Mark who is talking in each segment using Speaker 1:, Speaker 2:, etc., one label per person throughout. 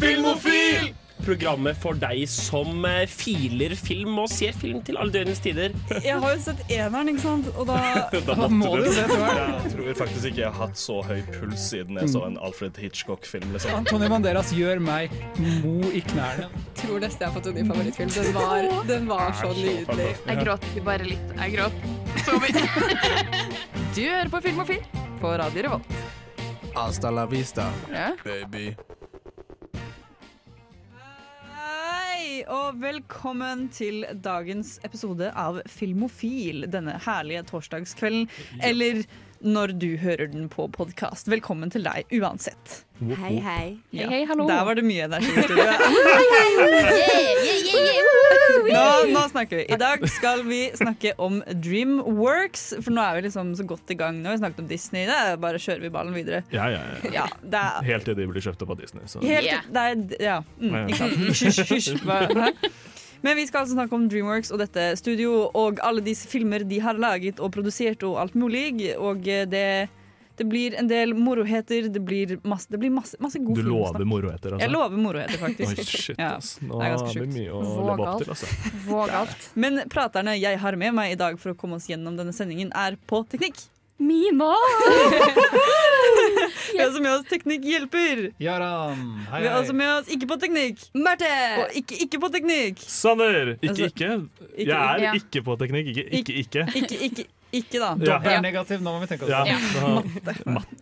Speaker 1: Filmofil!
Speaker 2: Programmet for deg som eh, filer film og ser film til alle døgnets tider.
Speaker 3: Jeg har jo sett eneren, ikke sant? Og da
Speaker 1: Da
Speaker 4: Da må du se etter hvert.
Speaker 1: Jeg tror faktisk ikke jeg har hatt så høy puls siden jeg så en Alfred Hitchcock-film. Liksom.
Speaker 4: Antonio Banderas gjør meg mo i knærne.
Speaker 3: tror nesten jeg har fått en ny favorittfilm. Den var, den var så nydelig.
Speaker 5: Jeg gråt ikke bare litt. Jeg gråt så mye. Du hører på Filmofil på Radio Revolt.
Speaker 6: Hasta la vista,
Speaker 5: Ja.
Speaker 6: baby.
Speaker 3: Hei, og velkommen til dagens episode av Filmofil. Denne herlige torsdagskvelden. Eller når du hører den på podkast. Velkommen til deg uansett.
Speaker 7: Hei, hei.
Speaker 5: Hei, hei, hallo.
Speaker 3: Der var det mye energi i studioet. Nå, nå snakker vi. I dag skal vi snakke om Dreamworks. For nå er vi liksom så godt i gang. Nå har vi snakket om Disney. Det er bare kjører vi ballen videre.
Speaker 1: Ja, ja, ja.
Speaker 3: Ja, det er
Speaker 1: Helt til de blir kjøpt opp av Disney. Så.
Speaker 3: Helt,
Speaker 5: Yeah.
Speaker 3: det er, ja. Mm,
Speaker 1: Ja, ja.
Speaker 3: ikke sant? Hysj, hysj. Hva- hæ? Men vi skal altså snakke om Dreamworks og dette studio og alle disse filmer de har laget og produsert og alt mulig. Og eh, det, det blir en del moroheter. Det blir masse, det blir masse, masse god
Speaker 1: Du
Speaker 3: film å snakke
Speaker 1: lover moro etter,
Speaker 3: Jeg
Speaker 1: altså?
Speaker 3: lover moroheter, faktisk.
Speaker 1: Oi, shit,
Speaker 3: Ja,
Speaker 1: ass. Nå
Speaker 3: det er ganske
Speaker 1: har vi
Speaker 3: sjukt.
Speaker 1: mye å
Speaker 5: Vågal.
Speaker 1: leve opp til, altså.
Speaker 5: Våg alt.
Speaker 3: Men praterne jeg har med meg i dag for å komme oss gjennom denne sendingen, er på teknikk.
Speaker 5: Mina!
Speaker 3: Vi har også med oss teknikkhjelper.
Speaker 4: Jaran, hei,
Speaker 3: Vi har også
Speaker 4: hei.
Speaker 3: med oss ikke på teknikk.
Speaker 7: Marte!
Speaker 3: Og ikke, ikke på teknikk.
Speaker 1: Sander! Ikke,
Speaker 3: Altså,
Speaker 1: ikke.
Speaker 3: ikke-
Speaker 1: Jeg er
Speaker 5: Ja.
Speaker 1: ikke på teknikk. Ikke, ikke. ikke.
Speaker 3: Ikke, ikke, ikke da.
Speaker 1: Ja.
Speaker 4: Det er negativ, nå må vi tenke oss
Speaker 1: Ja.
Speaker 4: om.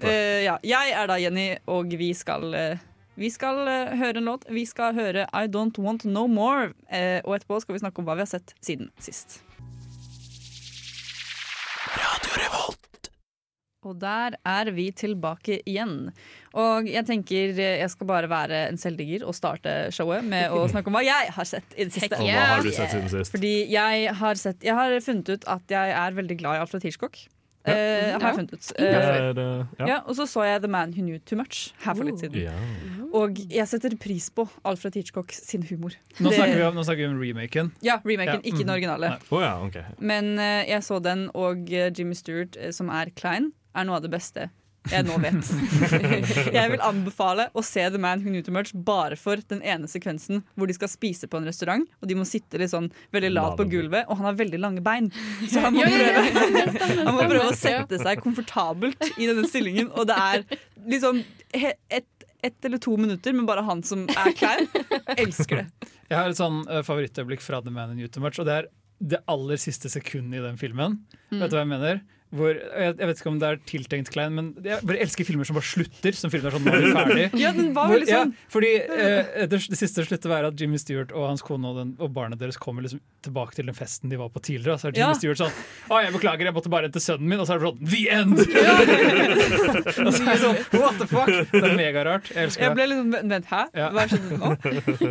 Speaker 3: Eh, ja. Jeg er da Jenny, og vi skal, eh, vi skal eh, høre en låt. Vi skal høre I Don't Want No More, eh, og etterpå skal vi snakke om hva vi har sett siden sist. Og der er vi tilbake igjen. Og jeg tenker eh, jeg skal bare være en selvdigger og starte showet med å snakke om hva jeg har sett i det siste.
Speaker 5: Heck
Speaker 1: Og hva har du sett siden sist?
Speaker 3: Fordi jeg har, sett, jeg har funnet ut at jeg er veldig glad i Alfred Hitchcock. Eh, har jeg funnet ut.
Speaker 1: Det
Speaker 3: Eh,
Speaker 1: er, eh, ja.
Speaker 3: ja, og så så jeg The Man Who Knew Too Much her for litt siden.
Speaker 1: Ja.
Speaker 3: Og jeg setter pris på Alfred Hitchcock sin humor.
Speaker 4: Nå
Speaker 3: Det-
Speaker 4: snakker vi om, nå snakker vi om remaken.
Speaker 3: Ja, remaken,
Speaker 4: Ja,
Speaker 3: ikke den
Speaker 4: mhm.
Speaker 3: originale.
Speaker 4: Nei.
Speaker 1: Å ja, OK.
Speaker 3: Men eh, jeg så den, og eh, Jimmy Stewart, eh, som er Klein, er noe av det beste jeg nå vet. jeg vil anbefale å se The Man Who Knew Too Much bare for den ene sekvensen hvor de skal spise på en restaurant, og de må sitte litt sånn veldig lavt på gulvet, og han har veldig lange bein. Så han må prøve, han må prøve å sette seg komfortabelt i denne stillingen, og det er liksom he- et ett eller to minutter, men bare han som er klein, elsker det.
Speaker 4: Jeg har et sånn eh, favorittøyeblikk fra The Man in Utah Match, og det er det aller siste sekundet i den filmen.
Speaker 3: Mm.
Speaker 4: Vet du hva jeg mener? Hvor, jeg, jeg vet ikke om det er tiltenkt klein, men jeg bare elsker filmer som bare slutter. Som filmer er sånn, nå er vi ferdig.
Speaker 3: Ja, den var
Speaker 4: Hvor,
Speaker 3: veldig
Speaker 4: ja,
Speaker 3: sånn.
Speaker 4: fordi eh, det, det siste sluttet var at Jimmy Stewart og hans kone og, den, og barnet deres kommer liksom tilbake til den festen de var på tidligere. Og så er Jimmy
Speaker 3: Ja.
Speaker 4: Stewart sånn Å, jeg beklager, jeg måtte bare hente sønnen min. Og så er det sånn The end! og så er det sånn What the fuck? Det er megarart. Jeg elsker det.
Speaker 3: Jeg ble liksom, vent, hæ?
Speaker 4: Ja.
Speaker 3: Hva skjedde nå?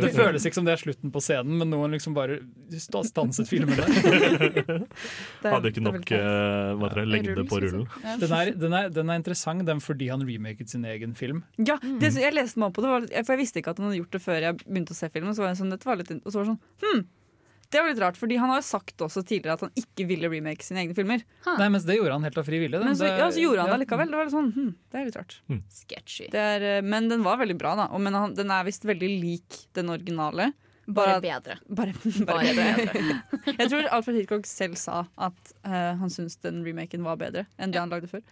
Speaker 4: Det føles ikke som det er slutten på scenen, men noen liksom bare sta- stanset filmen der.
Speaker 3: Det er-
Speaker 1: Hadde ikke
Speaker 3: det er
Speaker 1: nok
Speaker 3: veldig
Speaker 1: eh, hva heter det, lengde på rullen.
Speaker 4: Den er, den er, den er interessant den fordi han remaket sin egen film.
Speaker 3: Ja, det, som- jeg leste meg opp på det, var, litt- for jeg visste ikke at han hadde gjort det før jeg begynte å se filmen. Så var jeg sånn, dette var litt, in- og så var det sånn, hm, det var litt rart, fordi han har jo sagt også tidligere at han ikke ville remake sine egne filmer.
Speaker 4: Nei, mens det gjorde han helt av fri vilje. den.
Speaker 3: Men så,
Speaker 4: Det-
Speaker 3: ja, så gjorde han det
Speaker 4: ja.
Speaker 3: likevel. Det var litt sånn, hm, det er litt rart.
Speaker 7: Sketchy.
Speaker 3: Det er, eh, men den var veldig bra, da. Og, men han, den er visst veldig lik den originale.
Speaker 7: Bare
Speaker 3: Bare,
Speaker 7: bedre.
Speaker 3: bare,
Speaker 7: Bare
Speaker 3: bare bedre.
Speaker 7: bedre.
Speaker 3: Jeg tror Alfred Hitchcock selv sa at eh, han syntes den remaken var bedre enn det han lagde før.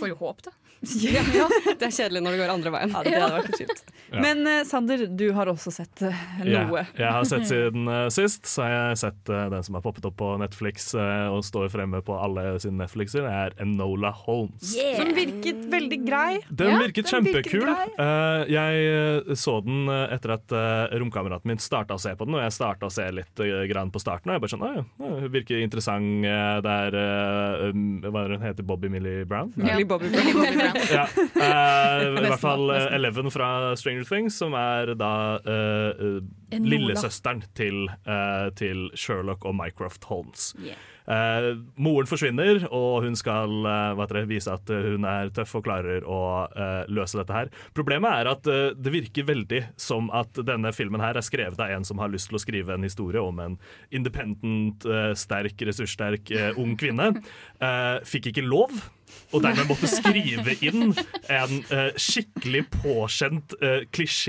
Speaker 7: Får jo håp, da.
Speaker 3: Ja,
Speaker 7: Det er kjedelig når det går andre veien.
Speaker 3: det hadde vært litt kjipt.
Speaker 1: Ja.
Speaker 3: Men eh, Sander, du har også sett eh,
Speaker 1: Ja,
Speaker 3: noe.
Speaker 1: Jeg har sett siden eh, sist, så har jeg sett eh, den som har poppet opp på Netflix eh, og står fremme på alle sine Netflixer, er Enola Holmes.
Speaker 3: Som virket veldig grei.
Speaker 1: Den virket
Speaker 3: den virket
Speaker 1: kjempekul. Eh, jeg eh, så den eh, etter at eh, romkameraten min starta å se på den, og jeg starta å se litt eh, grann på starten, og jeg bare sånn «Å ja, ja, virker interessant. eh, det er eh, um, Hva er det hun heter? Bobby Millie Brown? Nei.
Speaker 3: Billy Bobby Brown.
Speaker 1: Ja. Eh, I
Speaker 3: Nesten,
Speaker 1: hvert fall eh,
Speaker 3: nesten.
Speaker 1: Eleven fra Stranger Things, som er da eh, eh, lillesøsteren til, eh, til Sherlock og Mycroft Holmes. Eh, moren forsvinner, og hun skal eh, hva heter det, vise at hun er tøff og klarer å eh, løse dette her. Problemet er at eh, det virker veldig som at denne filmen her er skrevet av en som har lyst til å skrive en historie om en independent, eh, sterk, ressurssterk eh, ung kvinne. Eh, fikk ikke lov. og dermed måtte skrive inn en eh, skikkelig påkjent eh,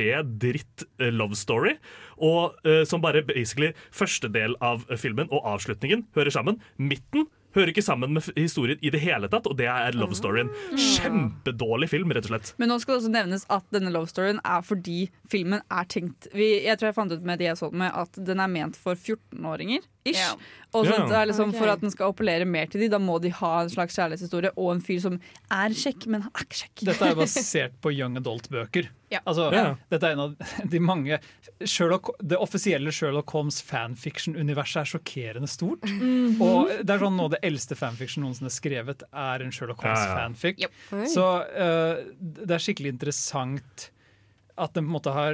Speaker 1: klisjé-dritt eh, love story. Og eh, som bare basically første del av filmen og avslutningen hører sammen. Midten hører ikke sammen med f- historien i det hele tatt, og det er love storyen. Kjempedårlig film, rett og slett.
Speaker 3: Men nå skal det også nevnes at denne love storyen er fordi filmen er tenkt vi, Jeg tror jeg fant ut med de jeg så den med, at den er ment for 14-åringer. Ish.
Speaker 5: Ja.
Speaker 3: Og så
Speaker 1: Ja.
Speaker 3: at det er liksom
Speaker 7: Ok.
Speaker 3: For at den skal appellere mer til de, da må de ha en slags kjærlighetshistorie og en fyr som er kjekk, men han er ikke kjekk.
Speaker 4: Dette er basert på young adult-bøker.
Speaker 5: Ja.
Speaker 4: Altså,
Speaker 1: Ja.
Speaker 4: Dette er en av de mange Sherlock, Det offisielle Sherlock Holmes fanfiction-universet er sjokkerende stort.
Speaker 5: Mhm.
Speaker 4: Og det er sånn Noe av det eldste fanfiction noensinne skrevet, er en Sherlock
Speaker 1: Ja, ja.
Speaker 4: Holmes-fanfic.
Speaker 5: Yep.
Speaker 7: Oi.
Speaker 4: Så eh, det er skikkelig interessant at den på en måte har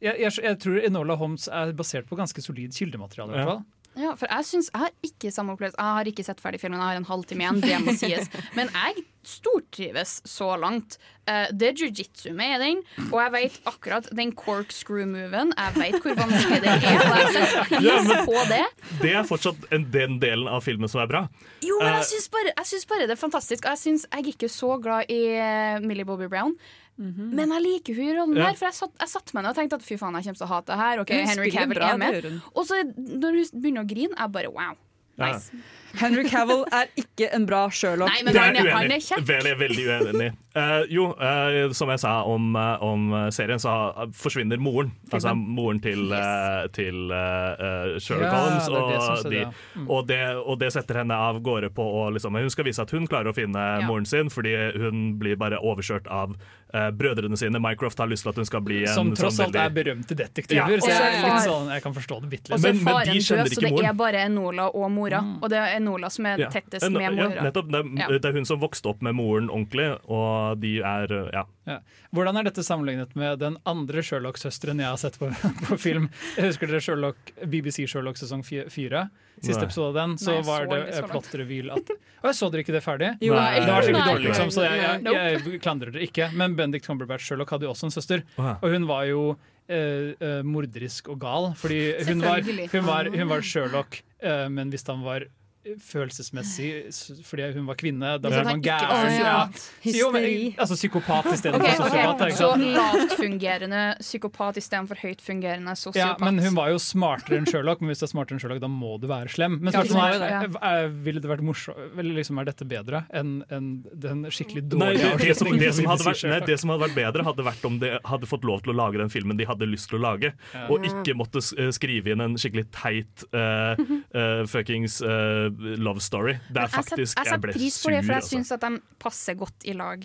Speaker 4: Jeg, jeg, jeg tror Enola Holmes er basert på ganske solid kildemateriale. i
Speaker 1: Ja.
Speaker 4: hvert fall.
Speaker 5: Ja, for jeg synes, jeg har ikke samme opplevelse. Jeg har ikke sett ferdig filmen, jeg har en halvtime igjen. det må sies. Men jeg stortrives så langt. Eh, Det er jiu-jitsu med i den, og jeg vet akkurat den corkscrew-moven. Jeg vet hvor vanskelig det er, og jeg setter pris på det.
Speaker 1: Det er fortsatt en, den delen av filmen som er bra.
Speaker 5: Jo,
Speaker 1: Eh,
Speaker 5: men jeg syns bare, jeg synes bare det er fantastisk. Og Jeg, synes, jeg er ikke så glad i eh, Millie Bobby Brown.
Speaker 3: Mhm.
Speaker 5: Men jeg liker hun i rollen
Speaker 1: Ja.
Speaker 5: her, for jeg satt, jeg satt meg ned og tenkte at fy faen, jeg kommer til å hate det her. Ok,
Speaker 3: Hun
Speaker 5: Henry
Speaker 3: spiller
Speaker 5: Cavill
Speaker 3: bra,
Speaker 5: er
Speaker 3: det gjør
Speaker 5: med.
Speaker 3: hun.
Speaker 5: Og så når hun begynner å grine, jeg bare wow.
Speaker 1: Ja.
Speaker 5: Nice.
Speaker 3: Henry Cavill er ikke en bra Sherlock.
Speaker 5: Nei, men
Speaker 1: Det
Speaker 5: han er, han er
Speaker 1: uenig.
Speaker 5: kjekk.
Speaker 1: Veldig, veldig uenig. Eh, jo, eh, som jeg sa om, eh, om serien, så eh, forsvinner moren. Altså moren til, eh, til eh, eh, Sherlock
Speaker 4: Ja,
Speaker 1: Holmes.
Speaker 4: det er det som
Speaker 1: Og
Speaker 4: skjedde,
Speaker 1: de,
Speaker 4: ja. Mm.
Speaker 1: og, det, og det setter henne av gårde på å liksom, Hun skal vise at hun klarer å finne
Speaker 5: Ja.
Speaker 1: moren sin, fordi hun blir bare overkjørt av eh, brødrene sine. Mycroft har lyst til at hun skal bli en
Speaker 4: Som tross
Speaker 1: sånn
Speaker 4: alt er
Speaker 1: veldig-
Speaker 4: berømte
Speaker 1: Ja,
Speaker 4: detektiver.
Speaker 1: og
Speaker 4: Så
Speaker 5: så
Speaker 4: jeg, er litt
Speaker 5: far.
Speaker 4: sånn, jeg kan forstå det bitte litt.
Speaker 5: Og så
Speaker 1: Men- men
Speaker 5: er
Speaker 1: de
Speaker 5: faren
Speaker 1: kjenner
Speaker 5: død, så
Speaker 1: ikke
Speaker 5: det
Speaker 1: moren.
Speaker 5: er bare Enola og mora.
Speaker 3: Mm.
Speaker 5: Og det er Enola som er
Speaker 1: Ja.
Speaker 5: tettest
Speaker 1: En-
Speaker 5: med
Speaker 1: Ja,
Speaker 5: mora.
Speaker 1: nettopp. Det er,
Speaker 5: Ja.
Speaker 1: det er hun som vokste opp med moren ordentlig, og de er eh, Ja.
Speaker 4: Ja. Hvordan er dette sammenlignet med den andre Sherlock-søsteren jeg har sett på, på film? Jeg husker dere Sherlock, BBC Sherlock sesong fi- fire? Siste
Speaker 1: Nei.
Speaker 4: episode av den, så
Speaker 5: Nei, jeg så
Speaker 4: var det
Speaker 5: ikke så langt.
Speaker 4: plotterevil at Å, jeg så dere ikke det ferdig?
Speaker 3: Jo,
Speaker 1: Nei.
Speaker 4: Det var skikkelig
Speaker 1: Nei.
Speaker 4: dårlig, liksom, så jeg, jeg, jeg klandrer dere ikke. Men Bendik Cumberbatch Sherlock hadde jo også en søster,
Speaker 1: Åh.
Speaker 4: og hun var jo eh, eh, morderisk og gal. Fordi hun var,
Speaker 5: Selvfølgelig.
Speaker 4: hun var, hun var Sherlock, eh, men hvis han var eh, følelsesmessig s- fordi hun var kvinne, da
Speaker 5: Hvis
Speaker 4: ble
Speaker 5: at han
Speaker 4: man
Speaker 5: ikke var
Speaker 4: gæren. Ja.
Speaker 5: sosial.
Speaker 4: Jo, men,
Speaker 7: Hysteri.
Speaker 4: altså psykopat istedenfor
Speaker 5: Ok,
Speaker 4: okay,
Speaker 5: ok,
Speaker 4: sosiopat. ikke
Speaker 5: Så
Speaker 4: sant?
Speaker 5: lavtfungerende psykopat istedenfor høytfungerende
Speaker 4: Ja,
Speaker 5: sosiopat.
Speaker 4: men hun var jo smartere enn Sherlock, men hvis du er smartere enn Sherlock, da må du være slem. Men
Speaker 3: Ja,
Speaker 4: spørsmålet
Speaker 3: det
Speaker 4: er,
Speaker 3: må
Speaker 4: er, er, ville det vært morsomt Vel, liksom, Er dette bedre enn enn den skikkelig
Speaker 1: Nei,
Speaker 4: dårlige
Speaker 1: det, det, som,
Speaker 4: avslutningen
Speaker 1: det,
Speaker 4: på
Speaker 1: som
Speaker 4: BBC
Speaker 1: hadde vært, nei,
Speaker 4: Sherlock?
Speaker 1: det som hadde vært bedre, hadde vært om de hadde fått lov til å lage den filmen de hadde lyst til å lage, og ikke måtte s- eh, skrive inn en skikkelig teit eh, eh, fuckings eh, love story. Det er
Speaker 5: jeg setter
Speaker 1: faktisk
Speaker 5: jeg
Speaker 1: Jeg
Speaker 5: setter
Speaker 1: ble
Speaker 5: pris på
Speaker 1: sur,
Speaker 5: det, for jeg
Speaker 1: altså.
Speaker 5: syns at de passer godt i lag.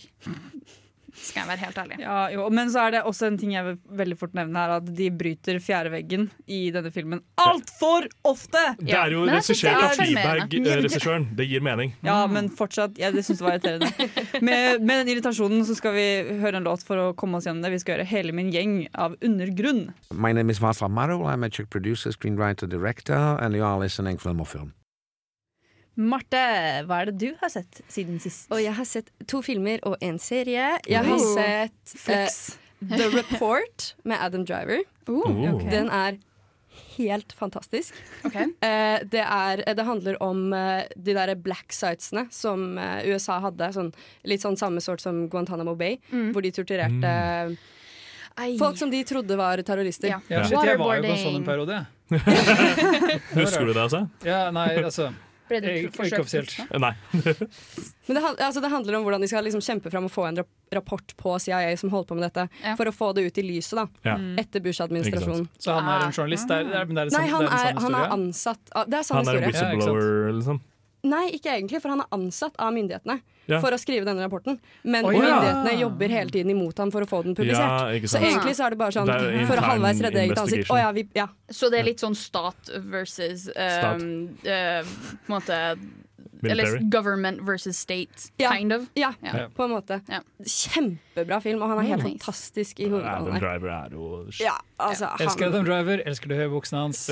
Speaker 5: Skal jeg være helt ærlig.
Speaker 3: Ja, jo. Men så er det også en ting jeg vil veldig fort nevne her, at de bryter fjerde veggen i denne filmen altfor ofte!
Speaker 1: Det er jo
Speaker 5: Men jeg synes det
Speaker 1: regissert av
Speaker 5: er sjarmerende.
Speaker 1: Friberg, eh, regissøren. Det gir mening.
Speaker 3: Ja, men fortsatt, ja, det syns jeg var irriterende. Med, med den irritasjonen så skal vi høre en låt for å komme oss gjennom det. Vi skal høre Hele min gjeng av Undergrunn.
Speaker 6: My name is Václav Marul. I'm a Czech producer, screenwriter, director, and you are listening to Filmofilm.
Speaker 3: Marte, hva er det du har sett siden sist?
Speaker 7: Og jeg har sett to filmer og en serie. Jeg har
Speaker 5: Oh.
Speaker 7: sett eh, The Report med Adam Driver.
Speaker 5: Uh,
Speaker 1: Oh.
Speaker 7: Den er helt fantastisk.
Speaker 5: Ok.
Speaker 7: Eh, det, er, det handler om eh, de derre black sitesene som eh, USA hadde. Sånn, litt sånn samme sort som Guantánamo Bay,
Speaker 5: Mm.
Speaker 7: hvor de torturerte
Speaker 5: Ei.
Speaker 7: folk som de trodde var terrorister.
Speaker 5: Ja.
Speaker 4: Ja, shit, jeg var jo på en sånn en
Speaker 5: Waterboarding.
Speaker 4: periode. jeg.
Speaker 1: Husker du det, altså?
Speaker 4: Ja, nei, altså
Speaker 5: Ble
Speaker 1: Eh,
Speaker 5: det
Speaker 4: jeg,
Speaker 5: forsøkt
Speaker 4: Ikke offisielt.
Speaker 5: gjort, da?
Speaker 1: Nei.
Speaker 7: Men det, han- altså, det handler om hvordan de skal liksom, kjempe fram og få en rap- rapport på CIA som holder på med dette,
Speaker 5: Ja.
Speaker 7: for å få det ut i lyset da,
Speaker 1: Ja.
Speaker 7: etter Bush-administrasjonen.
Speaker 4: Så han er en journalist? Det er, det er, men det er en sann-
Speaker 7: Nei, han
Speaker 4: det er,
Speaker 7: er,
Speaker 4: en sann
Speaker 7: han er
Speaker 4: historie.
Speaker 7: ansatt av, Det er sann
Speaker 1: Han er en
Speaker 7: historie.
Speaker 4: sant.
Speaker 1: whistleblower, liksom.
Speaker 7: Nei, ikke egentlig, for han er ansatt av myndighetene
Speaker 1: Ja.
Speaker 7: for å skrive denne rapporten. Men
Speaker 4: Å, ja.
Speaker 7: myndighetene jobber hele tiden imot ham for å få den publisert.
Speaker 1: Ja, ikke
Speaker 7: så
Speaker 1: sant.
Speaker 7: egentlig så er det bare sånn
Speaker 1: Det er jo
Speaker 7: for å
Speaker 1: intern
Speaker 7: halvveis redde eget ansikt.
Speaker 1: investigation.
Speaker 7: Å ja, vi Ja.
Speaker 5: Så det er litt sånn stat versus
Speaker 1: Stat.
Speaker 5: um, eh, På en måte Eller
Speaker 1: Military.
Speaker 5: government versus state,
Speaker 7: Ja.
Speaker 5: kind of.
Speaker 7: ja.
Speaker 5: Ja.
Speaker 7: På en måte.
Speaker 5: Ja.
Speaker 7: Kjempebra film, og han er helt
Speaker 5: Nice.
Speaker 7: fantastisk i
Speaker 1: Adam
Speaker 7: hovedrollen her.
Speaker 1: Driver er jo
Speaker 7: Ja, altså,
Speaker 4: Elsker
Speaker 7: han
Speaker 4: Adam Driver, elsker de høye buksene hans.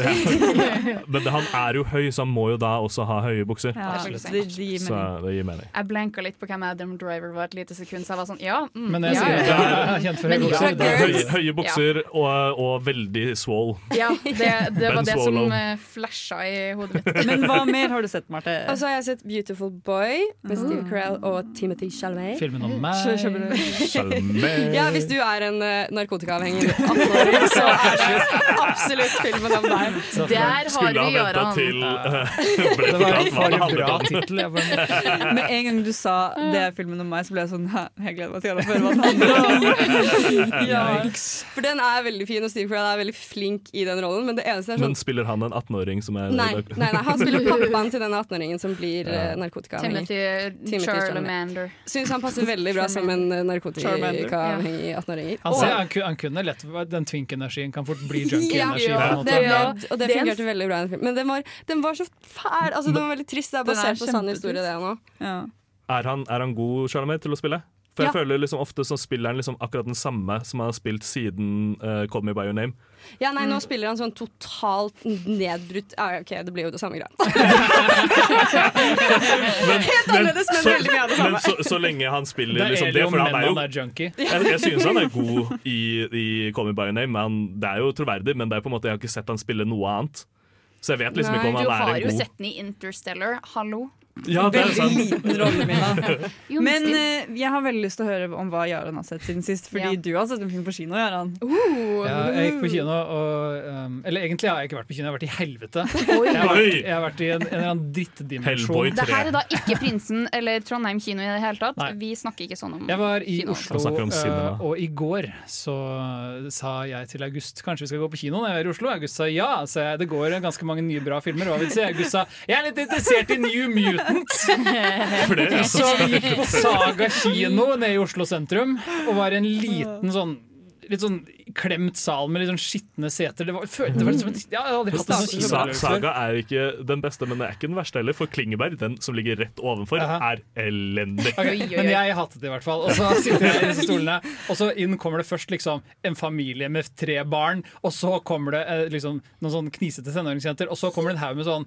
Speaker 1: Men han er jo høy, så han må jo da også ha høye bukser.
Speaker 3: Ja,
Speaker 5: Det er faktisk
Speaker 3: de, de,
Speaker 1: Så det gir mening.
Speaker 5: Jeg blanka litt på hvem Adam Driver var et lite sekund, så jeg var sånn ja. Mm,
Speaker 4: Men jeg
Speaker 5: ja,
Speaker 4: sier
Speaker 5: ja.
Speaker 4: at
Speaker 1: ja.
Speaker 4: han er kjent for
Speaker 5: Men
Speaker 4: høye
Speaker 5: fra
Speaker 4: bukser. det er-
Speaker 1: Høye, høye bukser og, og veldig swole.
Speaker 5: ja, det, det
Speaker 1: Ben
Speaker 5: var det som
Speaker 1: Swallow.
Speaker 5: eh, flasha i hodet mitt.
Speaker 3: men hva mer har du sett, Marte?
Speaker 7: Og så har jeg sett het Beautiful Boy
Speaker 5: Mm.
Speaker 7: med Steve Carell og Timothy Chalamet.
Speaker 4: Filmen om meg.
Speaker 7: Kjø- kjøper du-
Speaker 1: Sjarmer.
Speaker 7: Ja, hvis du er en eh, narkotikaavhengig 18-åring, så er det absolutt filmen om deg.
Speaker 4: Så
Speaker 5: Der
Speaker 4: faen.
Speaker 5: har
Speaker 1: Skulle ha
Speaker 5: vi
Speaker 1: venta
Speaker 5: Gøran.
Speaker 1: til eh, ble
Speaker 4: Det var for
Speaker 1: fortalt hva det
Speaker 4: en
Speaker 1: handlet
Speaker 4: bra
Speaker 1: om.
Speaker 4: tittel. Jeg bare-
Speaker 3: Med en gang du sa det er filmen om meg, så ble jeg sånn «Hæ, Jeg gleder meg til å høre hva den handler om. ja.
Speaker 7: For den er veldig fin, og Steve Carell er veldig flink i den rollen, men det eneste er
Speaker 1: Men
Speaker 7: sånn
Speaker 1: spiller han en 18-åring som er
Speaker 7: Nei, nei, nei, han spiller pappaen til den 18-åringen som blir eh, narkotikaavhengig.
Speaker 5: Timothy
Speaker 7: Timothy
Speaker 5: Charlemander.
Speaker 7: Syns han passer veldig bra som en eh, narkotikaavhengig 18-åringer.
Speaker 4: Han,
Speaker 7: Og-
Speaker 4: ser, han, ku- han kunne lett Den twink-energien kan fort bli junkie-energi.
Speaker 7: Ja,
Speaker 4: på en
Speaker 7: det,
Speaker 4: måte.
Speaker 5: Ja.
Speaker 7: ble- og det
Speaker 5: Det er en-
Speaker 7: fungerte veldig bra. i den filmen. Men den var, den var så fæl! Altså, den var veldig trist. Det er
Speaker 3: Den er
Speaker 7: basert på sann
Speaker 3: kjempetrist.
Speaker 7: historie, det nå.
Speaker 3: Ja.
Speaker 1: Er han, er han god Chalamet, til å spille? For jeg føler liksom ofte så spiller han liksom akkurat den samme som han har spilt siden eh, Call Me By Your Name.
Speaker 7: Ja, nei, nå
Speaker 5: Mm.
Speaker 7: spiller han sånn totalt nedbrutt ah, OK, det blir jo det samme greia. Helt annerledes, men
Speaker 1: så,
Speaker 7: veldig mye av det
Speaker 1: men
Speaker 7: samme.
Speaker 1: så, så lenge han
Speaker 4: Det
Speaker 1: spiller
Speaker 4: er
Speaker 1: liksom det,
Speaker 4: Elon,
Speaker 1: for
Speaker 4: men
Speaker 1: han er jo
Speaker 4: han er junkie.
Speaker 1: jeg, jeg synes han er god i, i Call Me By Your Name, men han, det er jo troverdig, men det er på en måte, jeg har ikke sett han spille noe annet. Så jeg vet liksom
Speaker 7: Nei,
Speaker 1: ikke om
Speaker 5: Du
Speaker 1: han er
Speaker 5: har
Speaker 1: en
Speaker 5: jo
Speaker 1: god
Speaker 5: sett den i Interstellar. Hallo.
Speaker 1: Ja, det er
Speaker 3: Veldig
Speaker 1: sant.
Speaker 3: liten rolle, Mina.
Speaker 5: Jo,
Speaker 3: Men
Speaker 5: stil.
Speaker 3: eh, jeg har veldig lyst til å høre om hva Jaran har sett siden sist. Fordi
Speaker 5: Ja.
Speaker 3: du har sett en film på kino, Jaran.
Speaker 4: Ja, jeg gikk på kino og um, Eller egentlig har jeg ikke vært på kino, jeg har vært i helvete.
Speaker 5: Oi.
Speaker 4: Jeg har vært,
Speaker 1: Oi.
Speaker 4: jeg har vært i en, en eller annen
Speaker 1: Hellboy
Speaker 4: drittdimensjon.
Speaker 5: eh, Det her er
Speaker 1: tre.
Speaker 5: da ikke Prinsen eller Trondheim kino i det hele tatt.
Speaker 4: Nei.
Speaker 5: Vi snakker ikke sånn om
Speaker 4: Jeg var i
Speaker 5: kino.
Speaker 4: Oslo,
Speaker 1: Han snakker om
Speaker 4: eh,
Speaker 1: cinema.
Speaker 4: og i går så sa jeg til August kanskje vi skal gå på kino når jeg er i Oslo. August sa ja, så jeg, det går ganske mange nye bra filmer. Hva vil du si? August sa jeg er litt interessert i New Mutants.
Speaker 1: For det,
Speaker 4: Så
Speaker 1: altså.
Speaker 4: vi gikk på Saga kino nede i Oslo sentrum, og var i en liten sånn Litt sånn klemt sal med litt sånn skitne seter. Det var, følte det var litt som et, ja, jeg har aldri hatt en sånn
Speaker 1: Sa,
Speaker 4: kinoopplevelse før.
Speaker 1: saga er ikke den beste, men det er ikke den verste heller. For Klingeberg, den som ligger rett ovenfor,
Speaker 4: Aha.
Speaker 1: er elendig.
Speaker 4: Ok,
Speaker 5: Oi, oi, oi.
Speaker 4: Men jeg hatet det i hvert fall. Og så sitter jeg i disse stolene, og så inn kommer det først liksom en familie med tre barn, og så kommer det eh, liksom noen sånn knisete tenåringsjenter, og så kommer det en haug med sånn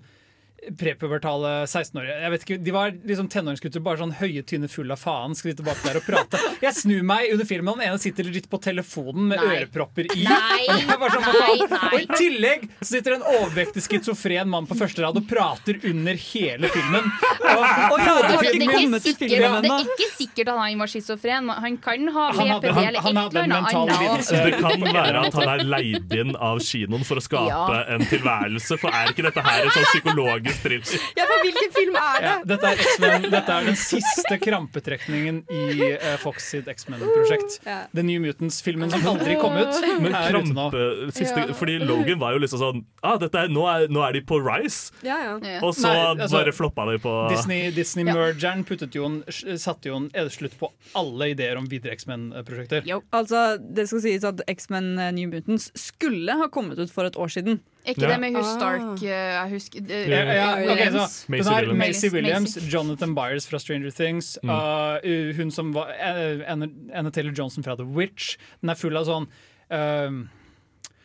Speaker 4: prepubertale 16-årige. Jeg vet ikke, De var liksom tenåringsgutter, bare sånn høye, tynne, full av faen. Skal de tilbake der og prate? Jeg snur meg under filmen, og den ene sitter legit på telefonen med
Speaker 5: Nei.
Speaker 4: ørepropper i.
Speaker 5: Nei,
Speaker 4: Og jeg bare sånn, hva
Speaker 5: nei,
Speaker 4: faen? Og i
Speaker 5: nei.
Speaker 4: tillegg så sitter en overvektig schizofren mann på første rad og prater under hele filmen. Og, og
Speaker 5: Det er,
Speaker 4: hodeputer-
Speaker 5: ikke
Speaker 3: Kommet til
Speaker 5: sikkert,
Speaker 4: filmen
Speaker 5: det er ikke sikkert at han var schizofren. men Han kan ha
Speaker 4: Han hadde-
Speaker 5: BPD
Speaker 4: han-
Speaker 5: eller
Speaker 4: han
Speaker 5: et
Speaker 4: hadde en
Speaker 5: eller annet
Speaker 4: mental
Speaker 5: annet.
Speaker 4: lidelse.
Speaker 1: Det kan være at han er leid inn av kinoen for å skape
Speaker 5: Ja.
Speaker 1: en tilværelse, for er ikke dette her en sånn psykologisk thriller?
Speaker 7: Ja, for hvilken film er det?
Speaker 4: Ja, dette, er X-Men- dette er den siste krampetrekningen i eh, Fox sitt X-Men-prosjekt.
Speaker 7: Ja.
Speaker 4: The New Mutants-filmen som aldri kom ut,
Speaker 1: Men
Speaker 4: er ute nå.
Speaker 1: krampe siste, Fordi Logan var jo liksom sånn ah, dette er, nå, er, nå er de på Rise,
Speaker 7: Ja, ja.
Speaker 5: Ja.
Speaker 1: og så
Speaker 4: Nei, altså,
Speaker 1: bare floppa de på
Speaker 4: Disney- Disney-mergeren puttet jo en, satte jo en slutt på alle ideer om videre X-Men-prosjekter.
Speaker 5: Jo.
Speaker 3: Altså, det skal sies at X-Men eh, New Mutants skulle ha kommet ut for et år siden.
Speaker 5: Er ikke
Speaker 1: Ja.
Speaker 5: det med hun
Speaker 7: Ah.
Speaker 5: Stark eh, Jeg husker eh,
Speaker 1: Ja,
Speaker 4: Ja, ja, ok, så,
Speaker 5: Williams.
Speaker 4: den har
Speaker 1: Macy
Speaker 4: Macy
Speaker 5: Williams.
Speaker 4: Williams, Jonathan Byers fra Stranger Things,
Speaker 1: Mm.
Speaker 4: uh, hun som var eh, Anna Anna Taylor Johnson fra The Witch. Den er full av sånn eh,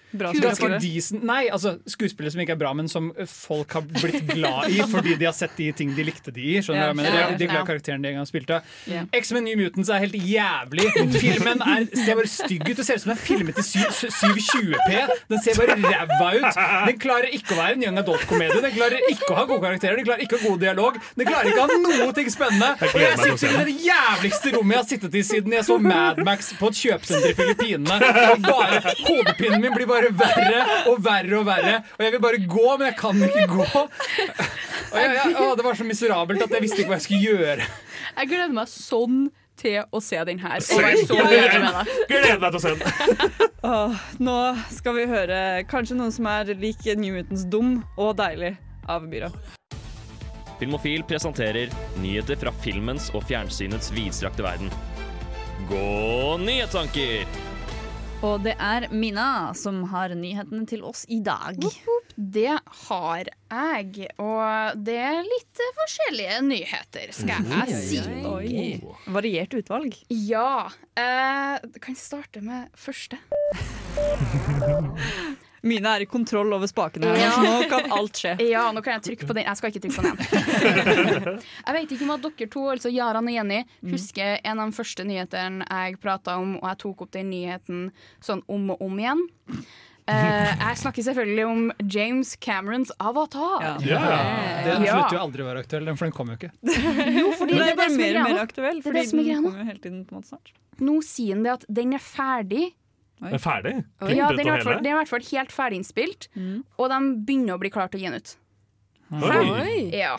Speaker 3: Bra
Speaker 4: Ganske
Speaker 3: skuespillere.
Speaker 4: decent Nei, altså skuespillere som ikke er bra, men som folk har blitt glad i fordi de har sett de ting de likte de i. Skjønner du hva jeg mener? De er- De er glad i karakteren de en gang spilte.
Speaker 3: Ja.
Speaker 4: X-Men New Mutants er helt jævlig. Filmen er, ser bare stygg ut. Det ser ut som den er filmet i syv- syv- 720p. Den ser bare ræva ut. Den klarer ikke å være en young adult-komedie. Den klarer ikke å ha gode karakterer, den klarer ikke å ha god dialog. Den klarer ikke å ha noe ting spennende. Og
Speaker 1: gleder
Speaker 4: jeg
Speaker 1: meg til å se
Speaker 4: sitter i den
Speaker 1: den.
Speaker 4: det jævligste rommet jeg har sittet i siden jeg så Mad Max på et kjøpesenter i Filippinene. Og bare, Hodepinen min blir bare verre og verre og verre. Og jeg vil bare gå, men jeg kan ikke gå. Og jeg, jeg, å, det var så miserabelt at jeg visste ikke hva jeg skulle gjøre.
Speaker 5: Jeg gleder meg sånn til å se den her.
Speaker 1: Se
Speaker 5: Og være så
Speaker 1: den.
Speaker 5: enig med deg.
Speaker 1: Gleder meg til å se den!
Speaker 3: Åh, nå skal vi høre kanskje noen som er lik New Mutants dum og deilig av Byra.
Speaker 8: Filmofil presenterer nyheter fra filmens og fjernsynets vidstrakte verden. Gå nyhetstanker!
Speaker 3: Og det er Mina som har nyhetene til oss i dag.
Speaker 5: Det har jeg. Og det er litt eh, forskjellige nyheter, skal
Speaker 4: Mm-hmm.
Speaker 5: jeg si.
Speaker 3: Oi. Variert utvalg.
Speaker 5: Ja. Eh, kan jeg starte med første?
Speaker 3: Mina er i kontroll over spakene, her,
Speaker 5: Ja.
Speaker 3: så nå kan alt skje.
Speaker 5: Ja, nå kan jeg trykke på den. Jeg skal ikke trykke på den. jeg vet ikke om at dere to, altså Jaran og Jenny, husker en av de første nyhetene jeg prata om, og jeg tok opp den nyheten sånn om og om igjen. Eh, jeg snakker selvfølgelig om James Camerons Avatar.
Speaker 3: Ja.
Speaker 1: Ja.
Speaker 4: Den
Speaker 5: Ja.
Speaker 4: slutter jo aldri å være aktuell, den, for den kom jo ikke.
Speaker 5: Fordi
Speaker 3: Men
Speaker 5: det
Speaker 3: det
Speaker 5: er
Speaker 3: er bare
Speaker 5: det som er
Speaker 3: mer og mer
Speaker 5: greia.
Speaker 3: aktuell,
Speaker 5: er det
Speaker 3: fordi
Speaker 5: som er greia
Speaker 3: den
Speaker 5: nå.
Speaker 3: kommer jo hele tiden på en måte snart.
Speaker 5: Nå sier han det at den er ferdig.
Speaker 1: Den er ferdig? Klippet
Speaker 5: Ja, den er, i
Speaker 1: og
Speaker 5: hvert fall,
Speaker 1: hele?
Speaker 5: den er i hvert fall helt ferdig innspilt,
Speaker 3: Mm.
Speaker 5: og de begynner å bli klar til å gi den ut.
Speaker 1: Oi.
Speaker 7: Oi.
Speaker 5: Ja.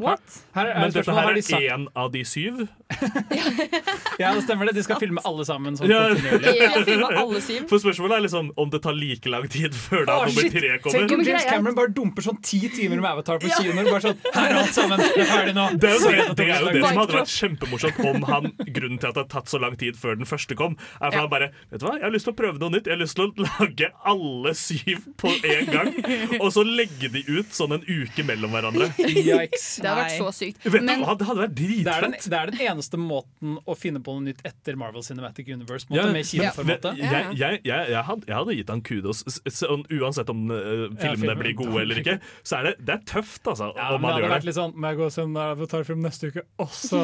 Speaker 3: What?
Speaker 4: Her er
Speaker 1: Men dette
Speaker 4: spørsmålet,
Speaker 1: her
Speaker 4: har de
Speaker 1: er E.
Speaker 4: sagt
Speaker 1: én av de syv?
Speaker 4: Ja, det stemmer det. De skal filme alle sammen sånn
Speaker 1: Ja.
Speaker 4: kontinuerlig.
Speaker 7: Jeg filma alle syv.
Speaker 1: For spørsmålet er liksom om det tar like lang tid før da
Speaker 4: Å,
Speaker 1: nummer
Speaker 4: shit.
Speaker 1: tre
Speaker 4: Tenk
Speaker 1: kommer.
Speaker 4: om
Speaker 5: Men
Speaker 4: James
Speaker 5: greia-
Speaker 4: Cameron bare dumper sånn ti timer med Avatar på kinoer. Bare sånn, her er alt sammen, det er ferdig nå.
Speaker 1: Det er, jo det, det er jo det som
Speaker 7: Mic
Speaker 1: hadde vært kjempemorsomt om han Grunnen til at det har tatt så lang tid før den første kom, er for han bare Vet du hva, jeg har lyst til å prøve noe nytt. Jeg har lyst til å lage alle syv på en gang. Og så legge de ut sånn en uke mellom hverandre.
Speaker 4: Yikes.
Speaker 5: Det hadde
Speaker 3: Nei.
Speaker 5: vært så sykt.
Speaker 1: Vet
Speaker 5: Men
Speaker 1: du hva, det hadde vært
Speaker 4: Det er, den,
Speaker 1: dritfett.
Speaker 4: det er den eneste måten å finne på noe nytt etter Marvel Cinematic Universe. Måte,
Speaker 1: Ja,
Speaker 4: med
Speaker 1: Vet-
Speaker 4: kinoformatet.
Speaker 1: jeg, jeg, jeg, jeg, hadde, jeg hadde gitt han kudos. S- s- sånn Uansett om eh, filmene
Speaker 4: filmen.
Speaker 1: blir gode eller ikke, så er det, det er tøft, altså.
Speaker 4: Ja, men det
Speaker 1: om man
Speaker 4: hadde
Speaker 1: gjør det.
Speaker 4: vært litt sånn Må jeg gå og se en Avatar-film neste uke også?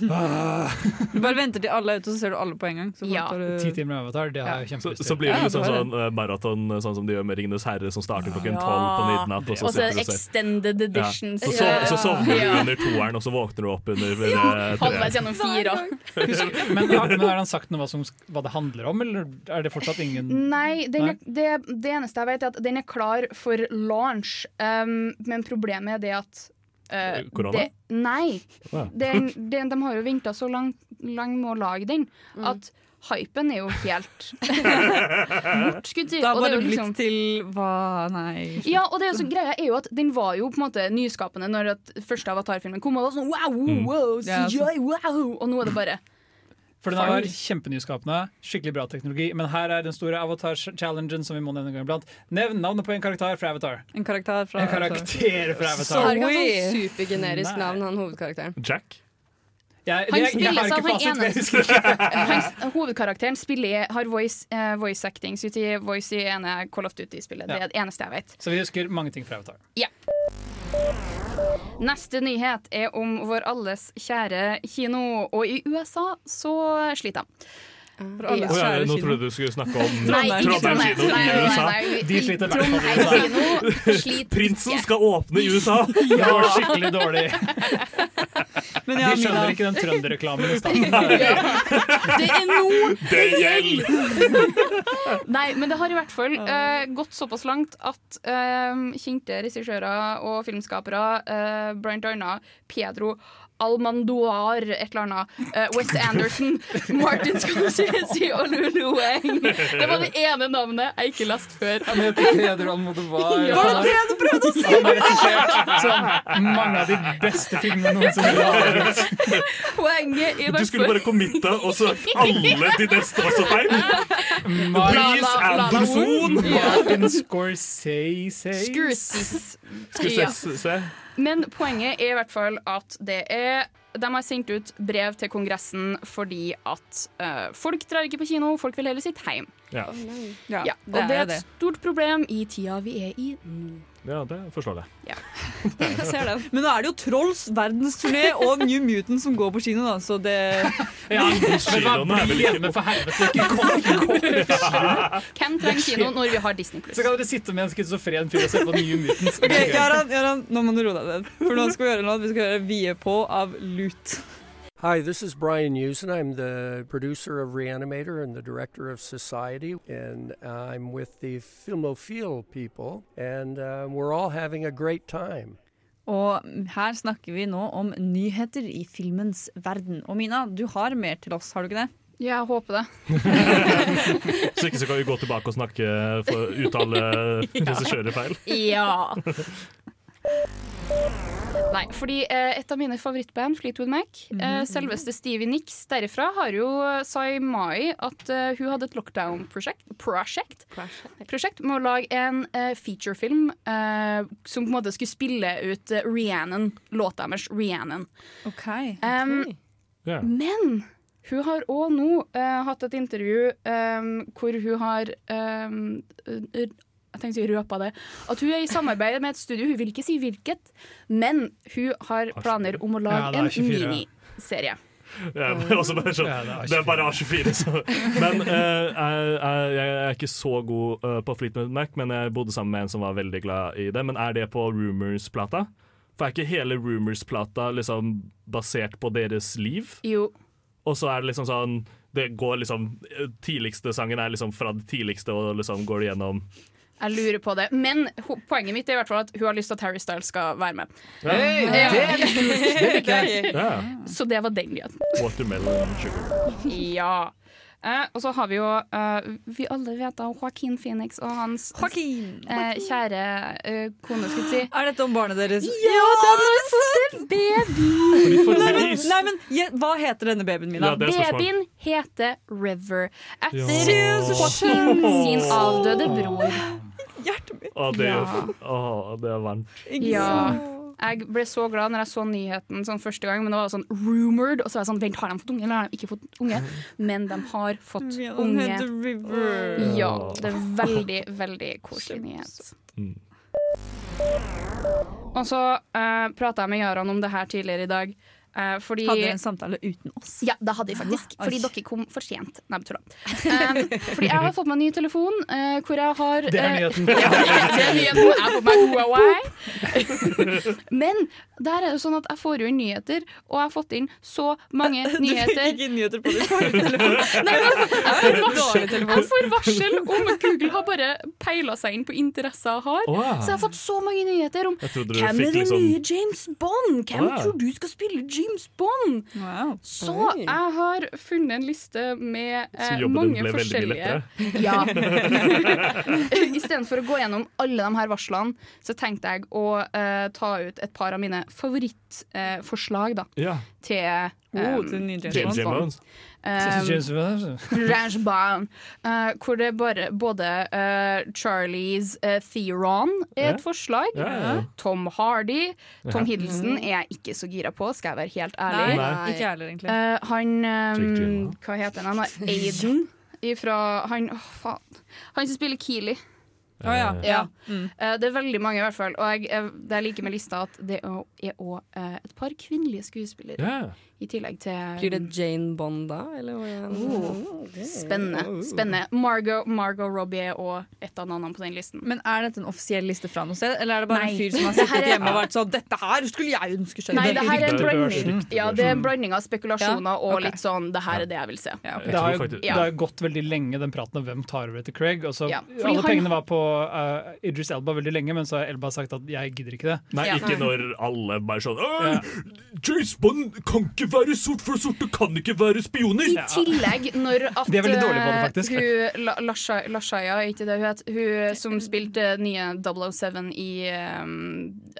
Speaker 4: Ah.
Speaker 3: Du bare venter til alle er ute, så ser du alle på en gang. Så
Speaker 5: Ja.
Speaker 3: får du-
Speaker 4: Ti timer med Avatar, det har jeg
Speaker 1: Så,
Speaker 4: kjempelyst
Speaker 1: så
Speaker 4: til.
Speaker 1: blir det
Speaker 3: Ja,
Speaker 1: liksom
Speaker 3: det var
Speaker 1: sånn eh, maraton, sånn som de gjør med 'Ringenes herre', som starter klokken
Speaker 3: Ja.
Speaker 1: tolv på midnatt. Og så
Speaker 5: Og så
Speaker 1: sitter du og ser.
Speaker 5: extended
Speaker 1: Ja.
Speaker 5: editions.
Speaker 1: Så, sov, så sovner du
Speaker 5: Ja.
Speaker 1: under toeren, og så våkner du opp under eh,
Speaker 5: Halvveis
Speaker 1: treeren.
Speaker 5: gjennom fire.
Speaker 4: Men, har, men har han sagt noe hva, som, hva det handler om, eller er det fortsatt ingen
Speaker 5: Nei, den er, det, det eneste jeg vet, er at den er klar for launch, um, men problemet er det at uh,
Speaker 1: Eh, Korona?
Speaker 5: Det, nei.
Speaker 1: Ja.
Speaker 5: Den, den, de har jo venta så lang- lenge med å lage den
Speaker 3: Mm.
Speaker 5: at hypen er jo helt bortskudd.
Speaker 3: Det har
Speaker 5: og det er
Speaker 3: bare
Speaker 5: jo
Speaker 3: blitt
Speaker 5: liksom-
Speaker 3: til hva Nei.
Speaker 5: Ja, og det er jo så, greia er jo at den var jo på en måte nyskapende når at første Avatar-filmen kom. Og det var sånn wow, wow,
Speaker 1: Mm.
Speaker 3: Ja,
Speaker 5: CGI, wow Og nå er det bare
Speaker 4: For den var kjempenyskapende, skikkelig bra teknologi, men her er den store Avatar-challengen som vi må nevne en gang iblant. Nevn navnet på en karakter fra Avatar.
Speaker 3: En karakter fra
Speaker 4: En karakter fra
Speaker 7: Han
Speaker 4: Avatar.
Speaker 7: har ikke hatt
Speaker 3: Oi.
Speaker 7: sånn supergenerisk
Speaker 4: Nei.
Speaker 7: navn, han hovedkarakteren.
Speaker 1: Jack?
Speaker 4: Jeg,
Speaker 5: Han
Speaker 4: jeg, jeg
Speaker 5: spilles
Speaker 4: har
Speaker 5: av
Speaker 4: ikke
Speaker 5: han
Speaker 4: fasit,
Speaker 5: ene.
Speaker 4: jeg husker ikke.
Speaker 5: Hans, Hovedkarakteren spiller, har voice, eh, voice acting, så uti voice i ene Call of Duty-spillet. Det
Speaker 4: Ja.
Speaker 5: er det eneste jeg vet.
Speaker 4: Så vi husker mange ting fra Avatar.
Speaker 5: Neste nyhet er om vår alles kjære kino. Og i USA så sliter de.
Speaker 3: For alle
Speaker 5: Ja.
Speaker 1: Å ja,
Speaker 3: kjære kino.
Speaker 1: nå trodde jeg du skulle snakke om
Speaker 5: Nei, ikke
Speaker 1: Trondheim kino
Speaker 5: Nei,
Speaker 1: i
Speaker 5: nei,
Speaker 1: USA.
Speaker 5: nei, nei.
Speaker 4: De sliter i hvert fall.
Speaker 5: Trondheim kino sliter
Speaker 1: Prinsen
Speaker 5: ikke.
Speaker 1: skal åpne i USA!
Speaker 4: Det var skikkelig dårlig.
Speaker 3: Men
Speaker 4: De
Speaker 3: ja,
Speaker 4: skjønner
Speaker 3: Mina,
Speaker 4: ikke den trønderreklamen i stedet.
Speaker 5: Det er nå
Speaker 1: Det gjelder!
Speaker 5: Nei, men det har i hvert fall eh, gått såpass langt at eh, kjente regissører og filmskapere, uh, blant annet Pedro Almandoar, et eller annet, eh, Wes Anderson, Martin Scorsese og Lulu Wang. Det var det ene navnet jeg ikke leste før.
Speaker 4: Han heter Peder Almodovar.
Speaker 5: Ja. Var det
Speaker 4: det du prøvde å si?! Han har regissert sånn mange av de beste filmene noensinne.
Speaker 5: Poenget i
Speaker 1: Du
Speaker 5: hvert
Speaker 1: skulle
Speaker 5: fall
Speaker 1: bare committe, og så alle de neste også feil!
Speaker 4: Mar-
Speaker 1: Reese
Speaker 5: La- la- la-
Speaker 1: Anderson!
Speaker 4: Martin Scorsese
Speaker 5: Scorsese.
Speaker 1: Skulle
Speaker 5: Ja.
Speaker 1: se, se.
Speaker 5: Men poenget er i hvert fall at det er de har sendt ut brev til Kongressen fordi at eh, folk drar ikke på kino, folk vil heller sitte hjemme.
Speaker 1: Ja.
Speaker 3: ja,
Speaker 5: Ja,
Speaker 3: det
Speaker 5: og
Speaker 3: er
Speaker 5: det er
Speaker 3: jo
Speaker 5: et
Speaker 3: det.
Speaker 5: stort problem i tida vi er i nå.
Speaker 1: ja, det forstår jeg.
Speaker 7: Jeg ser den.
Speaker 3: Men nå er det jo Trolls verdensturné og New Mutant som går på kino, da, så det
Speaker 4: Ja, men hva
Speaker 1: Kinoene er vel
Speaker 4: blir
Speaker 1: ikke-
Speaker 4: hjemme for helvete? Ikke kom, ikke kom.
Speaker 5: Hvem trenger kino når vi har Disney
Speaker 4: Så kan dere sitte med en schizofren fyr og se på New Mutants.
Speaker 3: Ok, Jaran, Jaran, nå må du roe deg ned. For nå skal vi gjøre noe. Vi skal gjøre Vie på av Lut.
Speaker 9: Hi, this is Brian Usen. I'm the producer of Reanimator and the director of Society, and I'm with the Filmophile people, and uh, we're all having a great time.
Speaker 3: Og her snakker vi nå om nyheter i filmens verden. Og Mina, du har mer til oss, har du ikke det?
Speaker 5: Ja, jeg håper det.
Speaker 1: Så ikke så kan vi gå tilbake og snakke for uttale regissører feil.
Speaker 5: Ja. Nei, fordi eh, et av mine favorittband, Fleetwood Mac, eh, selveste Stevie Nicks derifra, har jo eh, sa i mai at eh, hun hadde et lockdown-prosjekt prosjekt, prosjekt med å lage en eh, featurefilm eh, som på en måte skulle spille ut eh, Rhiannon, låta deres Rhiannon.
Speaker 3: Ok.
Speaker 5: Um,
Speaker 1: Ja.
Speaker 5: Men hun har òg nå eh, hatt et intervju em, hvor hun har em, r- Jeg tenkte å si røpa det. At hun er i samarbeid med et studio, hun vil ikke si hvilket, men hun har planer om å lage
Speaker 4: Ja, det er
Speaker 5: en
Speaker 4: 24, ja.
Speaker 5: miniserie.
Speaker 1: Ja, men også bare sånn,
Speaker 4: Ja, det er
Speaker 1: det er bare A24, så Men eh, jeg, jeg, jeg er ikke så god eh, på Fleetwood Mac, men jeg bodde sammen med en som var veldig glad i det. Men er det på Rumors-plata? For er ikke hele Rumors-plata liksom basert på deres liv?
Speaker 5: Jo.
Speaker 1: Og så er det liksom sånn det går liksom, eh, Tidligste sangen er liksom fra det tidligste, og liksom går det gjennom
Speaker 5: Jeg lurer på det. Men ho poenget mitt er i hvert fall at hun har lyst til at Harry Styles skal være med.
Speaker 1: ja.
Speaker 5: Så det var den nyheten.
Speaker 1: Watermelon Sugar.
Speaker 5: Ja. Eh, og så har vi jo eh, Vi alle vet om Joaquin Phoenix og hans
Speaker 3: Joaquin!
Speaker 5: eh, kjære eh, kone, skulle jeg si.
Speaker 3: Er dette om barnet deres?
Speaker 5: Ja, den har fått en baby!
Speaker 3: Nei, men, nei, men je- Hva heter denne babyen min,
Speaker 1: Ja,
Speaker 3: da?
Speaker 1: det er spørsmålet.
Speaker 5: Babyen heter River. Etter
Speaker 1: Ja.
Speaker 5: Joaquin sin avdøde bror.
Speaker 3: Hjertet mitt!
Speaker 1: Å, det,
Speaker 5: Ja.
Speaker 1: å, det er varmt.
Speaker 3: Ikke
Speaker 5: Ja.
Speaker 3: sant?
Speaker 5: Jeg ble så glad når jeg så nyheten sånn første gang, men det var sånn rumored. Og så var jeg sånn Vent, har de fått unge, eller har de ikke fått unge? Men de har fått
Speaker 3: Ja, den
Speaker 5: unge.
Speaker 3: heter River.
Speaker 5: Ja. Det er veldig, veldig koselig nyhet.
Speaker 1: Mm.
Speaker 5: Og så uh, prata jeg med Jaran om det her tidligere i dag, eh, fordi
Speaker 3: Hadde dere en samtale uten oss?
Speaker 5: ja, det hadde jeg faktisk.
Speaker 3: Hæ?
Speaker 5: Fordi
Speaker 3: Oi.
Speaker 5: dere kom for sent. Nei, jeg tuller. Um, fordi jeg har fått meg en ny telefon eh, hvor jeg har
Speaker 4: Det er
Speaker 5: eh,
Speaker 4: nyheten.
Speaker 5: ja, det er nyheten. Jeg har fått meg Huawei. Men der er det sånn at jeg får jo inn nyheter, og jeg har fått inn så mange nyheter.
Speaker 3: Ikke nyheter på din telefon.
Speaker 5: Nei, men jeg får
Speaker 3: Dårlig
Speaker 5: varsel,
Speaker 3: telefon.
Speaker 5: jeg får varsel om at Google har bare peila seg inn på interesser jeg har.
Speaker 1: Å, ja.
Speaker 5: Så jeg har fått så mange nyheter om
Speaker 1: Jeg trodde du
Speaker 5: hvem er
Speaker 1: fikk
Speaker 5: den
Speaker 1: liksom
Speaker 5: nye James Bond? Hvem
Speaker 1: Å, ja.
Speaker 5: tror du skal spille James Bond?
Speaker 3: Wow.
Speaker 5: Så
Speaker 7: Oi.
Speaker 5: jeg har funnet en liste med
Speaker 1: Så
Speaker 5: eh,
Speaker 1: jobben din
Speaker 5: mange
Speaker 1: ble veldig mye
Speaker 5: forskjellige
Speaker 1: lettere.
Speaker 5: ja. Istedenfor å gå gjennom alle de her varslene, så tenkte jeg å eh, ta ut et par av mine favorittforslag da,
Speaker 1: Ja.
Speaker 5: til eh,
Speaker 3: Oh, til nye James
Speaker 1: James
Speaker 5: Bond.
Speaker 1: Jones.
Speaker 5: Eh,
Speaker 4: James Bond. altså.
Speaker 5: James Bond. Eh, hvor det bare både eh, Charlies eh, Theron er
Speaker 1: Ja.
Speaker 5: et forslag.
Speaker 1: Ja, ja, ja.
Speaker 5: Tom Hardy. Tom Hiddleston er jeg ikke så gira på, skal jeg være helt
Speaker 3: Mm. Nei,
Speaker 5: ærlig.
Speaker 1: Nei.
Speaker 3: ikke jeg heller, egentlig.
Speaker 5: Eh, han
Speaker 1: Jake
Speaker 5: um,
Speaker 1: Gyllenhaal.
Speaker 5: Hva heter han? Han er Aiden ifra Han åh, faen. Han som spiller Keeley.
Speaker 3: Å ja.
Speaker 1: Eh,
Speaker 3: ja.
Speaker 5: Ja. Eh, det er veldig mange, i hvert fall. Og jeg, jeg, det jeg liker med lista, at det er òg et par kvinnelige skuespillere.
Speaker 1: ja.
Speaker 5: I tillegg til mm,
Speaker 7: Blir det Jane Bond da, eller? hva er det?
Speaker 5: Oh, Spennende. spennende. Margot, Margot Robbie er òg et av navnene på den listen.
Speaker 3: Men Er dette en offisiell liste fra noe sted, eller er det bare
Speaker 5: Nei.
Speaker 3: en fyr som har
Speaker 5: Det her
Speaker 3: sittet
Speaker 5: er-
Speaker 3: hjemme og vært sånn 'Dette her skulle jeg ønske skjedde'?
Speaker 5: Nei, det her er en
Speaker 1: Rykter,
Speaker 5: blanding,
Speaker 1: børsen.
Speaker 5: ja, det er en blanding av spekulasjoner
Speaker 3: Ja,
Speaker 5: og
Speaker 3: ok.
Speaker 5: litt sånn 'det her er det jeg vil se'.
Speaker 3: Ja, ok.
Speaker 1: Jeg
Speaker 4: Det har,
Speaker 1: tror
Speaker 4: jo,
Speaker 1: faktisk
Speaker 4: det har jo gått veldig lenge, den praten om hvem tar over etter Craig. Og så,
Speaker 5: Ja, fordi
Speaker 4: alle
Speaker 5: han-
Speaker 4: pengene var på eh, Idris Elba veldig lenge, men så har Elba sagt at jeg gidder ikke det.
Speaker 1: Nei,
Speaker 5: Ja.
Speaker 1: ikke når alle bare sånn «Åh, James Bond kan ikke være sort, for sorte kan ikke være spioner!
Speaker 5: I tillegg når at
Speaker 4: De er veldig dårlige på det,
Speaker 5: eh,
Speaker 4: faktisk.
Speaker 5: Hun, La- Lasha- Lashaya, er ikke det hun het, hun som spilte nye 007 i ehm,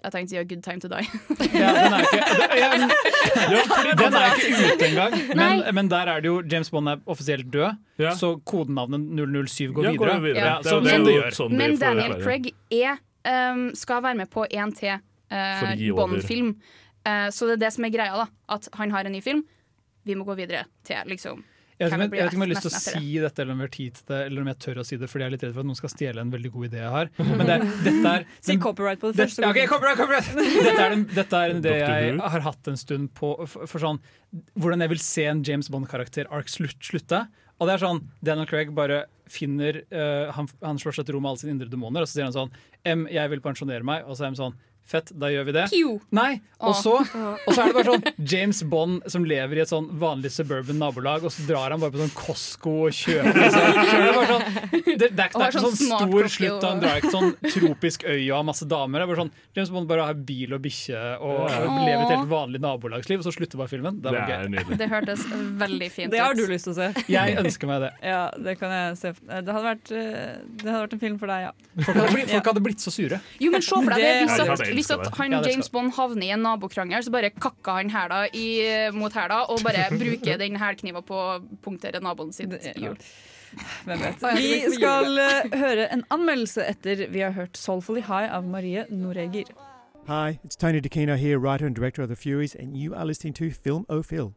Speaker 5: Jeg tenkte å si A Good Time To Die.
Speaker 4: Ja, den er ikke, det- ja, men- ja, fordi den er ikke ute engang. Men,
Speaker 5: Nei.
Speaker 4: men der er det jo James Bond er offisielt død,
Speaker 1: Ja.
Speaker 4: så kodenavnet 007 går
Speaker 1: Ja, går
Speaker 4: videre.
Speaker 1: jo videre.
Speaker 5: Ja,
Speaker 1: det er jo
Speaker 4: så-
Speaker 1: det
Speaker 4: men-
Speaker 1: de gjør. Sånn de
Speaker 5: Men
Speaker 1: får
Speaker 5: Daniel
Speaker 1: være.
Speaker 5: Craig er, ehm, skal være med på en til
Speaker 1: For å
Speaker 5: eh,
Speaker 1: gi over.
Speaker 5: Bond-film. Eh, så det er det som er greia, da. At han har en ny film. Vi må gå videre til liksom
Speaker 4: Jeg vet,
Speaker 5: Kan
Speaker 4: ikke, om
Speaker 5: det
Speaker 4: jeg- jeg vet ikke om jeg har lyst
Speaker 5: bli
Speaker 4: til å
Speaker 5: nesten etter
Speaker 4: si dette, eller om jeg har tid til det, eller om jeg tør å si det, fordi jeg er litt redd for at noen skal stjele en veldig god idé jeg har. Men det er, dette er
Speaker 3: Si copyright på det
Speaker 4: Dette,
Speaker 3: første.
Speaker 4: ok, copyright, copyright. dette er, den, dette er en idé
Speaker 1: Dr.
Speaker 4: jeg
Speaker 1: Who.
Speaker 4: har hatt en stund på for, for sånn, Hvordan jeg vil se en James Bond-karakter-ark slutt, slutte. Og det er sånn, Daniel Craig bare finner eh, han, han slår seg til ro med alle sine indre demoner, og så sier han sånn M, jeg vil pensjonere meg. Og så er han sånn Fett, da gjør vi det.
Speaker 5: Pew!
Speaker 4: Nei,
Speaker 5: Ah.
Speaker 4: og så, og så er det bare sånn James Bond som lever i et sånn vanlig suburban nabolag, og så drar han bare på sånn Costco og kjøper liksom. Det er bare sånn, det, det er ikke, det
Speaker 5: Og
Speaker 4: er ikke
Speaker 5: har
Speaker 4: sånn
Speaker 5: sånn
Speaker 4: stor
Speaker 5: smartklokke
Speaker 4: slutt, og han
Speaker 5: og-
Speaker 4: drar ikke sånn tropisk øy og har masse damer. Det er bare sånn, James Bond bare har bil og bikkje og, og
Speaker 5: Åh.
Speaker 4: lever et helt vanlig nabolagsliv, og så slutter bare filmen. Det
Speaker 1: Det
Speaker 4: er bare
Speaker 1: er
Speaker 4: gøy.
Speaker 1: nydelig.
Speaker 5: Det hørtes veldig fint ut.
Speaker 3: Det har du lyst til å se.
Speaker 4: Jeg ønsker meg det.
Speaker 3: Ja, det kan jeg se. Det hadde vært, eh, det hadde vært en film for deg, ja.
Speaker 4: Folk hadde blitt, folk hadde blitt så sure.
Speaker 5: Jo, men se for deg
Speaker 3: Det-
Speaker 5: det. Hvis
Speaker 1: Ja,
Speaker 5: at,
Speaker 1: det er
Speaker 5: hvis at
Speaker 1: elsket,
Speaker 5: han
Speaker 4: Ja, det er
Speaker 5: James Bond havner i en nabokrangel, så bare kakker han hæla i- mot hæla og bare bruker den hælkniva på å punktere naboen sitt
Speaker 3: Det-
Speaker 5: hjul.
Speaker 3: Hvem vet.
Speaker 5: Å, jeg
Speaker 3: Vi
Speaker 5: skal ikke på
Speaker 3: skal eh, høre en anmeldelse etter vi har hørt 'Soulfully High' av Marie Noreger.
Speaker 10: Hi, it's Tony DeCino here, writer and director of The Furies, and you are listening to Film O Phil.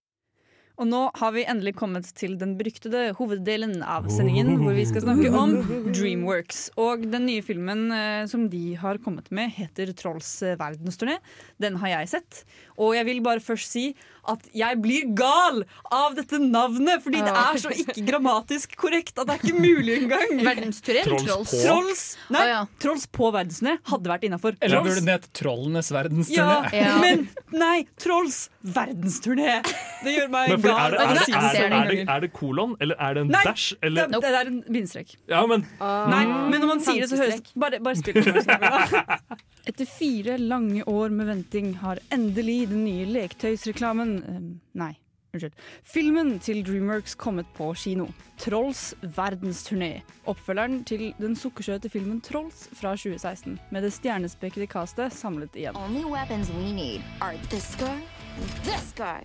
Speaker 3: Og nå har vi endelig kommet til den beryktede hoveddelen av sendingen, hvor vi skal snakke om Dreamworks. Og den nye filmen eh, som de har kommet med, heter Trolls eh, verdensturné. Den har jeg sett. Og jeg vil bare først si at jeg blir gal av dette navnet, fordi det er så ikke grammatisk korrekt at det er ikke mulig engang.
Speaker 5: Verdensturé eller
Speaker 1: Trolls
Speaker 5: Trolls?
Speaker 1: på.
Speaker 3: Trolls, nei,
Speaker 5: Å, ja.
Speaker 3: trolls på verdensturné hadde vært innafor.
Speaker 4: Eller burde den hett Trollenes
Speaker 3: Ja,
Speaker 4: verdensturné?
Speaker 5: Ja.
Speaker 3: men nei, Trolls verdensturné! Det gjør meg
Speaker 1: Men for er
Speaker 3: gal.
Speaker 1: det,
Speaker 5: Ja,
Speaker 1: er,
Speaker 5: men
Speaker 1: det,
Speaker 5: jeg
Speaker 1: er, det,
Speaker 5: ser det
Speaker 1: er, det,
Speaker 5: engang.
Speaker 1: er det kolon, eller er det en
Speaker 3: Nei,
Speaker 1: dash?
Speaker 3: Det,
Speaker 1: Eller,
Speaker 3: det er en bindestrek.
Speaker 1: ja, men
Speaker 3: Nei, men når man sier det, så høres Bare, bare spill. Etter fire lange år med venting har endelig den nye leketøysreklamen eh, Nei, unnskyld. Filmen til Dreamworks kommet på kino. Trolls verdensturné. Oppfølgeren til den sukkersøte filmen Trolls fra 2016. Med det stjernespekkede castet samlet igjen.
Speaker 10: Only weapons we need are this guy and this guy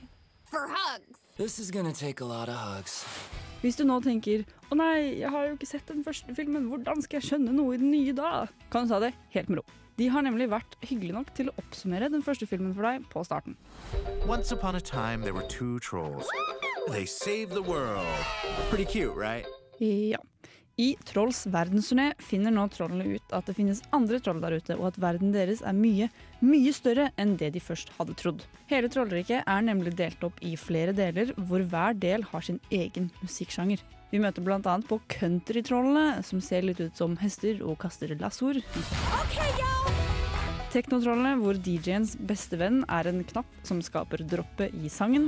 Speaker 10: for hugs.
Speaker 3: Hvis du nå tenker 'Å nei, jeg har jo ikke sett den første filmen, hvordan skal jeg skjønne noe i den nye da?' kan du ta det helt med ro. De har nemlig vært hyggelige nok til å oppsummere den første filmen for deg på starten.
Speaker 11: Once upon a time, there were two trolls. They saved the world. Pretty cute, right?
Speaker 3: Ja. I Trolls verdensturné finner nå trollene ut at det finnes andre troll der ute, og at verden deres er mye, mye større enn det de først hadde trodd. Hele trollriket er nemlig delt opp i flere deler, hvor hver del har sin egen musikksjanger. Vi møter bl.a. på countrytrollene, som ser litt ut som hester og kaster lassoer. Teknotrollene, hvor DJ-ens beste venn er en knapp som skaper droppet i sangen,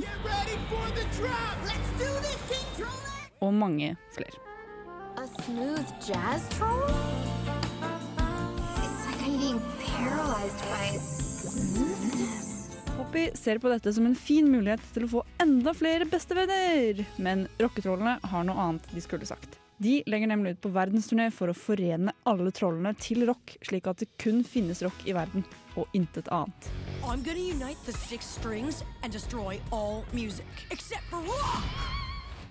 Speaker 3: og mange flere.
Speaker 10: A smooth jazz troll? It's like I'm being paralyzed by smoothness.
Speaker 3: Poppy ser på dette som en fin mulighet til å få enda flere bestevenner. Men rocketrollene har noe annet de skulle sagt. De legger nemlig ut på verdensturné for å forene alle trollene til rock, slik at det kun finnes rock i verden, og intet annet.
Speaker 10: I'm gonna unite the six strings and destroy all music, except for rock!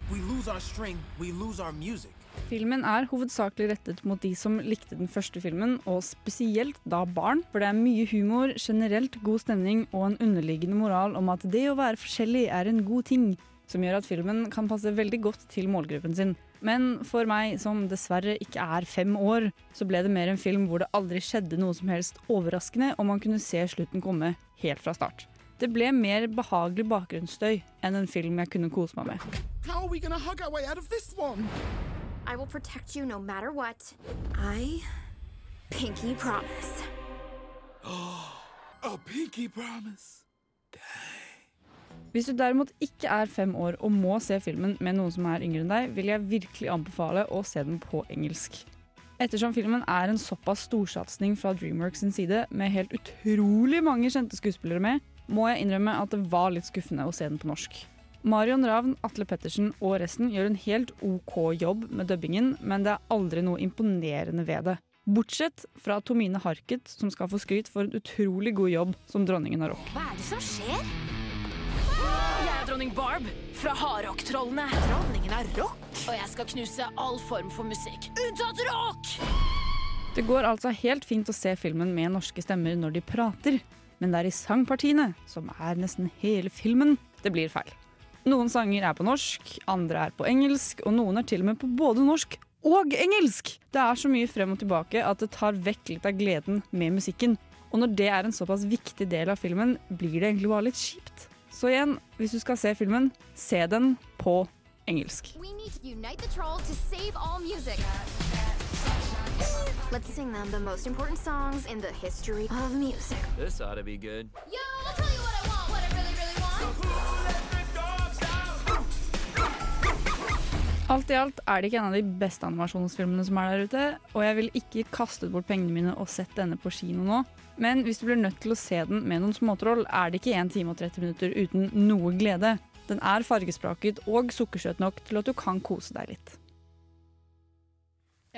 Speaker 11: We lose our string, we lose our music.
Speaker 3: Filmen er hovedsakelig rettet mot de som likte den første filmen, og spesielt da barn, for det er mye humor, generelt god stemning og en underliggende moral om at det å være forskjellig er en god ting, som gjør at filmen kan passe veldig godt til målgruppen sin. Men for meg, som dessverre ikke er fem år, så ble det mer en film hvor det aldri skjedde noe som helst overraskende, og man kunne se slutten komme helt fra start. Det ble mer behagelig bakgrunnsstøy enn en film jeg kunne kose meg med.
Speaker 11: How are we gonna hug our way out of this one?
Speaker 10: I will protect you no matter what. I pinky promise.
Speaker 11: A pinky promise.
Speaker 3: Hvis du derimot ikke er fem år og må se filmen med noen som er yngre enn deg, vil jeg virkelig anbefale å se den på engelsk. Ettersom filmen er en såpass storsatsing fra Dreamworks sin side, med helt utrolig mange kjente skuespillere med, må jeg innrømme at det var litt skuffende å se den på norsk. Marion Ravn, Atle Pettersen og resten gjør en helt OK jobb med dubbingen, men det er aldri noe imponerende ved det. Bortsett fra Tomine Harket, som skal få skryt for en utrolig god jobb som dronningen av rock.
Speaker 10: Hva er det som skjer?
Speaker 12: Jeg er dronning Barb fra Hardrock-trollene. Dronningen av rock? Og jeg skal knuse all form for musikk. Unntatt rock!
Speaker 3: Det går altså helt fint å se filmen med norske stemmer når de prater, men det er i sangpartiene, som er nesten hele filmen, det blir feil. Noen sanger er på norsk, andre er på engelsk, og noen er til og med på både norsk og engelsk! Det er så mye frem og tilbake at det tar vekk litt av gleden med musikken. Og når det er en såpass viktig del av filmen, blir det egentlig bare litt kjipt. Så igjen, hvis du skal se filmen, se den på engelsk.
Speaker 10: We need to unite the trolls to save all music. Let's sing them the most important songs in the history of music.
Speaker 11: This ought to be good.
Speaker 10: Yo, I'll tell you what I want, what I really, really want.
Speaker 3: Alt i alt er det ikke en av de beste animasjonsfilmene som er der ute, og jeg vil ikke kastet bort pengene mine og sett denne på kino nå. Men hvis du blir nødt til å se den med noen småtroll, er det ikke 1 time og 30 minutter uten noe glede. Den er fargespraket og sukkersøt nok til at du kan kose deg litt.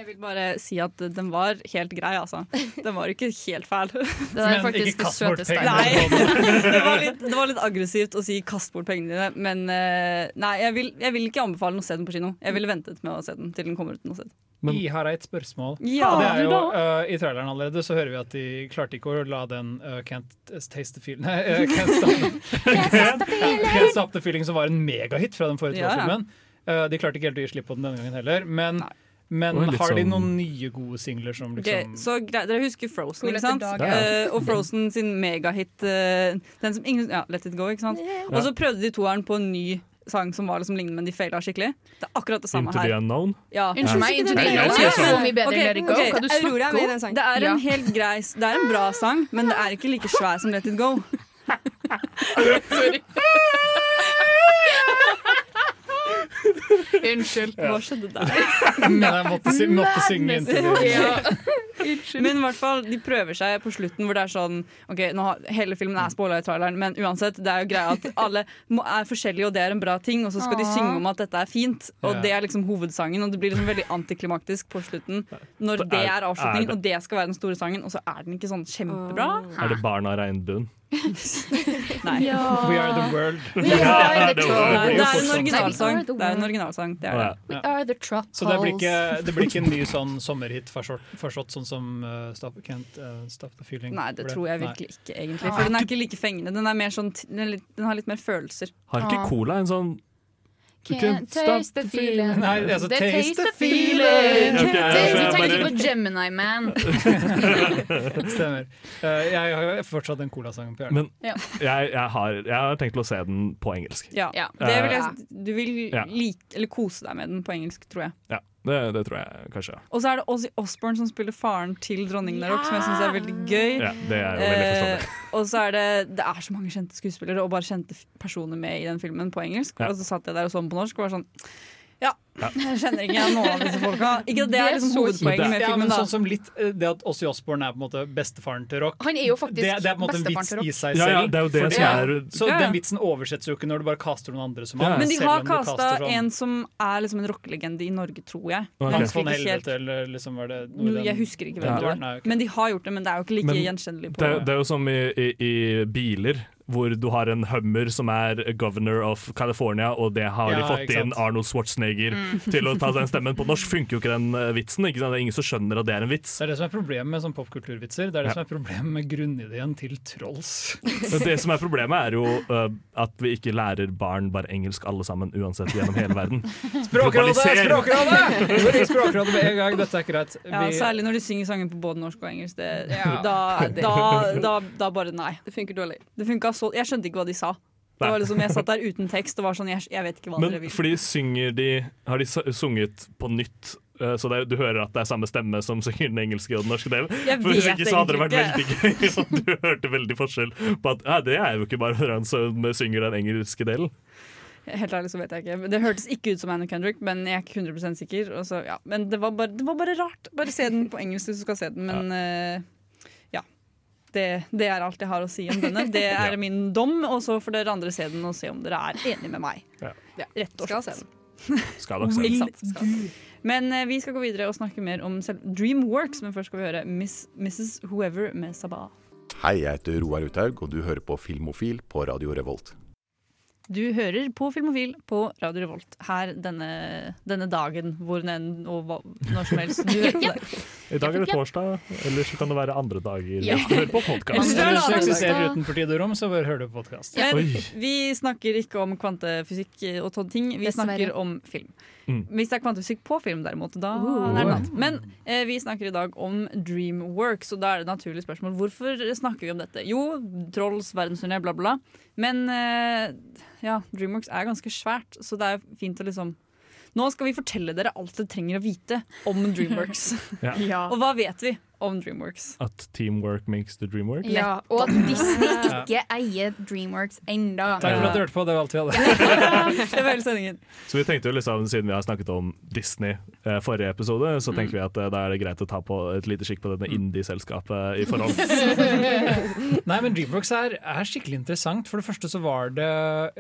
Speaker 3: Jeg vil bare si at den var helt grei, altså. Den var ikke helt fæl.
Speaker 5: Det der er
Speaker 4: Men ikke
Speaker 5: faktisk det
Speaker 4: kast bort
Speaker 5: søteste.
Speaker 4: pengene.
Speaker 3: Nei. Det var, litt, det var litt aggressivt å si 'kast bort pengene dine', men eh, nei, jeg vil, jeg vil ikke anbefale den å se den på kino. Jeg ville ventet med å se den til den kommer ut noe sted.
Speaker 4: Men, I har jeg et spørsmål.
Speaker 3: Ja,
Speaker 4: det er jo,
Speaker 3: da.
Speaker 4: eh, I traileren allerede så hører vi at de klarte ikke å la den eh, Can't Taste the Feeling Nei, eh, can't, stop, can't Stop the Feeling som var en megahit fra den forrige
Speaker 3: Ja, ja.
Speaker 4: filmen. Eh, de klarte ikke helt å gi slipp på den denne gangen heller. Men, men
Speaker 3: Det var litt
Speaker 4: har de
Speaker 3: sånn-
Speaker 4: noen nye gode singler som
Speaker 3: Det,
Speaker 4: liksom
Speaker 3: så greit, Dere husker Frozen,
Speaker 4: Cool
Speaker 3: ikke
Speaker 4: etter
Speaker 3: sant?
Speaker 4: dag, ja.
Speaker 3: Eh, og Frozen sin megahit eh, Den som ingen Ja, Let It Go, ikke sant? Og så prøvde de toeren på en ny sang som var liksom lignende, men de feila skikkelig. Det er akkurat det samme
Speaker 1: Into the
Speaker 3: her.
Speaker 1: unknown?
Speaker 3: Ja.
Speaker 5: Unnskyld meg, Into the
Speaker 1: Nei, jeg
Speaker 5: Unknown
Speaker 1: sier
Speaker 5: er
Speaker 1: sånn.
Speaker 5: så mye bedre
Speaker 3: Ok,
Speaker 5: enn Let It Go.
Speaker 3: ok,
Speaker 5: Hva du
Speaker 3: Aurora er
Speaker 5: snakker
Speaker 3: med i
Speaker 5: om?
Speaker 3: den sangen. Det er en helt grei s- Det er en bra sang, men det er ikke like svær som Let It Go.
Speaker 5: Unnskyld.
Speaker 3: Hva skjedde der?
Speaker 4: Men jeg måtte, si, måtte synge inn til det.
Speaker 3: Men i hvert fall, de prøver seg på slutten hvor det er sånn Ok, nå har, Hele filmen er spoila i traileren, men uansett, det er jo greia at alle må, er forskjellige, og det er en bra ting, og så skal de
Speaker 5: Åh.
Speaker 3: synge om at dette er fint, og
Speaker 1: Ja.
Speaker 3: det er liksom hovedsangen, og det blir liksom veldig antiklimaktisk på slutten når
Speaker 1: Det
Speaker 3: det
Speaker 1: er-
Speaker 3: er
Speaker 1: er det-
Speaker 3: avslutningen, og det skal være den store sangen, og så er den ikke sånn kjempebra.
Speaker 1: Er det Barna Regnbuen?
Speaker 3: Nei.
Speaker 1: We are the world.
Speaker 3: We are the world. Nei, det er en
Speaker 4: Nei, we are
Speaker 3: originalsang.
Speaker 5: the
Speaker 3: Det er en originalsang. Det er det.
Speaker 4: Ja.
Speaker 5: Are the Trotals.
Speaker 4: Så det blir, ikke, det blir ikke en ny sånn sommerhit forstått, forstått sånn som eh, Stop, Can't eh, Stop the Feeling?
Speaker 3: Nei, det
Speaker 4: ble.
Speaker 3: tror jeg
Speaker 4: Nei.
Speaker 3: virkelig ikke, egentlig. For den er ikke like fengende. Den, er mer sånn, t- den, er litt, den har litt mer følelser.
Speaker 1: Har ikke cola en sånn
Speaker 5: Can't taste the feeling.
Speaker 4: Nei, altså,
Speaker 5: Det
Speaker 4: taste
Speaker 5: taste the
Speaker 4: the
Speaker 5: feeling.
Speaker 1: feeling. Ok,
Speaker 5: Taste-
Speaker 1: jeg
Speaker 5: Du tenker
Speaker 1: bare-
Speaker 5: ikke på Gemini Man.
Speaker 4: Stemmer. Eh, jeg har jo fortsatt den colasang på hjernen.
Speaker 1: Men jeg, jeg, har, jeg har tenkt å se den på engelsk.
Speaker 3: Ja.
Speaker 5: Ja.
Speaker 3: Det vil
Speaker 1: Eh,
Speaker 3: jeg, du vil
Speaker 1: Ja.
Speaker 3: like, eller kose deg med den på engelsk, tror jeg.
Speaker 1: Ja, det, det tror jeg kanskje.
Speaker 3: Og så er det Ozzy Osbourne som spiller faren til dronningen av rock, som jeg syns er veldig gøy.
Speaker 1: Ja, det er jo veldig forståelig.
Speaker 3: Eh, og så er det Det er så mange kjente skuespillere og bare kjente f- personer med i den filmen på engelsk.
Speaker 1: Ja.
Speaker 3: Og så satt jeg der og så den på norsk og var sånn Ja,
Speaker 1: Ja.
Speaker 3: jeg kjenner ikke noen av disse folka. Ikke at det er liksom hovedpoenget med
Speaker 4: ja, men
Speaker 3: filmen, da.
Speaker 4: sånn som litt, eh, det at Ossi Osborn er på en måte bestefaren til rock,
Speaker 5: Han er jo faktisk
Speaker 4: det, det er på en måte en
Speaker 5: bestefaren
Speaker 4: vits
Speaker 5: til rock.
Speaker 4: i seg
Speaker 1: Ja,
Speaker 4: selv.
Speaker 1: ja, det er jo det
Speaker 4: fordi-
Speaker 1: som er-
Speaker 4: Så
Speaker 3: Ja, ja.
Speaker 4: den vitsen oversettes jo ikke når du bare kaster noen andre som han.
Speaker 3: Men de
Speaker 4: selv
Speaker 3: har
Speaker 4: om du kaster
Speaker 3: kasta
Speaker 4: sånn
Speaker 3: en som er liksom en rockelegende i Norge, tror jeg. Men jeg
Speaker 4: Hans
Speaker 3: husker
Speaker 4: von
Speaker 3: ikke helt-
Speaker 4: Helvete, eller liksom var det noe i
Speaker 3: Nå-
Speaker 4: den-
Speaker 3: Jeg husker ikke hvem
Speaker 1: Ja.
Speaker 3: det var.
Speaker 4: Sånn Nei, ok.
Speaker 3: Men de har gjort det, men det er jo ikke like
Speaker 1: Men
Speaker 3: gjenkjennelig. på
Speaker 1: Det, det er jo som i, i, i biler, hvor du har en Hummer som er governor of California, og det har de
Speaker 4: Ja,
Speaker 1: fått
Speaker 4: ikke
Speaker 1: inn
Speaker 4: sant.
Speaker 1: Arnold Schwarzenegger
Speaker 4: Mm.
Speaker 1: til å ta den stemmen. På norsk funker jo ikke den eh, vitsen. Ikke sant? Det er ingen som skjønner at det er en vits.
Speaker 4: Det er det som er problemet med sånn popkulturvitser. Det er det
Speaker 1: Ja.
Speaker 4: som er problemet med grunnideen til Trolls.
Speaker 1: Men det som er problemet, er jo eh, at vi ikke lærer barn bare engelsk alle sammen, uansett gjennom hele verden.
Speaker 4: Språkrådet!
Speaker 1: Globaliser!
Speaker 4: Språkrådet! Hvor er Språkrådet med en gang, dette er ikke greit.
Speaker 3: Ja,
Speaker 4: Vi-
Speaker 3: Særlig når de synger sangen på både norsk og engelsk. Det,
Speaker 4: Ja.
Speaker 3: da,
Speaker 4: Det-
Speaker 3: da, da, da bare nei. Det funker dårlig. så, jeg skjønte ikke hva de sa. Det
Speaker 1: Nei.
Speaker 3: var liksom, jeg satt der uten tekst og var sånn Jeg, jeg vet ikke hva
Speaker 1: Men
Speaker 3: dere vil.
Speaker 1: fordi synger de Har de s- sunget på nytt? eh, Så det, er- du hører at det er samme stemme som synger den engelske og den norske delen?
Speaker 3: Jeg
Speaker 1: For Hvis
Speaker 3: vet
Speaker 1: ikke så hadde det vært
Speaker 3: egentlig
Speaker 1: veldig gøy om du hørte veldig forskjell på at ja, det er jo ikke bare han som synger den engelske delen.
Speaker 3: Helt ærlig så vet jeg ikke. Men Det hørtes ikke ut som Anna Kendrick, men jeg er ikke 100 sikker. Og så, ja. Men det var, bare, det var bare rart. Bare se den på engelsk hvis du skal se den, men eh, ja. Det, det er alt jeg har å si om denne. Det er min dom, og så får dere andre se den og se om dere er enig med meg.
Speaker 1: Ja.
Speaker 3: Rett og slett.
Speaker 1: Skal nok se den.
Speaker 3: Ikke sant? Men eh, vi skal gå videre og snakke mer om selv Dreamworks, men først skal vi høre Miss, Mrs. Whoever med Sabah.
Speaker 13: Hei, jeg heter Roar Uthaug, og du hører på Filmofil på Radio Revolt.
Speaker 3: Du hører på Filmofil på Radio Revolt her denne, denne dagen, hvor enn og hva, når som helst du hører på det.
Speaker 1: I dag er det torsdag, ellers så kan det være andre dager.
Speaker 3: Ja.
Speaker 1: hvis Du hører på
Speaker 4: Hvis
Speaker 1: podkast.
Speaker 4: du eksisterer utenfor tid og rom, så bare hør du på podkast.
Speaker 3: Men vi snakker ikke om kvantefysikk og sånne ting, vi snakker
Speaker 5: Dessverre.
Speaker 3: om film.
Speaker 1: Mm.
Speaker 3: Hvis det er kvantefysikk på film, derimot, da
Speaker 1: Oh.
Speaker 5: Uh.
Speaker 3: er det noe annet. Men eh, vi snakker i dag om Dreamworks, og da er det et naturlig spørsmål hvorfor snakker vi om dette? Jo, Trolls, verdensturné, bla, bla. Men eh, ja, Dreamworks er ganske svært, så det er fint å liksom Nå skal vi fortelle dere alt dere trenger å vite om Dreamworks.
Speaker 1: Ja.
Speaker 3: Og hva vet vi om Dreamworks?
Speaker 1: At teamwork makes the dream work.
Speaker 5: Ja, og at Disney ikke eier Dreamworks enda.
Speaker 1: Takk for at du
Speaker 4: hørte på, det var alt vi hadde.
Speaker 3: Det var hele sendingen.
Speaker 1: Så vi tenkte jo liksom, Siden vi har snakket om Disney eh, forrige episode,
Speaker 3: Mm.
Speaker 1: så tenker vi at eh, da er det greit å ta på et lite skikk på denne indie-selskapet i forhold.
Speaker 4: Nei, men Dreamworks er, er skikkelig interessant. For det første så var det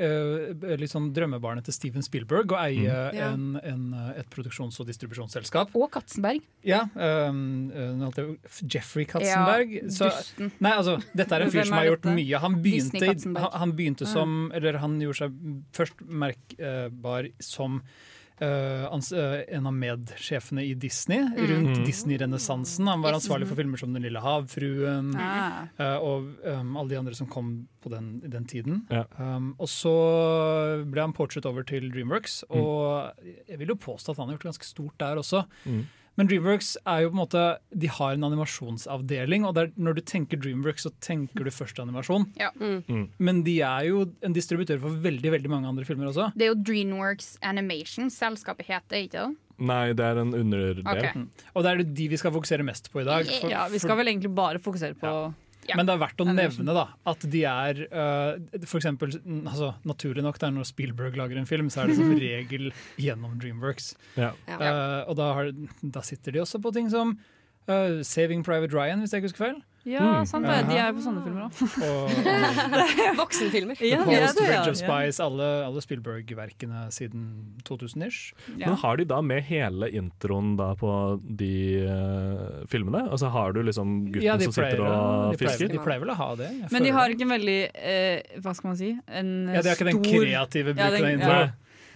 Speaker 4: eh, litt sånn drømmebarnet til Steven Spielberg å eie
Speaker 5: Mm. Ja.
Speaker 4: en, en, eh, et produksjons- og distribusjonsselskap.
Speaker 5: Og Katzenberg.
Speaker 4: Ja, ehm, eh, nå holdt jeg på- Jeffrey Katzenberg.
Speaker 5: Ja,
Speaker 4: så,
Speaker 5: dusten.
Speaker 4: nei, altså, dette er en fyr
Speaker 5: Hvem
Speaker 4: som
Speaker 5: er
Speaker 4: har gjort
Speaker 5: dette?
Speaker 4: mye. Han begynte,
Speaker 5: Disney Katzenberg.
Speaker 4: han, han begynte eh, som Eller han gjorde seg først merkbar som eh, ans eh, en av medsjefene i Disney rundt
Speaker 1: Mm.
Speaker 4: Disney-renessansen. Han var
Speaker 1: Yes.
Speaker 4: ansvarlig for filmer som Den lille havfruen
Speaker 1: Ah.
Speaker 4: eh, og em, alle de andre som kom på den, i den tiden.
Speaker 1: Ja.
Speaker 4: Um, og så ble han portret over til Dreamworks, og jeg vil jo påstå at han har gjort ganske stort der også.
Speaker 1: Mm.
Speaker 4: Men Dreamworks er jo på en måte, de har en animasjonsavdeling, og det er, når du tenker Dreamworks, så tenker du først animasjon.
Speaker 5: Ja.
Speaker 1: Mm.
Speaker 4: Men de er jo en distributør for veldig veldig mange andre filmer også.
Speaker 5: Det er jo Dreamworks Animation selskapet heter, ikke det?
Speaker 1: Nei, det er en underdel.
Speaker 5: Ok.
Speaker 4: Og det er jo de vi skal fokusere mest på i dag. for-
Speaker 3: Ja, vi skal
Speaker 4: for-
Speaker 3: vel egentlig bare fokusere på
Speaker 4: Men det er verdt å nevne da, at de er uh, for eksempel, n- altså, Naturlig nok, det er når Spielberg lager en film, så er det som regel gjennom Dreamworks.
Speaker 1: Ja.
Speaker 4: Eh, og da, har, da sitter de også på ting som eh, Saving Private Ryan, hvis jeg ikke husker feil.
Speaker 3: Ja, sant det. De er
Speaker 4: Eh,
Speaker 3: jo på sånne filmer òg.
Speaker 7: Voksenfilmer.
Speaker 4: The
Speaker 3: Ja,
Speaker 4: Post,
Speaker 3: det er
Speaker 4: Ridge
Speaker 3: det, ja.
Speaker 4: of Spies, alle, alle Spielberg-verkene siden 2000-ish.
Speaker 1: Men har de da med hele introen da på de eh, filmene? Altså har du liksom gutten
Speaker 4: Ja, de
Speaker 1: som sitter
Speaker 4: pleier å-
Speaker 1: og
Speaker 4: de pleier-
Speaker 1: fisker?
Speaker 4: de pleier vel å ha det, jeg
Speaker 3: Men de har ikke en veldig eh, Hva skal man si? En eh,
Speaker 4: Ja, det er ikke den
Speaker 3: stor-
Speaker 4: kreative
Speaker 3: Ja, den-
Speaker 4: bruken av intro.
Speaker 3: ja.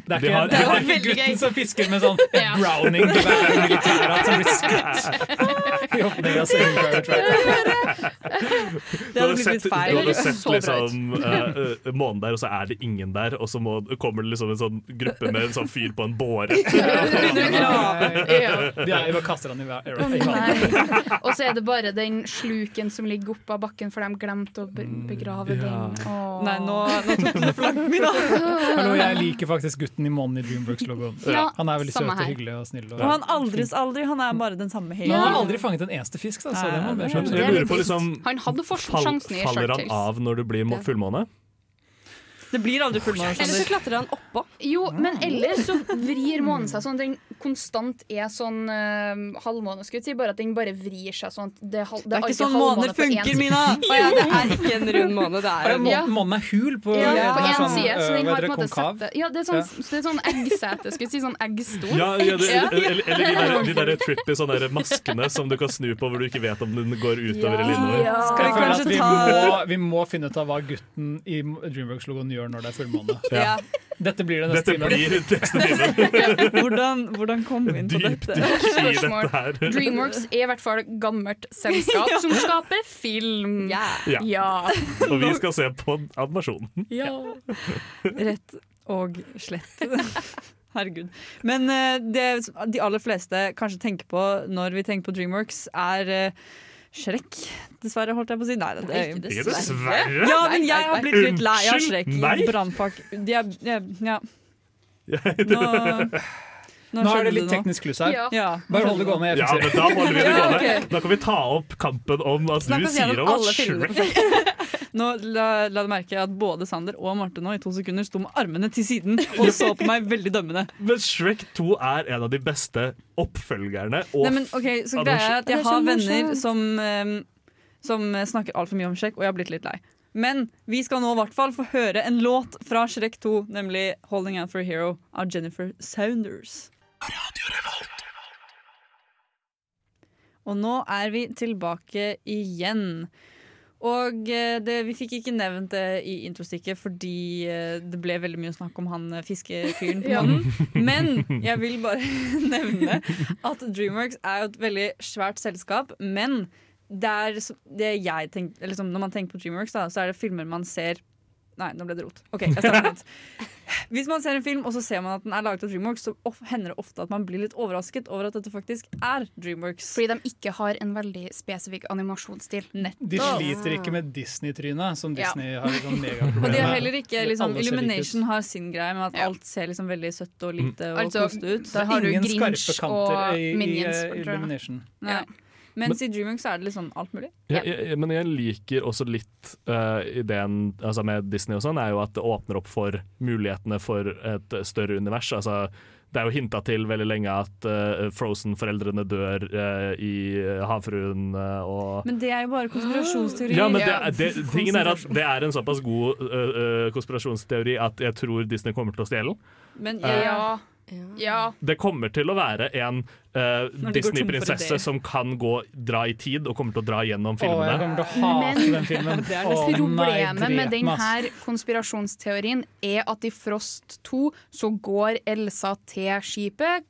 Speaker 4: Det er
Speaker 3: De
Speaker 4: ikke,
Speaker 3: har-
Speaker 4: det er
Speaker 3: Det var
Speaker 4: ikke
Speaker 3: veldig
Speaker 4: gutten
Speaker 3: gøy.
Speaker 4: som fisker med sånn
Speaker 3: Ja.
Speaker 4: browning til hver militærat som blir skutt. I åpningen av Saving Private Ryan.
Speaker 1: Du
Speaker 4: hadde
Speaker 1: hadde
Speaker 4: blitt litt
Speaker 1: sett,
Speaker 4: feil.
Speaker 1: du hadde
Speaker 4: Det
Speaker 1: sett
Speaker 4: så bra
Speaker 1: liksom, eh, eh, månen der, og så er det ingen der, og så må, kommer det liksom en sånn gruppe med en sånn fyr på en båre.
Speaker 4: De er jo bare kaster han i hver- i
Speaker 5: Å,
Speaker 4: vannet.
Speaker 5: nei. Og så er det bare den sluken som ligger oppå bakken, for de glemte å be- begrave den. Åh.
Speaker 3: Nei, nå, nå tok du det for langt, Mina.
Speaker 4: Hallo, jeg liker faktisk gutten i månen i Dreamworks-logoen.
Speaker 3: Ja,
Speaker 4: Han er veldig søt
Speaker 3: samme
Speaker 4: og
Speaker 3: her.
Speaker 4: hyggelig og snill.
Speaker 3: Og han aldres aldri, han er bare den samme
Speaker 4: Men
Speaker 3: hele
Speaker 4: han har
Speaker 3: tiden.
Speaker 4: aldri fanget en eneste fisk, da, så
Speaker 3: Nei,
Speaker 4: det må
Speaker 3: det
Speaker 4: være sånn.
Speaker 3: er
Speaker 4: skjønt.
Speaker 1: Jeg lurer på liksom
Speaker 5: Han hadde fortsatt
Speaker 1: fall,
Speaker 5: sjansen i
Speaker 1: Faller
Speaker 5: Shark
Speaker 1: han
Speaker 5: Tales.
Speaker 1: av når det blir mo- fullmåne?
Speaker 3: Det blir aldri fullmåne.
Speaker 7: Eller så
Speaker 3: Sander.
Speaker 7: klatrer han oppå.
Speaker 5: Jo, men ellers så vrir månen seg sånn. Den konstant er sånn uh, halvmåne, skulle jeg si. Bare at den bare vrir seg sånn. at Det, er hal-
Speaker 3: Det er ikke
Speaker 5: alltid
Speaker 3: sånn
Speaker 5: halvmåne
Speaker 3: måner
Speaker 5: på én
Speaker 3: funker,
Speaker 5: side.
Speaker 3: Mina!
Speaker 7: Å ja, det er ikke en rund måne, det er
Speaker 4: Ja,
Speaker 7: en
Speaker 4: må-
Speaker 5: Ja.
Speaker 4: Månen er hul på
Speaker 5: Ja,
Speaker 4: den
Speaker 5: på
Speaker 4: er
Speaker 5: én
Speaker 4: sånn,
Speaker 5: side. Så
Speaker 4: øh,
Speaker 5: den
Speaker 4: hva
Speaker 5: har
Speaker 4: heter
Speaker 5: på en måte
Speaker 4: det, konkav.
Speaker 5: sett det. Ja, det er sånn, det er sånn eggsete, skulle jeg si. Sånn eggstol.
Speaker 1: Ja, ja, det, eller, eller de der, de der trippy sånne der maskene som du kan snu på hvor du ikke vet om den går utover eller innover.
Speaker 4: Skal vi kanskje vi må,
Speaker 1: ta-
Speaker 4: vi må finne ut av hva gutten i Dreamworks-logoen gjør når det er fullmåne.
Speaker 1: Ja.
Speaker 4: Dette blir det neste
Speaker 1: Dette blir neste
Speaker 3: Hvordan, hvordan kom vi inn på dette?
Speaker 5: Spørsmål. Dreamworks er i hvert fall gammelt selskap
Speaker 3: Ja.
Speaker 5: som skaper film.
Speaker 1: Ja.
Speaker 5: Ja.
Speaker 1: Og vi skal se på animasjonen.
Speaker 3: Rett og slett. Herregud. Men eh, det som de aller fleste kanskje tenker på når vi tenker på Dreamworks, er eh, Shrek. Dessverre, holdt jeg på å si. Nei, det, det,
Speaker 1: Nei, ikke dessverre. Dessverre?
Speaker 3: Ja, men jeg
Speaker 1: Nei, nei,
Speaker 3: har blitt litt lei av
Speaker 1: unnskyld,
Speaker 3: Shrek.
Speaker 1: nei.
Speaker 3: Brannfakk. De er, ja, ja.
Speaker 1: Nå,
Speaker 4: Nå, er det litt teknisk kluss her.
Speaker 3: Ja.
Speaker 4: Bare hold det gående. Jeg
Speaker 1: Ja, men
Speaker 4: fikser
Speaker 1: da holder vi det
Speaker 3: Ja,
Speaker 1: gående.
Speaker 3: ok.
Speaker 1: Da kan vi ta opp kampen om at
Speaker 3: Snakk
Speaker 1: du
Speaker 3: oss
Speaker 1: sier
Speaker 3: gjennom
Speaker 1: om at
Speaker 3: alle filmene på
Speaker 1: Shrek
Speaker 3: film. Nå la, la du merke at både Sander og Marte nå i to sekunder sto med armene til siden og så på meg veldig dømmende.
Speaker 1: Men Shrek 2 er en av de beste oppfølgerne. Og
Speaker 3: Nei, men ok, Så
Speaker 1: Adopsjon.
Speaker 3: greia er at
Speaker 1: Det er
Speaker 3: jeg
Speaker 1: så
Speaker 3: har
Speaker 1: morsomt.
Speaker 3: venner som, eh, som snakker altfor mye om Shrek, og jeg har blitt litt lei. Men vi skal nå i hvert fall få høre en låt fra Shrek 2, nemlig 'Holding Out for a Hero' av Jennifer Saunders. Og nå er vi tilbake igjen. Og eh, det, vi fikk ikke nevnt det i introstikket fordi eh, det ble veldig mye snakk om han eh, fiskefyren på
Speaker 5: Ja.
Speaker 3: månen. Men jeg vil bare nevne at Dreamworks er jo et veldig svært selskap, men det er så- det jeg tenk- eller liksom, når man tenker på Dreamworks, da, så er det filmer man ser Nei, nå ble det rot. Ok, jeg starter på nytt. Hvis man ser en film og så ser man at den er laget av Dreamworks, så of hender det ofte at man blir litt overrasket over at dette faktisk er Dreamworks.
Speaker 5: Fordi de ikke har en veldig spesifikk animasjonsstil.
Speaker 3: Nettopp.
Speaker 4: De sliter ikke med Disney-trynet, som
Speaker 5: Ja.
Speaker 4: Disney har sånn megaproblemer
Speaker 3: Og de har
Speaker 4: med.
Speaker 3: heller ikke liksom,
Speaker 4: Alle ser
Speaker 3: Illumination har sin greie med at alt ser liksom veldig søtt og lite og
Speaker 5: Altså,
Speaker 3: koste ut.
Speaker 5: da har du
Speaker 4: Ingen skarpe
Speaker 5: Grinch og
Speaker 4: kanter i, i
Speaker 5: Minions,
Speaker 4: eh,
Speaker 5: tror jeg.
Speaker 4: Illumination.
Speaker 3: Nei. Mens i Dreamworks er det liksom alt mulig.
Speaker 1: Ja, jeg, jeg- men jeg liker også litt eh, ideen altså med Disney og sånn, er jo at det åpner opp for mulighetene for et større univers. Altså, det er jo hinta til veldig lenge at eh, Frozen-foreldrene dør eh, i Havfruen eh, og
Speaker 3: Men det er jo bare konspirasjonsteori.
Speaker 1: ja, men det, er- det, tingen er at det er en såpass god eh, eh, konspirasjonsteori at jeg tror Disney kommer til å stjele den.
Speaker 3: Men
Speaker 1: Eh,
Speaker 3: ja,
Speaker 7: Mm.
Speaker 5: Ja.
Speaker 1: Det kommer til å være en eh,
Speaker 4: Når de går tom for
Speaker 1: Disney-prinsesse
Speaker 4: ideer.
Speaker 1: som kan gå dra i tid og kommer til å dra gjennom
Speaker 4: Å, jeg
Speaker 1: filmene.
Speaker 4: kommer til å hate
Speaker 5: Men-
Speaker 4: den filmen.
Speaker 1: Det er
Speaker 4: Å,
Speaker 1: nesten-
Speaker 4: nei,
Speaker 5: Problemet med
Speaker 4: drep meg, ass.
Speaker 5: denne konspirasjonsteorien er at i Frost 2 så går Elsa til skipet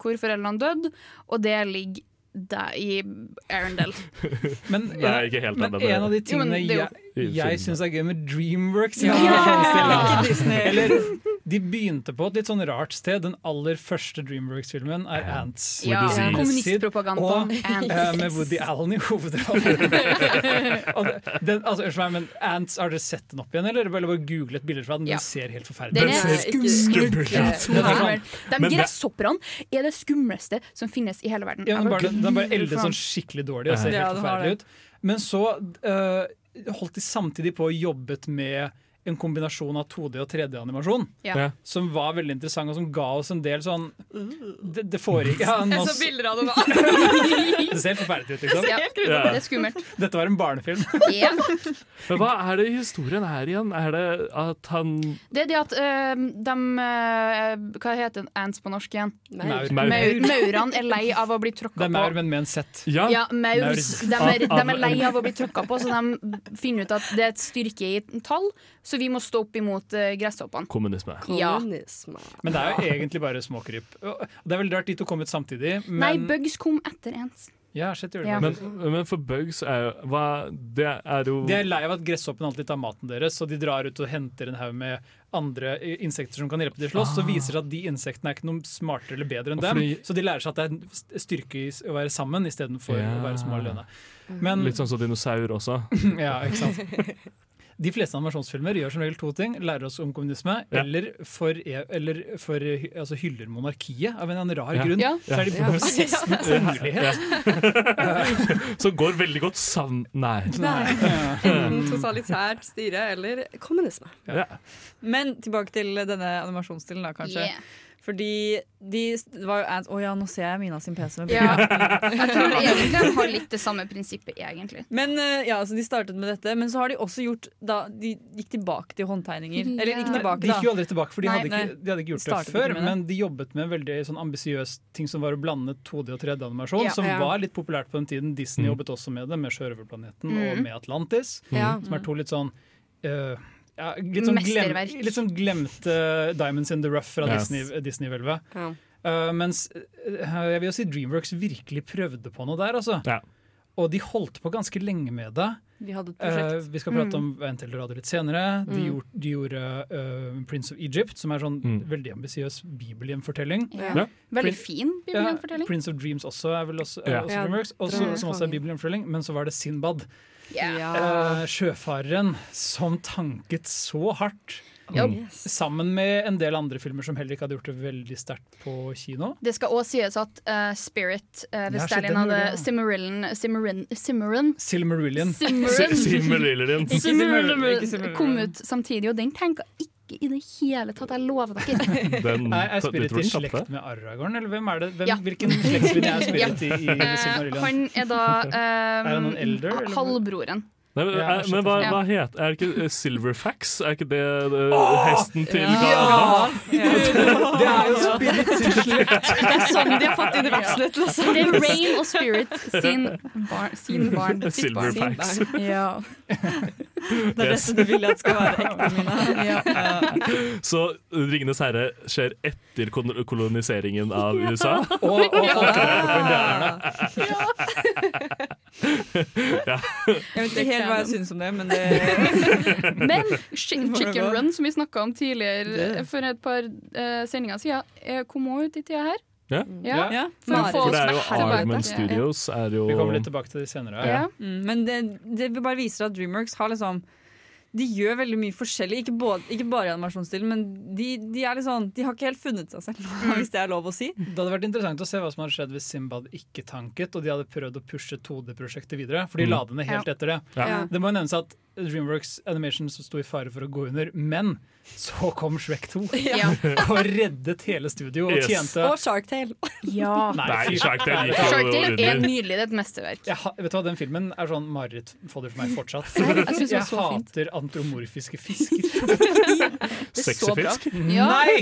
Speaker 5: hvor foreldrene døde, og det ligger der i Arendelle.
Speaker 4: Men,
Speaker 1: Det er ikke helt
Speaker 4: men
Speaker 1: ennå, det er
Speaker 4: en av de
Speaker 1: det.
Speaker 5: Jo, men
Speaker 4: tingene
Speaker 5: det er jo-
Speaker 4: jeg, jeg syns er gøy med Dreamworks
Speaker 5: Ja!
Speaker 4: Ja!
Speaker 5: Ikke Disney.
Speaker 4: Eller, De begynte på et litt sånn rart sted. Den aller første Dreamworks-filmen er Ants.
Speaker 5: Ja,
Speaker 4: With
Speaker 5: ja.
Speaker 4: Disease.
Speaker 5: kommunistpropaganda.
Speaker 4: Og
Speaker 5: Ants.
Speaker 4: eh, med Woody Allen i hovedrollen. Og den- altså, unnskyld meg, men Ants, har dere sett den opp igjen, eller? Bare, bare googlet bilder fra den?
Speaker 5: Ja.
Speaker 4: Den ser helt forferdelig
Speaker 5: Den
Speaker 4: ut.
Speaker 5: er ikke- Skummel.
Speaker 4: Men
Speaker 5: De
Speaker 4: det-
Speaker 5: gresshopperne er det skumleste som finnes i hele verden.
Speaker 4: Ja, den
Speaker 5: Ever.
Speaker 4: bare, den bare eldes
Speaker 5: Faen.
Speaker 4: sånn skikkelig dårlig og ser
Speaker 5: Ja,
Speaker 4: helt
Speaker 5: den har
Speaker 4: forferdelig ut. Men så eh, holdt de samtidig på og jobbet med en kombinasjon av 2D og 3D-animasjon.
Speaker 5: Ja. Ja.
Speaker 4: Som var veldig interessant, og som ga oss en del sånn Det, det foregikk ja, en
Speaker 5: Jeg så
Speaker 4: masse-
Speaker 5: bilder av Uh. det nå.
Speaker 4: Det ser helt forferdelig ut, liksom.
Speaker 5: Det ser helt grusomt ut. Det er skummelt.
Speaker 4: Dette var en barnefilm.
Speaker 5: Ja.
Speaker 1: Men hva er det i historien her igjen? Er det at han
Speaker 5: Det er det at øh, de øh, Hva heter ants på norsk igjen?
Speaker 4: Maur. Maur.
Speaker 5: Maur. Maurene er lei av å bli tråkka
Speaker 4: Det er
Speaker 5: på.
Speaker 4: maur, men med en sett.
Speaker 5: Ja, maurs. De er, de er lei av å bli tråkka på, så de finner ut at det er et styrke i tall, så vi må stå opp imot øh, gresshoppene.
Speaker 1: Kommunisme.
Speaker 5: Ja.
Speaker 4: Men det er jo egentlig bare småkryp. Og Det er veldig rart de to kom ut samtidig, men
Speaker 5: Nei, bugs kom etter ants.
Speaker 4: Ja, shit, gjorde
Speaker 5: Ja.
Speaker 4: det.
Speaker 1: Men, men for Bugs er jo hva, Det er jo
Speaker 4: De er lei av at gresshoppen alltid tar maten deres, så de drar ut og henter en haug med andre eh, insekter som kan hjelpe til å slåss. Så
Speaker 1: Ah.
Speaker 4: viser det seg at de insektene er ikke noe smartere eller bedre enn
Speaker 1: Og
Speaker 4: dem.
Speaker 1: fordi-
Speaker 4: Så de lærer seg at det er en st- styrke i s- å være sammen istedenfor
Speaker 1: Ja.
Speaker 4: å være små alene. Men
Speaker 1: Litt sånn som dinosaur også.
Speaker 4: ja, ikke sant. De fleste animasjonsfilmer gjør som regel to ting. Lærer oss om kommunisme,
Speaker 1: Ja.
Speaker 4: eller, for, e, eller for, altså hyller monarkiet av en eller annen rar
Speaker 1: Ja.
Speaker 4: grunn.
Speaker 1: Ja.
Speaker 4: Så er de på
Speaker 1: Ja.
Speaker 4: prosess med kongelighet.
Speaker 1: Som går veldig godt sammen Nei.
Speaker 4: Nei.
Speaker 1: Nei.
Speaker 3: Enten totalitært styre eller kommunisme.
Speaker 1: Ja.
Speaker 3: Men tilbake til denne animasjonsstilen, da, kanskje.
Speaker 5: Yeah.
Speaker 3: Fordi de det var jo Ant Å ja, nå ser jeg Mina sin PC. med
Speaker 5: Ja.
Speaker 3: bilder.
Speaker 5: Jeg tror egentlig de har litt det samme prinsippet, egentlig.
Speaker 3: Men eh, ja, altså De startet med dette, men så har de også gjort da, De gikk tilbake til håndtegninger. Eller ikke
Speaker 4: Nei,
Speaker 3: tilbake,
Speaker 4: de
Speaker 3: da.
Speaker 4: gikk jo aldri tilbake, for de,
Speaker 3: Nei,
Speaker 4: hadde
Speaker 3: nei.
Speaker 4: ikke, de hadde ikke gjort
Speaker 3: startet
Speaker 4: det før.
Speaker 3: ikke med
Speaker 4: Men de jobbet med en veldig sånn ambisiøs ting som var å blande 2D og 3D-animasjon,
Speaker 3: Ja.
Speaker 4: som
Speaker 3: Ja.
Speaker 4: var litt populært på den tiden. Disney jobbet også med det, med Sjørøverplaneten
Speaker 5: Mm.
Speaker 4: og med Atlantis,
Speaker 5: Ja.
Speaker 4: som
Speaker 3: Mm.
Speaker 4: er to litt sånn øh, ja, litt, sånn glem,
Speaker 5: Mesterverk.
Speaker 4: litt sånn glemte Diamonds in the Rough fra
Speaker 1: Yes.
Speaker 4: Disney- Disney-hvelvet.
Speaker 7: Mm.
Speaker 4: Øh, mens øh, jeg vil jo si Dreamworks virkelig prøvde på noe der, altså. Og de holdt på ganske lenge med det.
Speaker 3: De hadde et prosjekt.
Speaker 4: Eh, vi skal prate om
Speaker 3: Mm.
Speaker 4: Ventel Radio litt senere. De
Speaker 3: Mm.
Speaker 4: gjorde, de gjorde eh, Prince of Egypt, som er sånn
Speaker 1: Mm.
Speaker 4: veldig ambisiøs bibelhjemfortelling.
Speaker 5: Ja. Ja. Veldig fin bibelhjemfortelling.
Speaker 4: Ja, Prince of Dreams også er vel også, er
Speaker 1: Ja.
Speaker 4: også
Speaker 5: Ja,
Speaker 4: Dreamworks, også,
Speaker 5: Drømmenes
Speaker 4: som også er bibelhjemfortelling. Men så var det Sinbad.
Speaker 5: Yeah.
Speaker 7: Ah.
Speaker 4: Eh, sjøfareren som tanket så hardt.
Speaker 5: Ja.
Speaker 4: Mm. Sammen med en del andre filmer som heller ikke hadde gjort det veldig sterkt på kino.
Speaker 5: Det skal òg sies at eh, Spirit, eh, hvis
Speaker 4: Ja, shit,
Speaker 5: Stalin
Speaker 4: den gjorde
Speaker 5: hadde
Speaker 4: det, ja.
Speaker 5: Simmerillen Simmerin, Simmerin,
Speaker 4: Silmarillion.
Speaker 5: Simmerillion. Si-
Speaker 1: Simmerillion. Ikke Simmerillion, ikke Simmerillion.
Speaker 5: kom ut samtidig, og den tenka ikke i det hele tatt. Jeg lover dere.
Speaker 1: Den-
Speaker 4: Nei, er
Speaker 1: du tror
Speaker 4: Spirit
Speaker 1: den
Speaker 4: i
Speaker 1: slapp
Speaker 4: slekt
Speaker 1: det?
Speaker 4: med Aragorn, eller hvem er det? Hvem,
Speaker 5: Ja.
Speaker 4: Hvilken slektslinje er Spirit i, i
Speaker 5: Eh,
Speaker 4: Silmarillion?
Speaker 5: han er da eh,
Speaker 4: Er han noen elder, eller?
Speaker 5: halvbroren.
Speaker 1: Nei, men,
Speaker 4: Ja,
Speaker 1: er, men hva,
Speaker 5: skjønte.
Speaker 1: hva het Er det ikke eh, Silverfax? Er ikke det eh, hesten til
Speaker 5: Ja!
Speaker 1: Garda?
Speaker 4: Det er jo Spirit i slekt.
Speaker 3: Det er sånn de har fått inn verselet. Liksom.
Speaker 5: Det er Rain og Spirit sin barn. Sin barn sitt barn.
Speaker 1: Silverfax.
Speaker 5: Sin barn. Ja.
Speaker 3: Det er dette du vil at skal være ekte, Mina.
Speaker 1: Så Ringenes herre skjer etter kon- koloniseringen av USA?
Speaker 4: Og, og folk er på indianerne.
Speaker 1: Ja.
Speaker 3: Jeg vet ikke helt hva jeg syns om det, men det
Speaker 5: Men Chi- Chicken Run, som vi snakka om tidligere eh, for et par eh, sendinger siden, eh, kom òg ut i tida her.
Speaker 1: Ja.
Speaker 5: Ja.
Speaker 3: Ja.
Speaker 5: For å få
Speaker 1: For
Speaker 5: oss
Speaker 1: det er jo
Speaker 5: vekk tilbake.
Speaker 1: Armen Studios er jo
Speaker 4: Vi kommer litt tilbake til det senere.
Speaker 1: Ja.
Speaker 3: Mm, men det, det bare viser at Dreamworks har liksom de gjør veldig mye forskjellig, ikke, både, ikke bare i animasjonsstilen, men de, de er litt sånn De har ikke helt funnet seg selv, hvis det er lov å si.
Speaker 4: Det hadde vært interessant å se hva som hadde skjedd hvis Simbad ikke tanket, og de hadde prøvd å pushe 2D-prosjektet videre, for de
Speaker 1: Mm.
Speaker 4: la det ned helt
Speaker 3: Ja.
Speaker 4: etter det.
Speaker 1: Ja.
Speaker 4: Det må jo nevnes at Dreamworks Animation som sto i fare for å gå under, men så kom Shrek 2
Speaker 7: Ja.
Speaker 4: og reddet hele studio og
Speaker 7: Yes.
Speaker 4: tjente
Speaker 7: Og Shark Tale.
Speaker 5: Ja.
Speaker 1: Nei,
Speaker 4: fy-
Speaker 1: Shark Tale gikk jo
Speaker 5: Shark Tale er
Speaker 4: under.
Speaker 5: nydelig. Det er et mesterverk.
Speaker 4: Jeg ha, vet du hva, Den filmen er sånn marerittfolder for meg fortsatt.
Speaker 5: Jeg synes det var
Speaker 4: Jeg
Speaker 5: så fint.
Speaker 4: hater antromorfiske fisker.
Speaker 5: Det er så bra.
Speaker 4: Sexyfisk?
Speaker 5: Ja.
Speaker 4: Nei!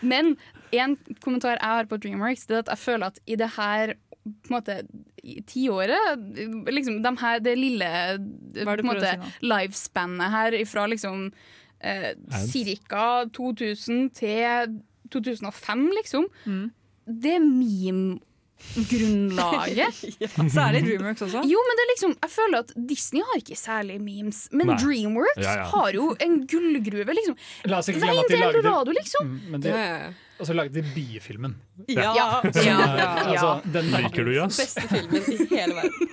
Speaker 5: Men en kommentar jeg har på Dreamworks, det er at jeg føler at i det her på en måte i tiåret liksom, de her, Det lille på
Speaker 3: er det
Speaker 5: en
Speaker 3: du prøver å
Speaker 5: måte,
Speaker 3: si
Speaker 5: livespannet her ifra liksom eh, ca. 2000 til 2005, liksom,
Speaker 3: Mm.
Speaker 5: det meme-grunnlaget
Speaker 3: Ja, særlig Dreamworks også.
Speaker 5: Jo, men det er liksom, jeg føler at Disney har ikke særlig memes, men
Speaker 4: Nei.
Speaker 5: Dreamworks
Speaker 4: Ja, ja.
Speaker 5: har jo en gullgruve, liksom.
Speaker 4: La oss ikke
Speaker 5: Veien
Speaker 4: glemme at de
Speaker 5: til
Speaker 4: lagde
Speaker 5: Eldorado, liksom.
Speaker 4: Mm, men de- Og så lagde de biefilmen.
Speaker 5: Ja. Ja.
Speaker 4: Så,
Speaker 5: Ja.
Speaker 4: eh, Altså, den
Speaker 1: Liker du jazz?
Speaker 7: Beste filmen i hele verden.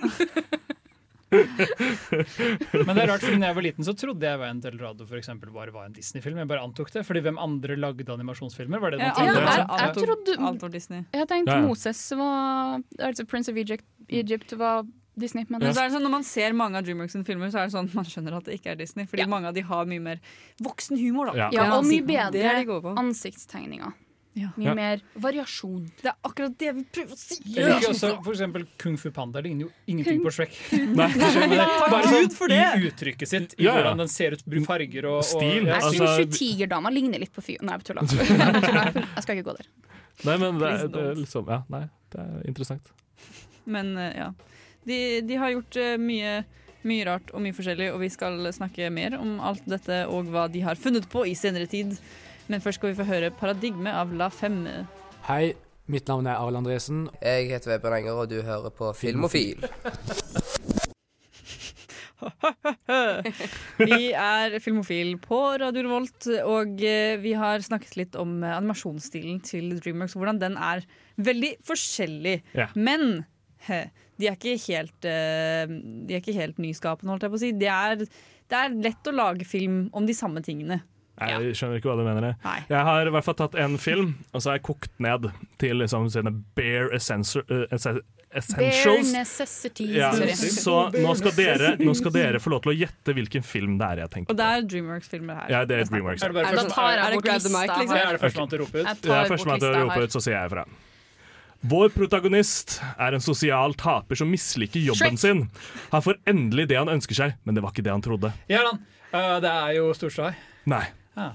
Speaker 4: Men det er rart, fordi da jeg var liten, så trodde jeg Veien til Eldorado for eksempel, bare var en Disney-film. Jeg bare antok det, fordi hvem andre lagde animasjonsfilmer? Var det noen
Speaker 5: Ja,
Speaker 4: andre?
Speaker 5: jeg-
Speaker 4: som-
Speaker 5: jeg trodde-
Speaker 3: Alt var Disney.
Speaker 5: Jeg tenkte
Speaker 4: Ja, ja.
Speaker 5: Moses var Altså Prince of Egypt, Egypt var Disney. Men
Speaker 3: Men så er det sånn, når man ser mange av Dreamworks sine filmer, så er det sånn man skjønner at det ikke er Disney. Fordi mange av de har mye mer voksen humor. da.
Speaker 5: ja. og mye
Speaker 3: Det er de gode
Speaker 5: bedre
Speaker 3: på.
Speaker 5: ansiktstegninger. Mye
Speaker 4: Ja.
Speaker 5: mer variasjon.
Speaker 3: Det er akkurat det vi prøver å si!
Speaker 4: Jeg liker også for eksempel Kung Fu Panda ligner jo ingenting på Shrek.
Speaker 1: Nei.
Speaker 5: Takk
Speaker 4: Bare
Speaker 1: Gud
Speaker 4: sånn
Speaker 1: for det!
Speaker 4: i uttrykket sitt, i
Speaker 1: Ja, ja.
Speaker 4: hvordan den ser ut, bruk farger og, og
Speaker 1: Stil, altså.
Speaker 4: Ja.
Speaker 5: Jeg syns jo tigerdama ligner litt på fyr... Nei, jeg tuller. Jeg tuller. Jeg skal ikke gå der.
Speaker 1: Nei, men det,
Speaker 3: Please
Speaker 1: er- det er liksom Ja, nei, det er interessant.
Speaker 3: Men eh, ja. De, de har gjort eh, mye, mye rart og mye forskjellig, og vi skal snakke mer om alt dette og hva de har funnet på i senere tid. Men først skal vi få høre 'Paradigme' av La Femme.
Speaker 14: Hei, mitt navn er Arild Andresen.
Speaker 15: Jeg heter Vebjørn Enger, og du hører på Filmofil.
Speaker 3: vi er Filmofil på Radio Revolt, og eh, vi har snakket litt om eh, animasjonsstilen til Dreamworks, og hvordan den er veldig forskjellig.
Speaker 16: Ja.
Speaker 3: Men he, de, er ikke helt, eh, de er ikke helt nyskapende, holdt jeg på å si. Det er, det er lett å lage film om de samme tingene.
Speaker 1: Jeg skjønner ikke hva du mener. Jeg, jeg har i hvert fall tatt en film, og så har jeg kokt ned til liksom sine bare essential, eh, essen- essentials.
Speaker 5: necessities.
Speaker 1: Ja,
Speaker 3: sorry.
Speaker 1: så nå skal, dere, nå skal dere få lov til å gjette hvilken film det er jeg tenker
Speaker 3: Og det er Dreamworks-filmer her.
Speaker 1: Ja, det er Dreamworks.
Speaker 3: Er det bare Nei, da førstemann- tar jeg er det bort grab the lista mic, liksom? her.
Speaker 4: Er det førstemann til å rope ut?
Speaker 3: Jeg tar
Speaker 1: Det er førstemann til å
Speaker 3: bort lista
Speaker 1: rope
Speaker 3: her.
Speaker 1: ut, så sier jeg ifra. Vår protagonist er en sosial taper som misliker jobben
Speaker 4: Shrek.
Speaker 1: sin. Han får endelig det han ønsker seg, men det var ikke det han trodde.
Speaker 4: Ja, da. Eh, det er jo Storstad.
Speaker 1: Nei.
Speaker 4: Ah.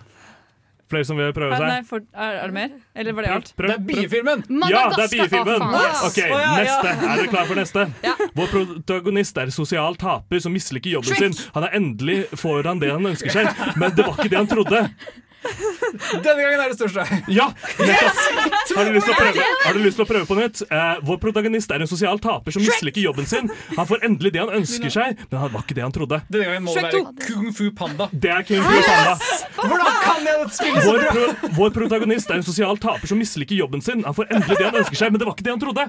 Speaker 1: Flere som vil prøve
Speaker 3: Ah, nei,
Speaker 1: seg?
Speaker 3: for, er, er det mer? Eller var det alt?
Speaker 1: Prøv, prøv. Ja, det er
Speaker 3: Madagaskar,
Speaker 1: biefilmen!
Speaker 3: faen.
Speaker 1: Ok,
Speaker 3: Å, ja, ja.
Speaker 1: neste. Er du klar for neste? Vår protagonist er sosial taper som misliker jobben sin. Han er endelig får han det han ønsker seg, men det var ikke det han trodde.
Speaker 4: Denne gangen er det Storstad.
Speaker 1: Ja! Nettopp. Har du lyst til å prøve, har du lyst til å prøve på nytt? Eh, vår protagonist er en sosial taper som misliker jobben sin. Han får endelig det han ønsker seg, men han var ikke det han trodde.
Speaker 4: Denne gangen må det
Speaker 1: Shrek
Speaker 4: være Kung Fu Panda.
Speaker 1: Det er Kung Fu Panda.
Speaker 4: Hvordan kan jeg spille så
Speaker 1: Vår,
Speaker 4: bra?
Speaker 1: pro vår protagonist er en sosial taper som misliker jobben sin. Han får endelig det han ønsker seg, men det var ikke det han trodde.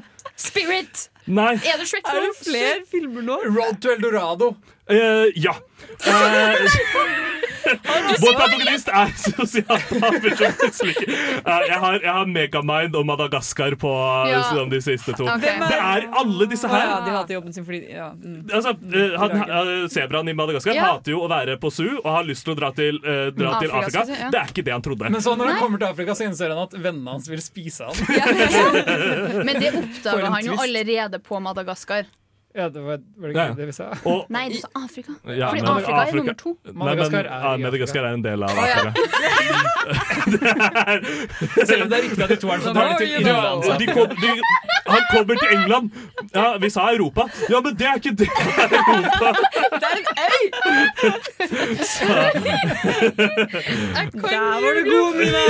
Speaker 5: Spirit!
Speaker 1: Nei.
Speaker 5: Er det Shrek
Speaker 3: Er det flere filmer nå?
Speaker 4: Road to Eldorado.
Speaker 1: Eh, ja. Eh, vår protagonist er sosial taper som misliker Eh, Jeg har, jeg har Megamind og Madagaskar på
Speaker 3: Ja.
Speaker 1: som de siste to.
Speaker 3: Ok.
Speaker 1: Det er alle disse her.
Speaker 3: Ja, de hater jobben sin fordi ja. mm.
Speaker 1: Altså, eh, han, eh, Zebraen i Madagaskar
Speaker 3: Ja.
Speaker 1: hater jo å være på zoo og har lyst til å dra til, eh, dra
Speaker 4: Afrika,
Speaker 1: til Afrika.
Speaker 4: skal jeg si, ja.
Speaker 1: Det er ikke det han trodde.
Speaker 4: Men så når han kommer til Afrika, så innser han at vennene hans vil spise han.
Speaker 5: Men det
Speaker 4: For
Speaker 5: oppdaga
Speaker 4: en
Speaker 5: han jo
Speaker 4: twist.
Speaker 5: allerede på Madagaskar.
Speaker 4: Ja, det var, var det ikke
Speaker 1: Ja.
Speaker 4: det vi sa?
Speaker 1: Og-
Speaker 5: Nei, du sa Afrika.
Speaker 1: Ja,
Speaker 5: Fordi
Speaker 1: men
Speaker 5: Afrika er nummer to.
Speaker 1: Nei,
Speaker 4: Madagaskar
Speaker 1: men,
Speaker 4: er i
Speaker 1: ja, Madagaskar er en del av
Speaker 5: Å, ja.
Speaker 1: Afrika.
Speaker 4: Selv om det er riktig at de to er som tar det til
Speaker 1: Ja,
Speaker 4: innlands.
Speaker 1: de kom, de, han kommer til England. Ja, vi sa Europa. Ja, men det er ikke det Europa!
Speaker 3: Der var du god, Mina!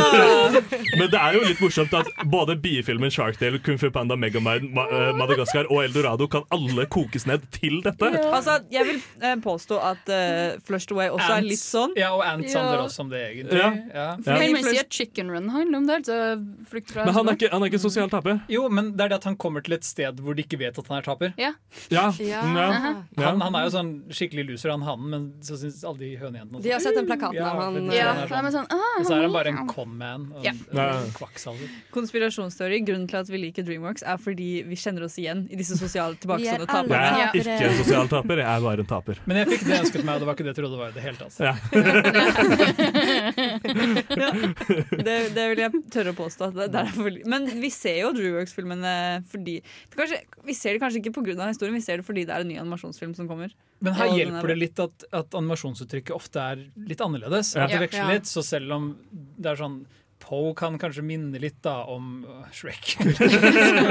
Speaker 1: Men det er jo litt morsomt at både biefilmen Sharkdale, Kung Fu Panda, Megamind, Ma eh, Madagaskar og Eldorado kan alle kokes ned til dette.
Speaker 3: Altså, jeg vil eh, påstå at eh, Flushed Away også er
Speaker 4: Ants.
Speaker 3: litt sånn.
Speaker 4: Ja, og Ants
Speaker 3: Ja.
Speaker 4: handler også om det, egentlig.
Speaker 1: Ja.
Speaker 4: Ja.
Speaker 1: Ja.
Speaker 5: Kan man si at Chicken Run handler om det? Altså flukt fra
Speaker 1: Men han er ikke, han er ikke sosial taper.
Speaker 4: Jo, men det er det at han han kommer til et sted hvor de ikke vet at han er taper.
Speaker 5: Ja.
Speaker 1: Ja. Ja.
Speaker 5: Mhm.
Speaker 4: Han, han er jo sånn skikkelig loser, han hannen, men så syns alle de hønejentene
Speaker 7: De har sett den plakaten av han,
Speaker 4: vet du,
Speaker 7: Ja,
Speaker 4: han er
Speaker 7: for de er
Speaker 4: sånn,
Speaker 7: sånn, «Ah,
Speaker 4: Og så er han bare
Speaker 7: ja.»
Speaker 4: en con-man og
Speaker 3: Ja.
Speaker 4: en,
Speaker 1: Ja.
Speaker 4: en kvakksalver.
Speaker 3: Konspirasjonsteori. Grunnen til at vi liker Dreamworks, er fordi vi kjenner oss igjen i disse sosiale
Speaker 7: Vi er
Speaker 3: tilbakestående
Speaker 1: Jeg
Speaker 3: taperne.
Speaker 1: er ikke en sosial taper, jeg er bare en taper.
Speaker 4: Men jeg fikk det jeg ønsket meg, og det var ikke det jeg trodde det var i det hele tatt.
Speaker 1: Ja.
Speaker 3: ja, det, det vil jeg tørre å påstå. at Det, det er derfor- men vi ser jo DreWorks-filmene fordi det kanskje, Vi ser det kanskje ikke pga. historien, vi ser det fordi det er en ny animasjonsfilm som kommer.
Speaker 4: Men her
Speaker 3: Og den er-
Speaker 4: hjelper det litt at, at animasjonsuttrykket ofte er litt annerledes.
Speaker 3: Ja.
Speaker 4: At det
Speaker 3: Ja.
Speaker 4: veksler litt, så selv om det er sånn Poe kan kanskje minne litt da om øh, Shrek.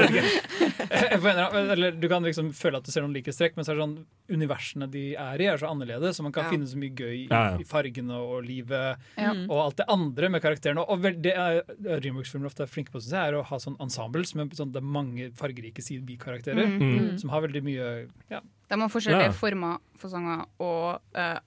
Speaker 4: Jeg forventer- Eller du kan liksom føle at du ser noen likhetstrekk, men så er det sånn universene de er i, er så annerledes, så man kan
Speaker 14: Ja.
Speaker 4: finne så mye gøy i,
Speaker 1: Ja, ja.
Speaker 4: i fargene og, og livet
Speaker 14: Ja.
Speaker 1: Mm.
Speaker 3: Mm.
Speaker 4: og alt det andre med karakterene. Og vel, det er- Dreamworks-filmer ofte er flinke på, synes jeg, er å ha sånn ensembles med sånn, det er mange fargerike sidebikarakterer
Speaker 5: Mm. Mm.
Speaker 4: som har veldig mye ja,
Speaker 5: De har forskjellige
Speaker 1: Ja.
Speaker 5: former, fasonger og eh,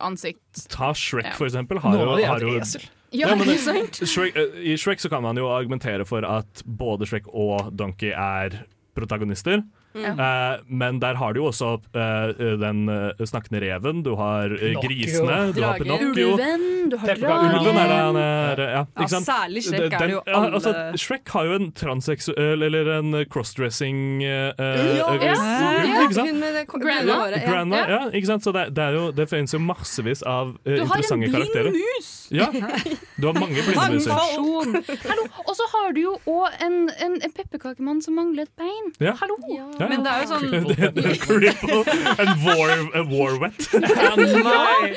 Speaker 5: ansikt.
Speaker 1: Ta Shrek,
Speaker 5: Ja.
Speaker 1: for eksempel. Har
Speaker 4: Noen
Speaker 1: jo,
Speaker 4: av de er
Speaker 1: har
Speaker 4: et
Speaker 1: jo,
Speaker 4: esel.
Speaker 5: Ja,
Speaker 1: men det-
Speaker 5: ikke sant?
Speaker 1: Shrek, eh, I Shrek så kan man jo argumentere for at både Shrek og Donkey er protagonister.
Speaker 5: Mm.
Speaker 1: Eh, men der har du jo også eh, den eh, snakkende reven, du har eh,
Speaker 4: Pinocchio.
Speaker 1: grisene, du har Pinocchio.
Speaker 5: Ulven, du har
Speaker 1: Peppa- Ulven er det han er,
Speaker 3: Ja,
Speaker 1: ja, ikke sant?
Speaker 3: særlig Shrek er det
Speaker 1: Den-
Speaker 3: jo
Speaker 1: ja,
Speaker 3: alle-
Speaker 1: altså, Shrek har jo en transseksuell, eller en crossdressing eh,
Speaker 7: Ja,
Speaker 1: eh,
Speaker 7: ja,
Speaker 1: ikke sant?
Speaker 7: Hun med det ko-
Speaker 5: Grandma.
Speaker 7: grønne håret.
Speaker 1: Grandma, ja. ikke sant? Så det, det, er jo, det finnes jo massevis av eh,
Speaker 5: Du har en
Speaker 1: interessante karakterer.
Speaker 5: blind mus!
Speaker 1: Ja, du har mange blindmuser.
Speaker 5: Mangfold! Hallo, Og så har du jo òg en, en, en pepperkakemann som mangler et bein.
Speaker 1: Ja.
Speaker 5: Hallo!
Speaker 1: Ja.
Speaker 5: Men det er jo sånn
Speaker 1: Cripple and war, a war wet.
Speaker 4: Nei!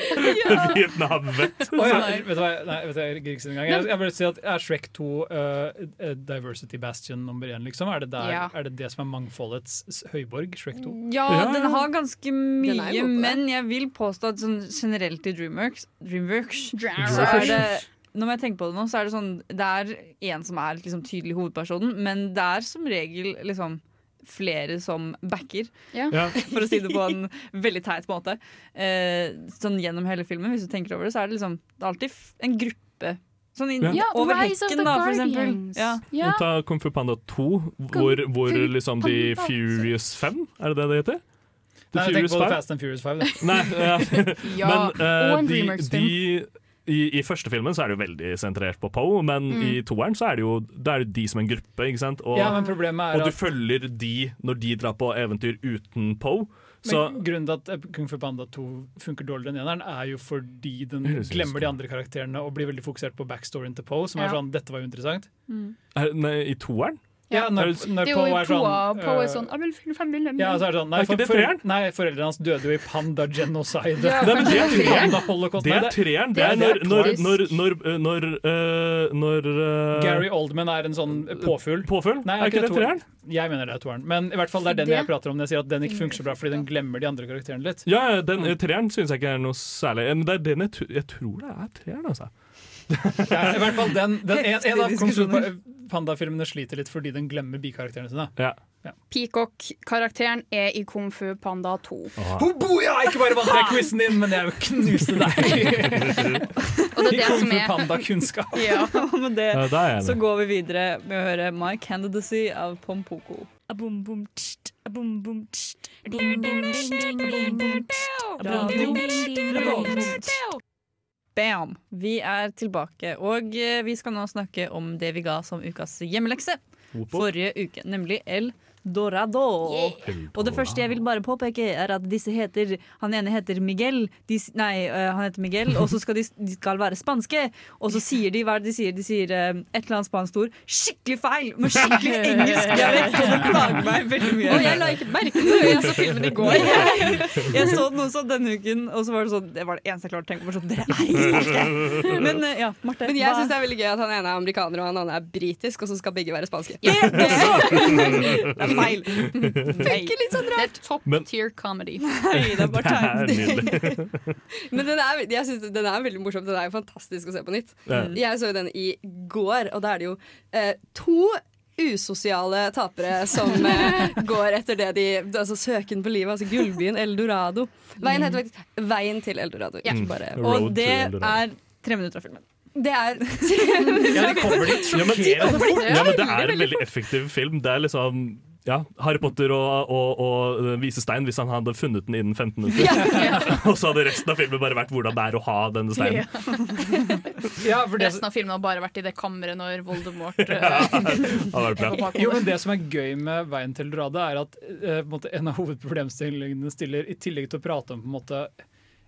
Speaker 1: Vietnam wet.
Speaker 4: Å ja, vet du hva, nei, vet du, hva, jeg gidder ikke si det engang. Jeg, jeg bare si at Er Shrek 2 eh, eh, Diversity Bastion nummer én, liksom? Er det, der,
Speaker 3: Ja.
Speaker 4: er det det som er mangfoldets s- høyborg? Shrek
Speaker 5: Mm.
Speaker 4: 2?
Speaker 3: Ja, den har ganske
Speaker 4: Den er
Speaker 3: mye,
Speaker 4: jo god på det.
Speaker 3: men jeg vil påstå at sånn generelt i Dreamworks Dreamworks så
Speaker 5: Dreamworks.
Speaker 3: er det når jeg tenker på det nå, så er det sånn Det er én som er liksom tydelig hovedpersonen, men det er som regel liksom flere som backer,
Speaker 1: Ja.
Speaker 3: for å si det på en veldig teit måte. Eh, sånn gjennom hele filmen, hvis du tenker over det, så er det liksom Det er alltid f- en gruppe. Sånn i,
Speaker 1: Ja. Ja,
Speaker 3: over
Speaker 5: Rise of
Speaker 3: hekken,
Speaker 5: the
Speaker 3: da, for eksempel.
Speaker 5: Guardians.
Speaker 3: Ja.
Speaker 1: Og Ta Kung Fu Panda 2, hvor, hvor
Speaker 3: Fu
Speaker 1: liksom de
Speaker 3: Panda.
Speaker 1: Furious 5, er det det det heter? The
Speaker 4: Nei, jeg tenker på The
Speaker 1: Five?
Speaker 4: Fast and Furious 5. da.
Speaker 1: Nei, ja.
Speaker 4: Ja,
Speaker 1: men eh,
Speaker 4: og en
Speaker 1: de,
Speaker 4: Dreamworks-film.
Speaker 1: de i, I første filmen så er det jo veldig sentrert på Poe, men i
Speaker 4: Mm.
Speaker 1: toeren så er det jo det er jo de som en gruppe. ikke sant? Og,
Speaker 4: Ja, men problemet er
Speaker 1: og du
Speaker 4: at-
Speaker 1: følger de når de drar på eventyr uten Poe. Så
Speaker 4: Men Grunnen til at eh, Kung Fu Panda 2 funker dårligere enn eneren, er jo fordi den
Speaker 1: Høres ut som
Speaker 4: glemmer de andre karakterene og blir veldig fokusert på backstoryen til Poe, som er
Speaker 5: Ja.
Speaker 4: sånn 'dette var jo interessant'.
Speaker 1: er, nei, I toeren?
Speaker 4: Ja, når, når
Speaker 5: Det er
Speaker 4: Poe
Speaker 5: jo
Speaker 4: er
Speaker 5: to
Speaker 4: sånn,
Speaker 5: av Poe
Speaker 4: eh,
Speaker 5: er sånn «Jeg vil finne fem bilder».
Speaker 4: Ja, så er det sånn, nei,
Speaker 1: Er ikke
Speaker 4: for,
Speaker 1: det
Speaker 4: for,
Speaker 1: treeren?
Speaker 4: nei, foreldrene hans døde jo i panda-genocide.
Speaker 1: Ja, Nei, men det er kanskje det er treeren.
Speaker 4: Panda-holocaust.
Speaker 1: Det
Speaker 4: Nei,
Speaker 1: er treeren. Det er når, når,
Speaker 4: toeren.
Speaker 1: når, når, når, eh, når eh,
Speaker 4: Gary Oldman er en sånn påfugl. Nei,
Speaker 1: Er ikke det
Speaker 4: toeren? Jeg mener det er toeren. Men i hvert fall det er den
Speaker 1: Det-
Speaker 4: jeg prater om når jeg sier at den ikke funker så bra fordi den glemmer de andre karakterene litt.
Speaker 1: Ja, ja, den eh, treeren syns jeg ikke er noe særlig. Men det er den jeg, tr- jeg tror det er treeren, altså.
Speaker 4: Det er, I hvert fall den, den en, en av
Speaker 1: Heftige
Speaker 4: Kung Fu
Speaker 1: diskusjoner.
Speaker 4: Panda-filmene sliter litt fordi den glemmer bikarakterene sine.
Speaker 1: Ja.
Speaker 5: Peacock-karakteren er i Kung Fu Panda 2.
Speaker 4: Hobo, ja! Ikke bare vant jeg quizen din, men jeg knuste deg!
Speaker 5: Og det er
Speaker 4: I
Speaker 5: det
Speaker 4: Kung
Speaker 5: som
Speaker 4: Fu
Speaker 5: er
Speaker 4: Panda-kunnskap.
Speaker 5: Ja.
Speaker 3: Og med det,
Speaker 1: Ja, da er jeg
Speaker 3: så
Speaker 1: enig.
Speaker 3: går vi videre med å høre My Candidacy av Pompoko. Bam! Vi er tilbake, og eh, vi skal nå snakke om det vi ga som ukas hjemmelekse
Speaker 16: Oppå.
Speaker 3: forrige uke, nemlig El Dorado. Og det første jeg vil bare påpeke, er at disse heter Han ene heter Miguel, de, s- nei, eh, han heter Miguel, og så skal de, s- de skal være spanske. Og så sier de hva er det de sier. De sier eh, et eller annet spansk ord. Skikkelig feil! Med skikkelig engelsk dialekt! Og det plager meg veldig mye.
Speaker 7: Og jeg la ikke merke til det, jeg så filmen i går.
Speaker 3: Jeg så den også denne uken, og så var det sånn Det var det eneste jeg klarte å tenke på. Sånn, det er ikke riktig. Men eh, ja, Marte.
Speaker 7: Men jeg
Speaker 3: hva-
Speaker 7: syns det er veldig gøy at han ene er amerikaner og han andre er britisk, og så skal begge være spanske.
Speaker 3: Det er feil.
Speaker 7: Funker litt sånn rart.
Speaker 5: Det er top tier comedy.
Speaker 7: det er bare
Speaker 1: Det er nydelig.
Speaker 7: Men den er, jeg synes den er veldig morsom. Den er jo fantastisk å se på nytt.
Speaker 1: Ja.
Speaker 7: Jeg så jo den i går, og da er det jo eh, to usosiale tapere som eh, går etter det de Altså søken på livet. Altså Gullbyen Eldorado. Veien heter faktisk Veien til Eldorado. Ikke
Speaker 1: Mm.
Speaker 7: bare
Speaker 1: Road to
Speaker 3: Og det
Speaker 1: Eldorado.
Speaker 3: er tre minutter av filmen.
Speaker 7: Det er
Speaker 1: Ja, de kommer dit
Speaker 7: De
Speaker 1: sjokkerende
Speaker 7: kommer dit.
Speaker 1: fort. Ja, men det er en veldig effektiv film. Det er liksom ja, Harry Potter og, og, og Vise stein hvis han hadde funnet den innen 15 minutter. og så hadde resten av filmen bare vært hvordan det er å ha denne steinen.
Speaker 4: Ja, for det,
Speaker 5: Resten av filmen har bare vært i det kammeret når Voldemort
Speaker 1: Ja,
Speaker 5: eh,
Speaker 1: det hadde vært bra.
Speaker 4: Jo, men Det som er gøy med Veien til Eldorado, er at eh, på en, måte, en av hovedproblemstillingene den stiller, i tillegg til å prate om på en måte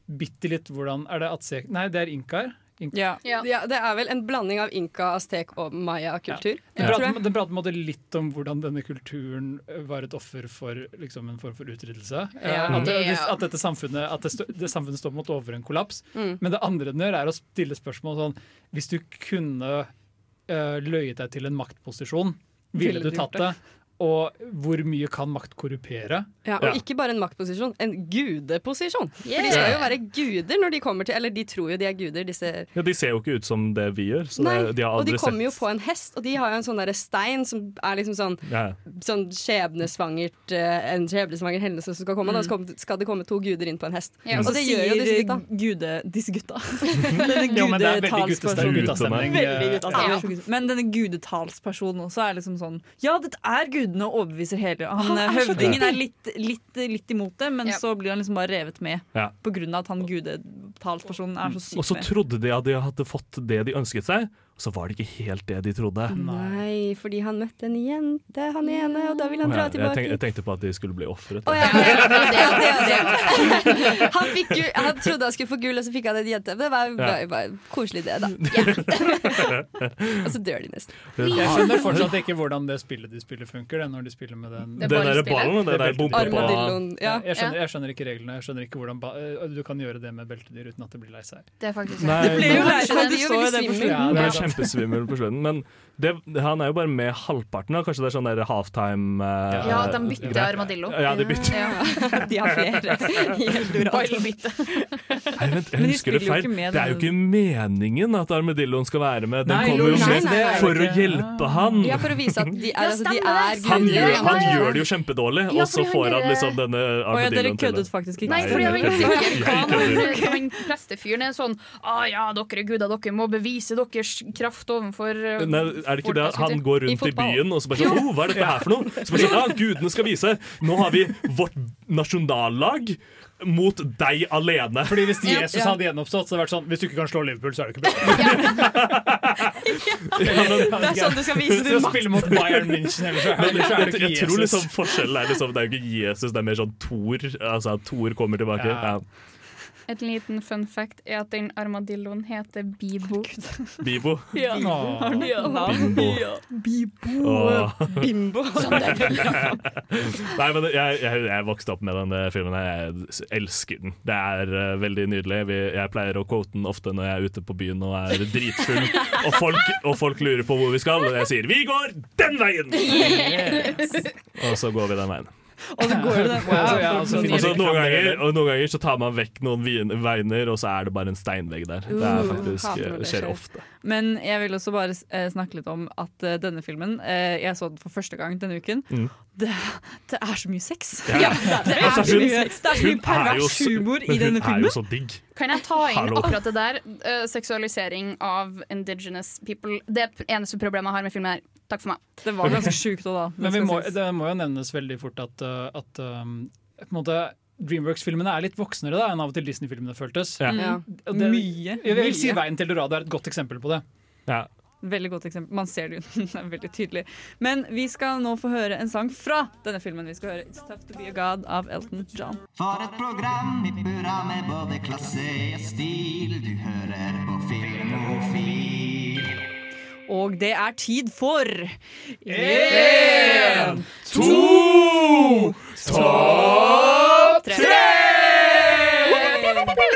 Speaker 4: bitte litt hvordan Er det Atsek... Nei, det er inkaer. Ink-
Speaker 7: Ja. Det er vel en blanding av inka, aztek og maya-kultur.
Speaker 4: Den
Speaker 7: tror
Speaker 4: prater,
Speaker 7: jeg.
Speaker 4: den prater på en måte litt om hvordan denne kulturen eh, var et offer for liksom, en form for utryddelse. Eh,
Speaker 7: Ja.
Speaker 4: At, det,
Speaker 7: Ja.
Speaker 4: at, dette samfunnet, at det, stå, det samfunnet står på en måte overfor en kollaps.
Speaker 7: Mm.
Speaker 4: Men det andre den gjør, er å stille spørsmål sånn Hvis du kunne eh, løyet deg til en maktposisjon, ville
Speaker 7: Ville
Speaker 4: du
Speaker 7: du gjort
Speaker 4: tatt det? Og hvor mye kan makt korrupere?
Speaker 7: Ja, og ikke bare en maktposisjon, en gudeposisjon. For de
Speaker 1: Yeah.
Speaker 7: skal jo være guder når de kommer til Eller de tror jo de er guder, disse
Speaker 1: Ja, De ser jo ikke ut som det vi gjør, så
Speaker 7: Nei,
Speaker 1: det, de har
Speaker 7: og de
Speaker 1: aldri sett
Speaker 7: kommer jo på en hest, og de har jo en sånn derre stein som er liksom sånn,
Speaker 1: Ja.
Speaker 7: sånn skjebnesvangert eh, En skjebnesvanger hendelse som skal
Speaker 1: Mm.
Speaker 7: komme, og da skal, skal det komme to guder inn på en hest.
Speaker 3: Ja,
Speaker 7: og
Speaker 3: så
Speaker 7: det gjør jo disse
Speaker 3: sier
Speaker 7: gutta.
Speaker 3: disse gutta.
Speaker 4: Jo, men det er veldig
Speaker 3: gudetalspersonen.
Speaker 4: guttestemning. Guttestemning.
Speaker 3: Veldig gudetalspersonen.
Speaker 4: Ja.
Speaker 3: Men denne gudetalspersonen også er liksom sånn Ja, dette er gudene og overbeviser hele Han,
Speaker 7: Han er
Speaker 3: eh,
Speaker 7: så
Speaker 3: Høvdingen
Speaker 7: dyktig.
Speaker 3: er litt, litt, litt imot det, men
Speaker 7: Ja.
Speaker 3: så blir han liksom bare revet med.
Speaker 1: Ja.
Speaker 3: På grunn av at han gudetalspersonen er så
Speaker 1: Og
Speaker 3: sykt
Speaker 1: så trodde de at de hadde fått det de ønsket seg, og så var det ikke helt det de trodde.
Speaker 7: Nei, fordi han møtte en jente, han ene, og da vil han
Speaker 1: Å ja,
Speaker 7: dra
Speaker 1: jeg, tenk,
Speaker 7: tilbake.
Speaker 1: jeg tenkte på at de skulle bli ofret.
Speaker 7: Å, ja, ja, ja, det er det, det er det. Han, fikk, gu- han trodde han skulle få gull, og så fikk han en jente. Det var
Speaker 1: Ja.
Speaker 7: bare, bare koselig, det, da. Og så dør de nesten.
Speaker 4: Jeg skjønner fortsatt ikke hvordan det spillet de spiller, funker. Det, når de spiller med den
Speaker 1: Det Den derre ballespillet. ballen, det der bompa på- Armadilloen,
Speaker 4: Ja,
Speaker 1: ja.
Speaker 4: jeg, skjønner,
Speaker 1: Ja.
Speaker 4: jeg skjønner ikke reglene. Jeg skjønner ikke hvordan ba eh, Du kan gjøre det med beltedyr uten at det blir lei seg.
Speaker 1: Mm.
Speaker 5: Det er faktisk
Speaker 1: Nei, Det ble jo men- lei
Speaker 3: seg, du så jo det på
Speaker 4: Ja, det
Speaker 1: Han ble
Speaker 4: er sånn. sant.
Speaker 1: kjempesvimmel på slutten. Men det, han er jo bare med halvparten. Da. Kanskje det er sånn der halftime eh,
Speaker 5: Ja, de bytter
Speaker 1: greier.
Speaker 5: armadillo.
Speaker 1: Ja, de bytter.
Speaker 5: Ja.
Speaker 7: De har flere.
Speaker 5: Ballbytte.
Speaker 1: Nei, vent, jeg
Speaker 5: Men de
Speaker 1: husker det
Speaker 5: spiller jo
Speaker 1: feil.
Speaker 5: ikke med
Speaker 1: Det er jo ikke meningen at armadilloen skal være med. Den
Speaker 4: Nei,
Speaker 1: kommer jo
Speaker 4: nei,
Speaker 1: med
Speaker 4: nei, nei.
Speaker 1: for å hjelpe han.
Speaker 7: Ja, for å vise at de er, altså,
Speaker 5: stemmer
Speaker 7: de er
Speaker 5: det.
Speaker 1: Han gjør,
Speaker 7: guder.
Speaker 1: han gjør det jo kjempedårlig,
Speaker 5: Ja,
Speaker 1: og så
Speaker 5: fordi han
Speaker 1: får han
Speaker 5: gjør-
Speaker 1: liksom denne
Speaker 3: Å ja, dere
Speaker 1: armadilloen til
Speaker 3: køddet
Speaker 1: det.
Speaker 3: faktisk ikke.
Speaker 5: Nei, fordi jeg var ikke
Speaker 1: kødder.
Speaker 5: sikker på
Speaker 1: Jeg
Speaker 5: hva han
Speaker 1: kødder.
Speaker 5: han prestefyren er sånn Å ja, dere er guder, dere må bevise deres kraft overfor eh,
Speaker 1: Nei, er det ikke
Speaker 5: folk»,
Speaker 1: det?
Speaker 5: skulle jeg
Speaker 1: Han
Speaker 5: til.
Speaker 1: går rundt i,
Speaker 5: fotball.
Speaker 1: byen og så bare sånn,
Speaker 5: Jo.
Speaker 1: oh, hva er dette her for noe? Så bare sånn, ja, gudene skal vise. Nå har vi vårt nasjonallag mot deg alene.
Speaker 4: Fordi hvis Jesus hadde gjenoppstått, så hadde det vært sånn Hvis du ikke kan slå Liverpool, så er du ikke bra.
Speaker 1: Det
Speaker 4: er sånn du skal vise din makt. Spille mot Bayern München, ellers er-
Speaker 1: Men
Speaker 4: ellers er sånn-
Speaker 1: jeg,
Speaker 4: det
Speaker 1: jeg,
Speaker 4: ikke
Speaker 1: tror
Speaker 4: Jesus.
Speaker 1: liksom forskjellen er liksom, det er jo ikke Jesus, det er mer sånn Thor. Altså at Thor kommer tilbake. Ja.
Speaker 4: Ja.
Speaker 5: Et liten fun fact er at den armadilloen heter Bibo.
Speaker 1: Bibo.
Speaker 5: Ja.
Speaker 1: Åh.
Speaker 5: Ja.
Speaker 1: Bimbo.
Speaker 5: Ja. Bibo.
Speaker 1: Åh.
Speaker 5: Bimbo. Sånn der.
Speaker 1: Nei, men jeg, jeg, jeg vokste opp med denne filmen. her. Jeg s- elsker den. Det er eh, veldig nydelig. Vi, jeg pleier å quote den ofte når jeg er ute på byen og er dritfull, og folk, og folk lurer på hvor vi skal, og jeg sier 'vi går den veien'! Og så går vi den veien.
Speaker 3: Og så går det den
Speaker 4: Wow, ja,
Speaker 1: Og
Speaker 4: altså,
Speaker 1: så
Speaker 4: finner de fram
Speaker 1: noen
Speaker 4: det
Speaker 1: ganger,
Speaker 4: heller.
Speaker 1: og noen ganger så tar man vekk noen vien- veiner, og så er det bare en steinvegg der. Det er
Speaker 3: Uh,
Speaker 1: faktisk, eh,
Speaker 3: hater når det
Speaker 1: skjer
Speaker 3: skjer.
Speaker 1: ofte.
Speaker 3: Men jeg vil også bare eh, snakke litt om at eh, denne filmen eh, Jeg så den for første gang denne uken.
Speaker 1: Mm.
Speaker 3: Det, det er så mye sex!
Speaker 1: Ja.
Speaker 3: det er
Speaker 1: Altså,
Speaker 3: så
Speaker 1: hun-
Speaker 3: mye sex. Det er så
Speaker 1: hun
Speaker 3: mye pervers
Speaker 1: jo s-
Speaker 3: humor i
Speaker 1: men
Speaker 3: denne
Speaker 1: Hun er jo
Speaker 3: filmen.
Speaker 1: så digg.
Speaker 5: Kan jeg ta inn
Speaker 1: Hallo.
Speaker 5: akkurat det der? Eh, seksualisering av indigenous people. Det er eneste problemet jeg har med filmen her. Takk for meg.
Speaker 3: Det var ganske sjukt òg, da.
Speaker 4: Men vi må, det må jo nevnes veldig fort at, uh, at um, på en måte Dreamworks-filmene er litt voksnere da enn av og til Disney-filmene føltes.
Speaker 1: Ja.
Speaker 3: Ja.
Speaker 4: Og det-
Speaker 3: Mm. Mye,
Speaker 4: Jeg vil si
Speaker 3: mye.
Speaker 4: Veien til Dorado er et godt eksempel på det.
Speaker 1: Ja.
Speaker 3: Veldig godt eksempel. Man ser det jo. Det er veldig tydelig. Men vi skal nå få høre en sang fra denne filmen. Vi skal høre 'It's Tough To Be A God' av Elton John.
Speaker 16: For et program i burra med både klasse og stil. Du hører på Filmofil.
Speaker 3: Og det er tid for
Speaker 16: En,
Speaker 3: to,
Speaker 5: Topp tre!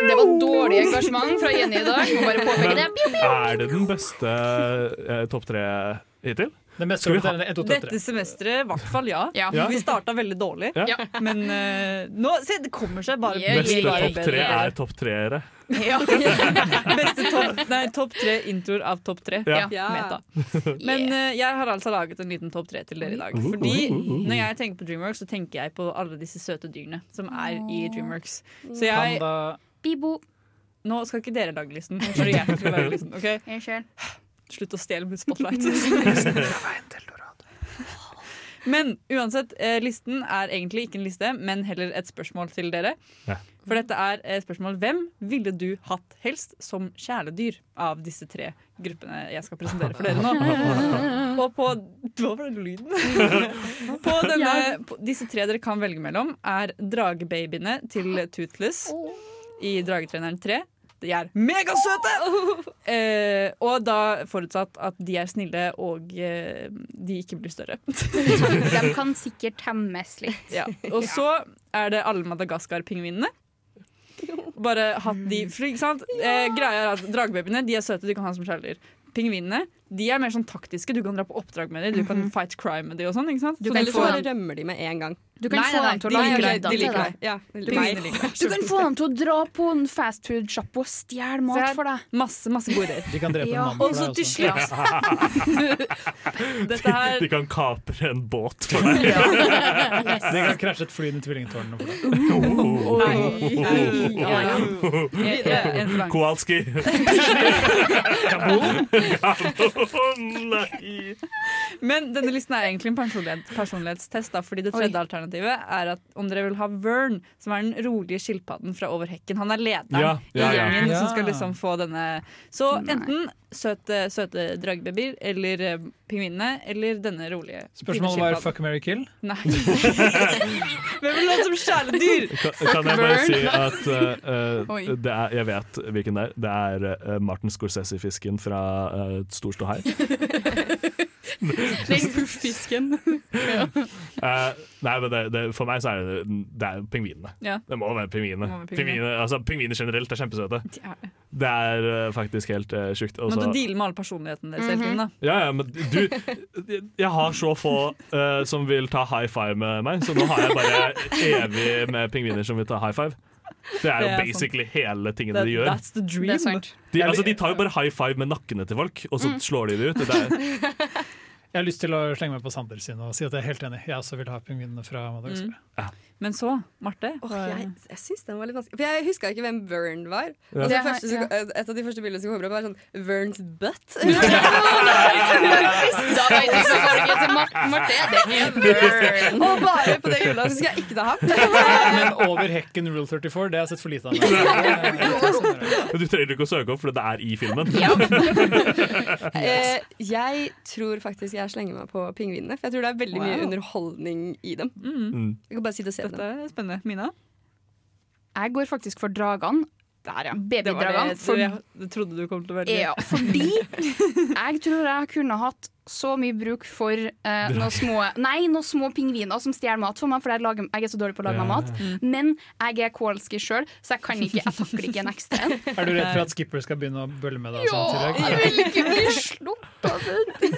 Speaker 5: Det var dårlig engasjement fra Jenny i dag. Må bare påpeke det. Biu,
Speaker 1: Men
Speaker 5: biu.
Speaker 1: er det den beste eh, topp tre hittil?
Speaker 4: Den beste
Speaker 1: Skal vi
Speaker 4: topp
Speaker 1: ha-
Speaker 4: tre er ett, to, tre.
Speaker 3: Dette semesteret, i hvert fall ja.
Speaker 1: Ja.
Speaker 3: Vi starta veldig dårlig,
Speaker 1: Ja.
Speaker 3: men eh, nå se, det kommer seg bare
Speaker 1: Yeah, Neste yeah, yeah. topp tre er topp treere.
Speaker 3: Beste topp Nei, topp tre introer av topp tre.
Speaker 1: Ja.
Speaker 3: Ja. Meta. Men eh, jeg har altså laget en liten topp tre til dere i dag.
Speaker 1: Oi.
Speaker 3: Fordi
Speaker 1: Oi.
Speaker 3: når jeg tenker på Dreamworks, så tenker jeg på alle disse søte dyrene som er i Dreamworks. Så jeg
Speaker 5: Bibo.
Speaker 3: Nå skal ikke dere lage listen. Nå skal jeg skal lage listen, ok? Slutt å stjele mitt spotlight. Men uansett, eh, listen er egentlig ikke en liste, men heller et spørsmål til dere.
Speaker 1: Ja.
Speaker 3: For dette er eh, spørsmål hvem ville du hatt helst som kjæledyr av disse tre gruppene jeg skal presentere for dere nå. Og på Hva var den lyden? på denne, på disse tre dere kan velge mellom, er dragebabyene til Toothless i Dragetreneren 3. De er megasøte! Eh, og da forutsatt at de er snille og eh, de ikke blir større.
Speaker 5: De kan sikkert temmes litt.
Speaker 3: Ja. Og så er det alle Madagaskar-pingvinene. Bare hatt de
Speaker 7: Mm.
Speaker 3: For ikke sant? Eh, greia er at Dragbabyene de er søte, du kan ha som kjæledyr. Pingvinene de er mer sånn taktiske. Du kan dra på oppdrag med dem, du kan fight crime med dem. og sånn, ikke sant?
Speaker 7: Mhm. Du
Speaker 3: Så
Speaker 7: kan
Speaker 3: du
Speaker 7: få
Speaker 3: får-
Speaker 7: bare rømmer de med en gang.
Speaker 5: Du kan få dem til å
Speaker 7: de
Speaker 5: like
Speaker 7: liker deg. De
Speaker 5: deg.
Speaker 7: liker deg. Ja, de liker deg.
Speaker 5: Du kan få dem til å dra på en fastfood-sjappe og stjele mat for deg.
Speaker 3: Masse, masse gode ideer.
Speaker 4: De kan drepe
Speaker 5: Ja.
Speaker 4: en mann for
Speaker 5: Og så
Speaker 4: deg
Speaker 5: til
Speaker 4: også.
Speaker 1: altså.
Speaker 5: slutt-
Speaker 3: Dette her
Speaker 1: De kan kapre en båt for deg.
Speaker 4: De kan krasje et fly inn i tvillingtårnene for deg.
Speaker 3: Videre.
Speaker 1: Kowalski. Kaboom! Kaboom! Nei.
Speaker 3: Men denne listen er egentlig en personlighet, personlighetstest, da, fordi det
Speaker 5: Oi.
Speaker 3: tredje alternativet er at om dere vil ha Vern, som er den rolige skilpadden fra over hekken Han er lederen
Speaker 1: Ja, ja,
Speaker 3: i
Speaker 1: ja.
Speaker 3: gjengen
Speaker 1: Ja.
Speaker 3: som skal liksom få denne Så enten søte, søte dragbabyer eller eh, pingvinene eller denne rolige
Speaker 4: Spørsmålet var fuck, marry, kill.
Speaker 3: Nei. Hvem vil ha som kjæledyr?
Speaker 1: Kan, kan jeg bare si at eh, eh, det er, Jeg vet hvilken det er. Det er eh, Martin Scorsese-fisken fra uh, Storståhei.
Speaker 5: Den bufffisken.
Speaker 1: Eh, nei, men det, det, for meg så er det, det er pingvinene.
Speaker 3: Ja.
Speaker 1: Det må være pingvinene.
Speaker 3: Det må være pingvinene.
Speaker 1: Pingviner altså, pingviner generelt er kjempesøte.
Speaker 3: De er det.
Speaker 1: Det er eh, faktisk helt uh, sjukt. Og
Speaker 3: Må du
Speaker 1: så-
Speaker 3: deale med alle personlighetene deres hele tiden, da.
Speaker 1: Ja, ja, men du jeg- Jeg har så få eh, som vil ta high five med meg, så nå har jeg bare evig med pingviner som vil ta high five. Det er jo
Speaker 3: Det er sant.
Speaker 1: basically hele tingene
Speaker 3: That,
Speaker 1: de gjør.
Speaker 3: that's the dream.
Speaker 5: Det er sant.
Speaker 1: De, altså, de tar jo bare high five med nakkene til folk, og så slår de det ut. Det er,
Speaker 4: Jeg har lyst til å slenge meg på Sander sin og si at jeg er helt enig. Jeg også vil ha pingvinene fra
Speaker 5: Mm.
Speaker 4: Madagaskar.
Speaker 3: Mm. Men så, Marte
Speaker 7: Åh, jeg jeg syns den var litt vanskelig. For jeg huska ikke hvem Vern var.
Speaker 4: Ja.
Speaker 7: Og
Speaker 4: Det
Speaker 7: det
Speaker 4: har-
Speaker 7: første, som- Et av de første bildene som kommer opp, er sånn Verns butt.
Speaker 5: Da vet jeg ikke hva det er til Mar- Marte, det er Vern.
Speaker 7: Og bare på det grunnlaget så skal jeg ikke ta ham.
Speaker 4: Men over hekken Rule 34, det har jeg sett for lite av.
Speaker 1: du trenger ikke å søke opp, for det er i filmen.
Speaker 7: Eh, jeg tror faktisk jeg slenger meg på pingvinene, for jeg tror det er veldig mye
Speaker 3: Wow.
Speaker 7: underholdning i dem.
Speaker 1: Mm.
Speaker 7: Jeg kan bare sitte og se på
Speaker 3: Dette
Speaker 7: dem.
Speaker 3: er spennende. Mina?
Speaker 5: Jeg går faktisk for dragene. Der, ja.
Speaker 3: Det var det,
Speaker 5: Babydragene.
Speaker 3: du-
Speaker 5: For
Speaker 3: jeg, det trodde du kom til å velge.
Speaker 5: Ja, fordi jeg tror jeg kunne hatt så mye bruk for eh, noen, små, nei, noen små pingviner som stjeler mat for meg, for jeg, lager, jeg er så dårlig på å lage meg
Speaker 4: Ja.
Speaker 5: mat. Men jeg er Kowalski sjøl, så jeg kan ikke Jeg takler ikke en ekstra en.
Speaker 4: Er du redd for at Skipper skal begynne å bølle med deg?
Speaker 5: Ja,
Speaker 4: og sånt i
Speaker 5: jeg
Speaker 4: dag?
Speaker 5: vil ikke bli sluppet av den.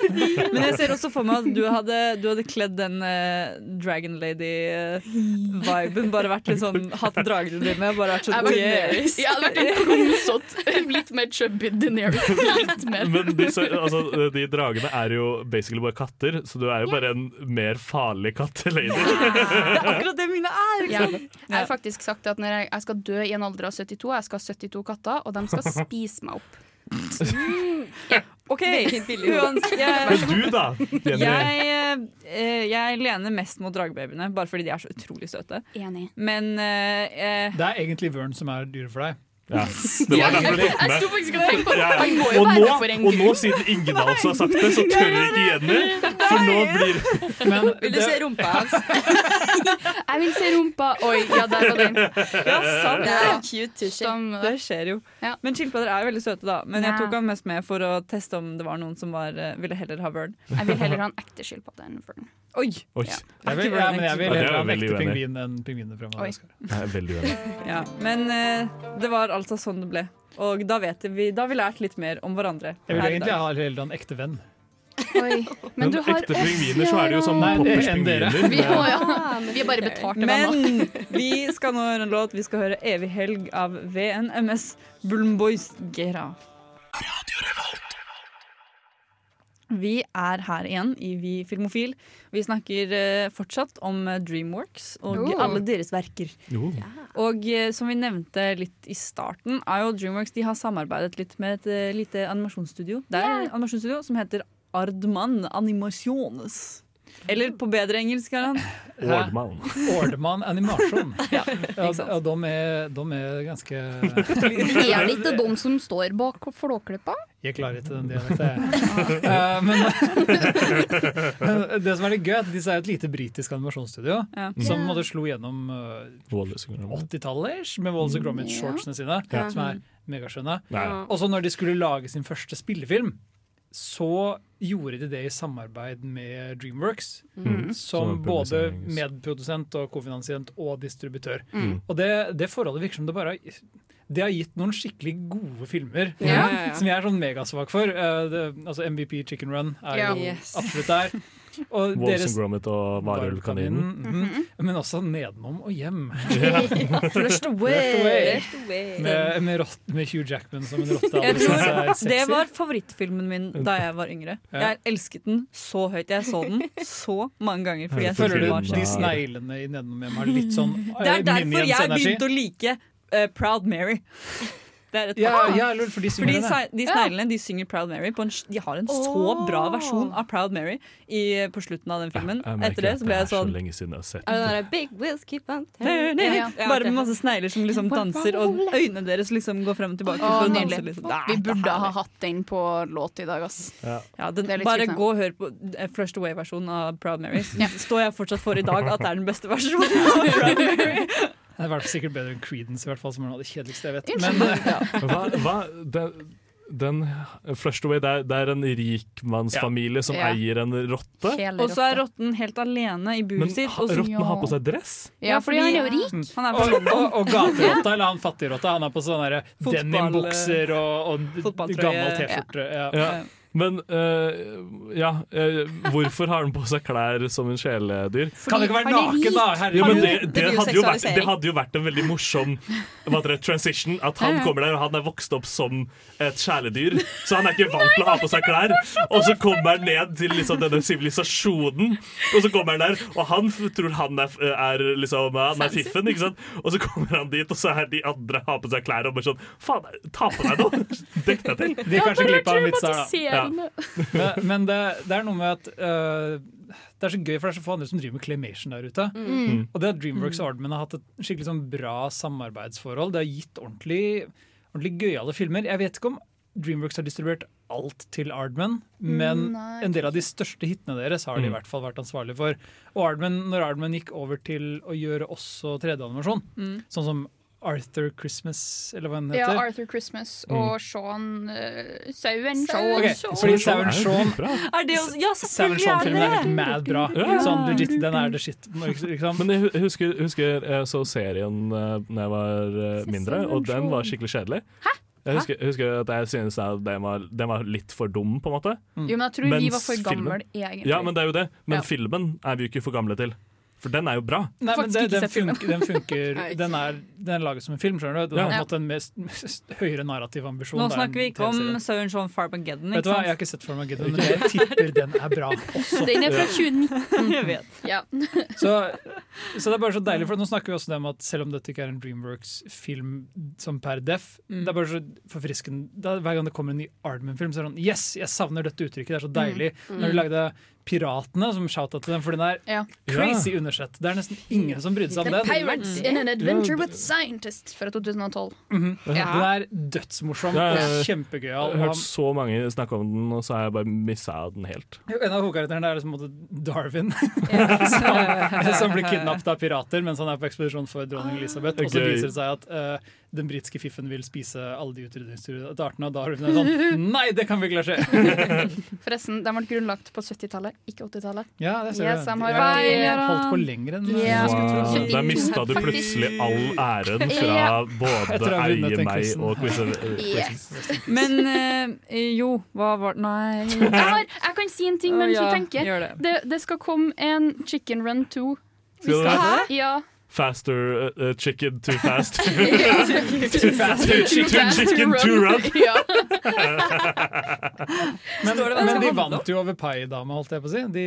Speaker 3: Men jeg ser også for meg at du hadde, du hadde kledd den eh, Dragon Lady-viben. bare vært litt sånn Hatt dragene dine. Bare vært sånn
Speaker 5: Jeg ble-
Speaker 3: yes.
Speaker 5: Jeg hadde vært en klumsete, litt mer chubby Daenerys. Litt mer.
Speaker 1: Men disse, altså, de dragene er jo basically bare katter, så du er jo bare en mer farlig kattelady.
Speaker 3: Det er akkurat det mine er! ikke
Speaker 5: Ja.
Speaker 3: sant?
Speaker 5: Jeg har faktisk sagt at når jeg, jeg skal dø i en alder av 72, jeg skal ha 72 katter, og de skal spise meg opp.
Speaker 3: OK.
Speaker 7: Veldig billig.
Speaker 3: Uans, jeg,
Speaker 1: Men du, da, Jenny?
Speaker 3: jeg, eh, jeg lener mest mot dragbabyene, bare fordi de er så utrolig søte.
Speaker 5: Enig.
Speaker 3: Men eh, eh,
Speaker 4: Det er egentlig Vørn som er dyret for deg.
Speaker 1: Ja, det var derfor du tok
Speaker 5: Jeg
Speaker 1: med.
Speaker 5: sto faktisk og tenkte på det.
Speaker 1: Ja.
Speaker 5: Han må jo
Speaker 1: Og,
Speaker 5: være
Speaker 1: nå,
Speaker 5: for en
Speaker 1: og nå,
Speaker 5: gud.
Speaker 1: siden ingen av oss har sagt det, så tør ikke Jenny. For nå blir
Speaker 4: Men
Speaker 7: Vil du
Speaker 4: det-
Speaker 7: se rumpa hans?
Speaker 5: Jeg vil se rumpa. Oi, ja, der var den.
Speaker 3: ja, sant
Speaker 7: Det
Speaker 3: det!
Speaker 7: er en cute tushy.
Speaker 5: Som,
Speaker 3: Det skjer jo.
Speaker 5: Ja.
Speaker 3: Men skilpadder er jo veldig søte, da. Men jeg
Speaker 5: Ja.
Speaker 3: tok han mest med for å teste om det var noen som var, eh, ville heller ha Vern.
Speaker 5: jeg vil heller ha en ekte skilpadde enn Vern.
Speaker 3: Oi!
Speaker 1: Oi,
Speaker 5: Ja.
Speaker 4: Jeg vil, ja, men jeg vil
Speaker 1: Ja, det er
Speaker 4: heller ha en
Speaker 1: veldig
Speaker 4: ekte
Speaker 1: uenig.
Speaker 4: pingvin enn pingvinene fra Madagaskar.
Speaker 1: jeg er veldig uenig.
Speaker 3: Ja, men eh, det var altså sånn det ble. Og da, vet vi, da har vi lært litt mer om hverandre.
Speaker 4: Jeg vil
Speaker 3: her i
Speaker 4: egentlig
Speaker 3: dag.
Speaker 4: ha heller en ekte venn.
Speaker 5: Oi. Men
Speaker 1: Men
Speaker 5: du har
Speaker 1: ekte pingviner, så er det jo som
Speaker 4: Nei,
Speaker 1: poppers
Speaker 4: enn dere.
Speaker 1: pingviner.
Speaker 5: Vi, å, ja.
Speaker 7: Ah,
Speaker 5: vi er bare betalt til venner.
Speaker 3: Men vi skal nå høre en låt. Vi skal høre 'Evig helg' av VNMS Bulmboys Gera. Vi er her igjen i Vi filmofil. Vi snakker eh, fortsatt om eh, Dreamworks og
Speaker 5: Oh.
Speaker 3: alle deres verker.
Speaker 1: Jo.
Speaker 3: Og eh, som vi nevnte litt i starten, er jo Dreamworks de har samarbeidet litt med et eh, lite animasjonsstudio. Det er et animasjonsstudio som heter Ardman Animasjones. Eller på bedre engelsk, er han.
Speaker 1: Ordmann.
Speaker 4: Ordmann animasjon. ja, ja, de, er, de er ganske Er
Speaker 5: det ikke de som står bak Flåklypa?
Speaker 4: Jeg klarer ikke den dialekten, jeg. Eh, men, men det som er litt gøy, er at disse er et lite britisk animasjonsstudio
Speaker 1: Ja.
Speaker 4: som
Speaker 1: Mm.
Speaker 4: måtte slo gjennom eh,
Speaker 1: Wallace og Gromit.
Speaker 4: 80-tallers med Wallace og Gromit-shortsene sine,
Speaker 1: Mm, Ja.
Speaker 4: som er megaskjønne.
Speaker 1: Ja.
Speaker 4: Og så når de skulle lage sin første spillefilm, så gjorde de det i samarbeid med Dreamworks,
Speaker 1: Mm.
Speaker 4: som
Speaker 1: Som
Speaker 4: både
Speaker 1: publisering-
Speaker 4: medprodusent og kofinansiant og distributør.
Speaker 1: Mm.
Speaker 4: Og det, det forholdet virker som det bare har- det har gitt noen skikkelig gode filmer
Speaker 1: Ja, ja, ja.
Speaker 4: som jeg er sånn megasvak for. Eh, det, altså MVP Chicken Run er
Speaker 1: Ja.
Speaker 4: jo
Speaker 1: Yes.
Speaker 4: absolutt der. Og
Speaker 1: Wallace and Gromit og Varulvkaninen.
Speaker 5: Mm.
Speaker 4: Varulvkaninen, mhm. Men også Nedenom og Hjem.
Speaker 1: Ja.
Speaker 3: Flushed away. Flushed away.
Speaker 4: Med, med, rott, med Hugh Jackman som en rotte.
Speaker 3: Jeg
Speaker 4: alle
Speaker 3: tror
Speaker 4: synes er
Speaker 3: Det
Speaker 4: sexy.
Speaker 3: var favorittfilmen min da jeg var yngre.
Speaker 4: Ja.
Speaker 3: Jeg elsket den så høyt. Jeg så den så mange ganger. Fordi jeg synes
Speaker 4: Føler
Speaker 3: den
Speaker 4: du
Speaker 3: var så
Speaker 4: de
Speaker 3: kul.
Speaker 4: sneglene i Nedenom og Hjem har litt sånn
Speaker 3: Det er derfor jeg begynte å like eh, Proud Mary. Det er et
Speaker 4: Ja,
Speaker 3: faktum.
Speaker 4: ja, lurt, for de synger
Speaker 3: Fordi
Speaker 4: det.
Speaker 3: se- de sneglene de synger Proud Mary. På en, s- de har en så bra versjon av Proud Mary i, på slutten av den filmen.
Speaker 1: Jeg merker
Speaker 3: Etter det
Speaker 1: at
Speaker 3: så ble jeg
Speaker 1: er
Speaker 3: sånn
Speaker 1: så lenge siden jeg har sett
Speaker 7: Er det den der Big wheels keep on turning? Ja, ja.
Speaker 3: Bare med masse snegler som liksom danser, og øynene deres liksom går frem og tilbake.
Speaker 5: Å,
Speaker 3: for å danse
Speaker 5: nydelig.
Speaker 3: liksom.
Speaker 5: Vi burde ha hatt den på låt i dag, ass.
Speaker 1: Ja.
Speaker 3: den,
Speaker 5: Det er litt
Speaker 3: bare
Speaker 5: kult, da.
Speaker 3: gå og hør på eh, Flushed Away-versjonen av Proud Mary. Står jeg fortsatt for i dag at det er den beste versjonen? av Proud Mary
Speaker 4: Det er i hvert fall sikkert bedre enn Creedence, i hvert fall, som er noe av det kjedeligste jeg vet. Men,
Speaker 1: hva, hva, den, den Flushed Away, det er, det er en rikmannsfamilie som
Speaker 3: Ja.
Speaker 1: eier en rotte.
Speaker 3: Og så er rotten helt alene i buret
Speaker 1: Men
Speaker 3: sitt.
Speaker 1: ha-
Speaker 3: og så-
Speaker 1: rotten har på seg dress?
Speaker 5: Ja, fordi han er jo rik.
Speaker 3: Han er
Speaker 4: eh,
Speaker 3: fra
Speaker 4: og, og,
Speaker 3: London.
Speaker 4: og gaterotta, eller han fattigrotta, han har på sånne der
Speaker 1: Fotball-
Speaker 4: denimbukser og, og
Speaker 1: Fotballtrøye.
Speaker 4: gammel T-skjorte. Ja.
Speaker 1: Ja. Men eh, ja, eh, hvorfor har han på seg klær som en sjeledyr?
Speaker 4: Kan det ikke være han er naken, rik. da? Herregud.
Speaker 1: Ja, men det,
Speaker 4: Det
Speaker 1: det,
Speaker 4: blir jo
Speaker 1: hadde jo vært,
Speaker 4: seksualisering.
Speaker 1: det hadde jo vært en veldig morsom hva heter det, transition. At han
Speaker 4: Ja, ja.
Speaker 1: kommer der, og han er vokst opp som et kjæledyr, så han er ikke vant til å ha på seg klær. Og så kommer han ned til liksom, denne sivilisasjonen, og så kommer han der, og han f- tror han er, er liksom Han er
Speaker 13: Fancy.
Speaker 1: fiffen, ikke sant? Og så kommer han dit, og så er de andre har på seg klær og bare sånn Faen, ta på deg noe! Dekk deg til.
Speaker 4: De kanskje glipp av en vits der, da.
Speaker 1: Ja.
Speaker 4: Men, men det, det er noe med at eh, det er så gøy, for det er så få andre som driver med claymation der ute.
Speaker 1: Mm.
Speaker 4: Og det at Dreamworks og Aardman har hatt et skikkelig sånn bra samarbeidsforhold. Det har gitt ordentlig, ordentlig gøyale filmer. Jeg vet ikke om Dreamworks har distribuert alt til Aardman, men
Speaker 5: Mm,
Speaker 1: Nei.
Speaker 4: en del av de største hitene deres har de i
Speaker 1: Mm.
Speaker 4: hvert fall vært ansvarlig for. Og Aardman, når Aardman gikk over til å gjøre også 3D-animasjon,
Speaker 5: Mm.
Speaker 4: sånn som Arthur Christmas, eller hva den
Speaker 5: Ja,
Speaker 4: heter. Mm.
Speaker 5: Arthur Christmas og Sean eh, Sauen Shaw.
Speaker 4: Ok, fordi Sauen Shaun-
Speaker 3: Er det også, ja, selvfølgelig
Speaker 4: Samuel
Speaker 3: er
Speaker 4: Shaw-filmen er
Speaker 3: det
Speaker 4: helt mad bra.
Speaker 1: Ja.
Speaker 4: Sånn legit, den er the shit. Liksom.
Speaker 1: Men jeg hu- husker, husker jeg så serien eh, Når jeg var eh, mindre, og den var skikkelig kjedelig. Jeg husker, jeg husker at jeg synes at den var, den var litt for dum, på en måte.
Speaker 5: Jo, men jeg tror vi
Speaker 1: Mens
Speaker 5: var for gamle,
Speaker 1: filmen-
Speaker 5: egentlig.
Speaker 1: Ja, men det er jo det. Men
Speaker 5: Ja.
Speaker 1: filmen er vi jo ikke for gamle til. For den er jo bra.
Speaker 4: Nei, men
Speaker 5: Faktisk
Speaker 4: det,
Speaker 5: ikke
Speaker 4: den,
Speaker 5: sett filmen.
Speaker 4: funker, den funker
Speaker 5: Nei, ikke
Speaker 4: den, er, den er laget som en film, skjønner du. Den
Speaker 1: Ja.
Speaker 4: har
Speaker 1: Ja.
Speaker 4: mått en mest, mest høyere narrativ ambisjon.
Speaker 3: Nå
Speaker 4: der
Speaker 3: snakker vi
Speaker 4: enn
Speaker 3: ikke om
Speaker 4: TV-serien.
Speaker 3: Søren Shaun Farbageddon.
Speaker 4: Vet du hva, Jeg har ikke sett Farmageddon, men jeg tipper den er bra også.
Speaker 5: Den er fra 2019.
Speaker 3: Jeg vet.
Speaker 5: Ja.
Speaker 4: Så, så det er bare så deilig, for nå snakker vi også om at selv om dette ikke er en Dreamworks-film som per def, det er bare så forfriskende da, Hver gang det kommer en ny Aardman-film, så er det sånn Yes, jeg savner dette uttrykket, det er så deilig.
Speaker 1: Mm.
Speaker 4: Når de lagde Piratene, som shouta til den, for den er crazy undersett. Det er nesten ingen som brydde seg om
Speaker 5: The
Speaker 4: den.
Speaker 5: Pirates in an Adventure with Scientists fra 2012.
Speaker 4: Mhm.
Speaker 5: Ja.
Speaker 4: Den er dødsmorsom
Speaker 1: Ja,
Speaker 4: og
Speaker 1: ja.
Speaker 4: kjempegøyal.
Speaker 1: Jeg har
Speaker 4: og
Speaker 1: hørt så mange snakke om den, og så har jeg bare missa den helt.
Speaker 4: han- En av hovedkarakterene er liksom på en måte Darwin, som, som blir kidnappet av pirater mens han er på ekspedisjon for dronning
Speaker 5: Ah.
Speaker 4: Elisabeth. Og så
Speaker 1: Gøy.
Speaker 4: viser det seg at eh, den britiske fiffen vil spise alle de utryddingstruede artene, og Darwin er sånn Nei, det kan virkelig skje!
Speaker 5: Forresten, de ble grunnlagt på 70-tallet, ikke 80-tallet.
Speaker 4: ja, det ser
Speaker 5: Yes,
Speaker 4: du.
Speaker 5: de har
Speaker 4: Jeg
Speaker 5: vært-
Speaker 4: holdt på lenger enn
Speaker 5: Ja.
Speaker 4: jeg skulle
Speaker 1: Wow.
Speaker 4: tro.
Speaker 1: eh, Der mista du plutselig all æren fra
Speaker 3: Ja.
Speaker 1: både
Speaker 4: Etter å ha vunnet
Speaker 1: eie
Speaker 4: den
Speaker 1: meg
Speaker 4: quizen.
Speaker 1: og quizen.
Speaker 3: Men eh, jo, hva var det Nei.
Speaker 5: Jeg, har, jeg kan si en ting
Speaker 3: Å,
Speaker 5: mens
Speaker 3: ja,
Speaker 5: du tenker.
Speaker 3: gjør det.
Speaker 5: Det, det skal komme en Chicken Run 2.
Speaker 1: Skal det være det?
Speaker 5: Ja.
Speaker 1: Faster uh, uh, chicken too fast.
Speaker 5: Too
Speaker 4: fast, too
Speaker 1: Too chicken,
Speaker 4: fast, too
Speaker 1: too
Speaker 4: run.
Speaker 1: run.
Speaker 5: Ja.
Speaker 4: Men,
Speaker 5: Står det hva
Speaker 4: men
Speaker 5: det skal
Speaker 4: de
Speaker 5: handle om?
Speaker 4: vant jo over Paidama, holdt jeg på å si. De,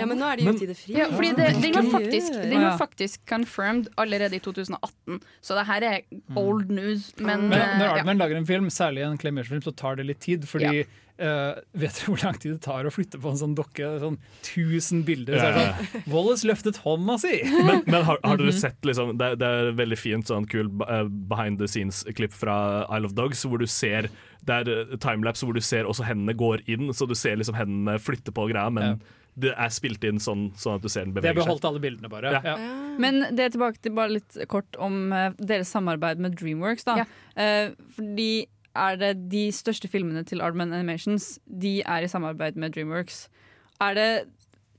Speaker 7: Ja, men nå er det
Speaker 4: Men-
Speaker 7: utgitt i fri.
Speaker 5: Ja, fordi det, den var faktisk, den
Speaker 4: Ja.
Speaker 5: var faktisk confirmed allerede i 2018, så det her
Speaker 4: Mm.
Speaker 5: er old news. Men,
Speaker 4: Men
Speaker 5: eh,
Speaker 4: når
Speaker 5: ja.
Speaker 4: Aardman lager en film, særlig en Claymation-film, så tar det litt tid. Fordi eh, vet dere hvor lang tid det tar å flytte på en sånn dokke? Sånn 1000 bilder. Så er
Speaker 1: Ja, ja,
Speaker 4: det sånn, Wallace løftet hånda si!
Speaker 1: Men, men har, har dere
Speaker 4: Mhm.
Speaker 1: sett liksom, det, det er veldig fint sånn kul eh, behind the scenes-klipp fra Isle of Dogs, hvor du ser det er eh, timelapse hvor du ser også hendene går inn, så du ser liksom hendene flytte på greia, men det er spilt inn sånn, sånn at du ser den
Speaker 4: Det har
Speaker 1: beveger seg.
Speaker 4: beholdt alle bildene, bare.
Speaker 1: Ja.
Speaker 4: Ja.
Speaker 3: Men det er tilbake til bare litt kort om eh, deres samarbeid med Dreamworks. da. Eh, fordi er det de største filmene til Ardman Animations De er i samarbeid med Dreamworks. Er det,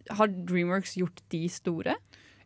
Speaker 3: har Dreamworks gjort de store?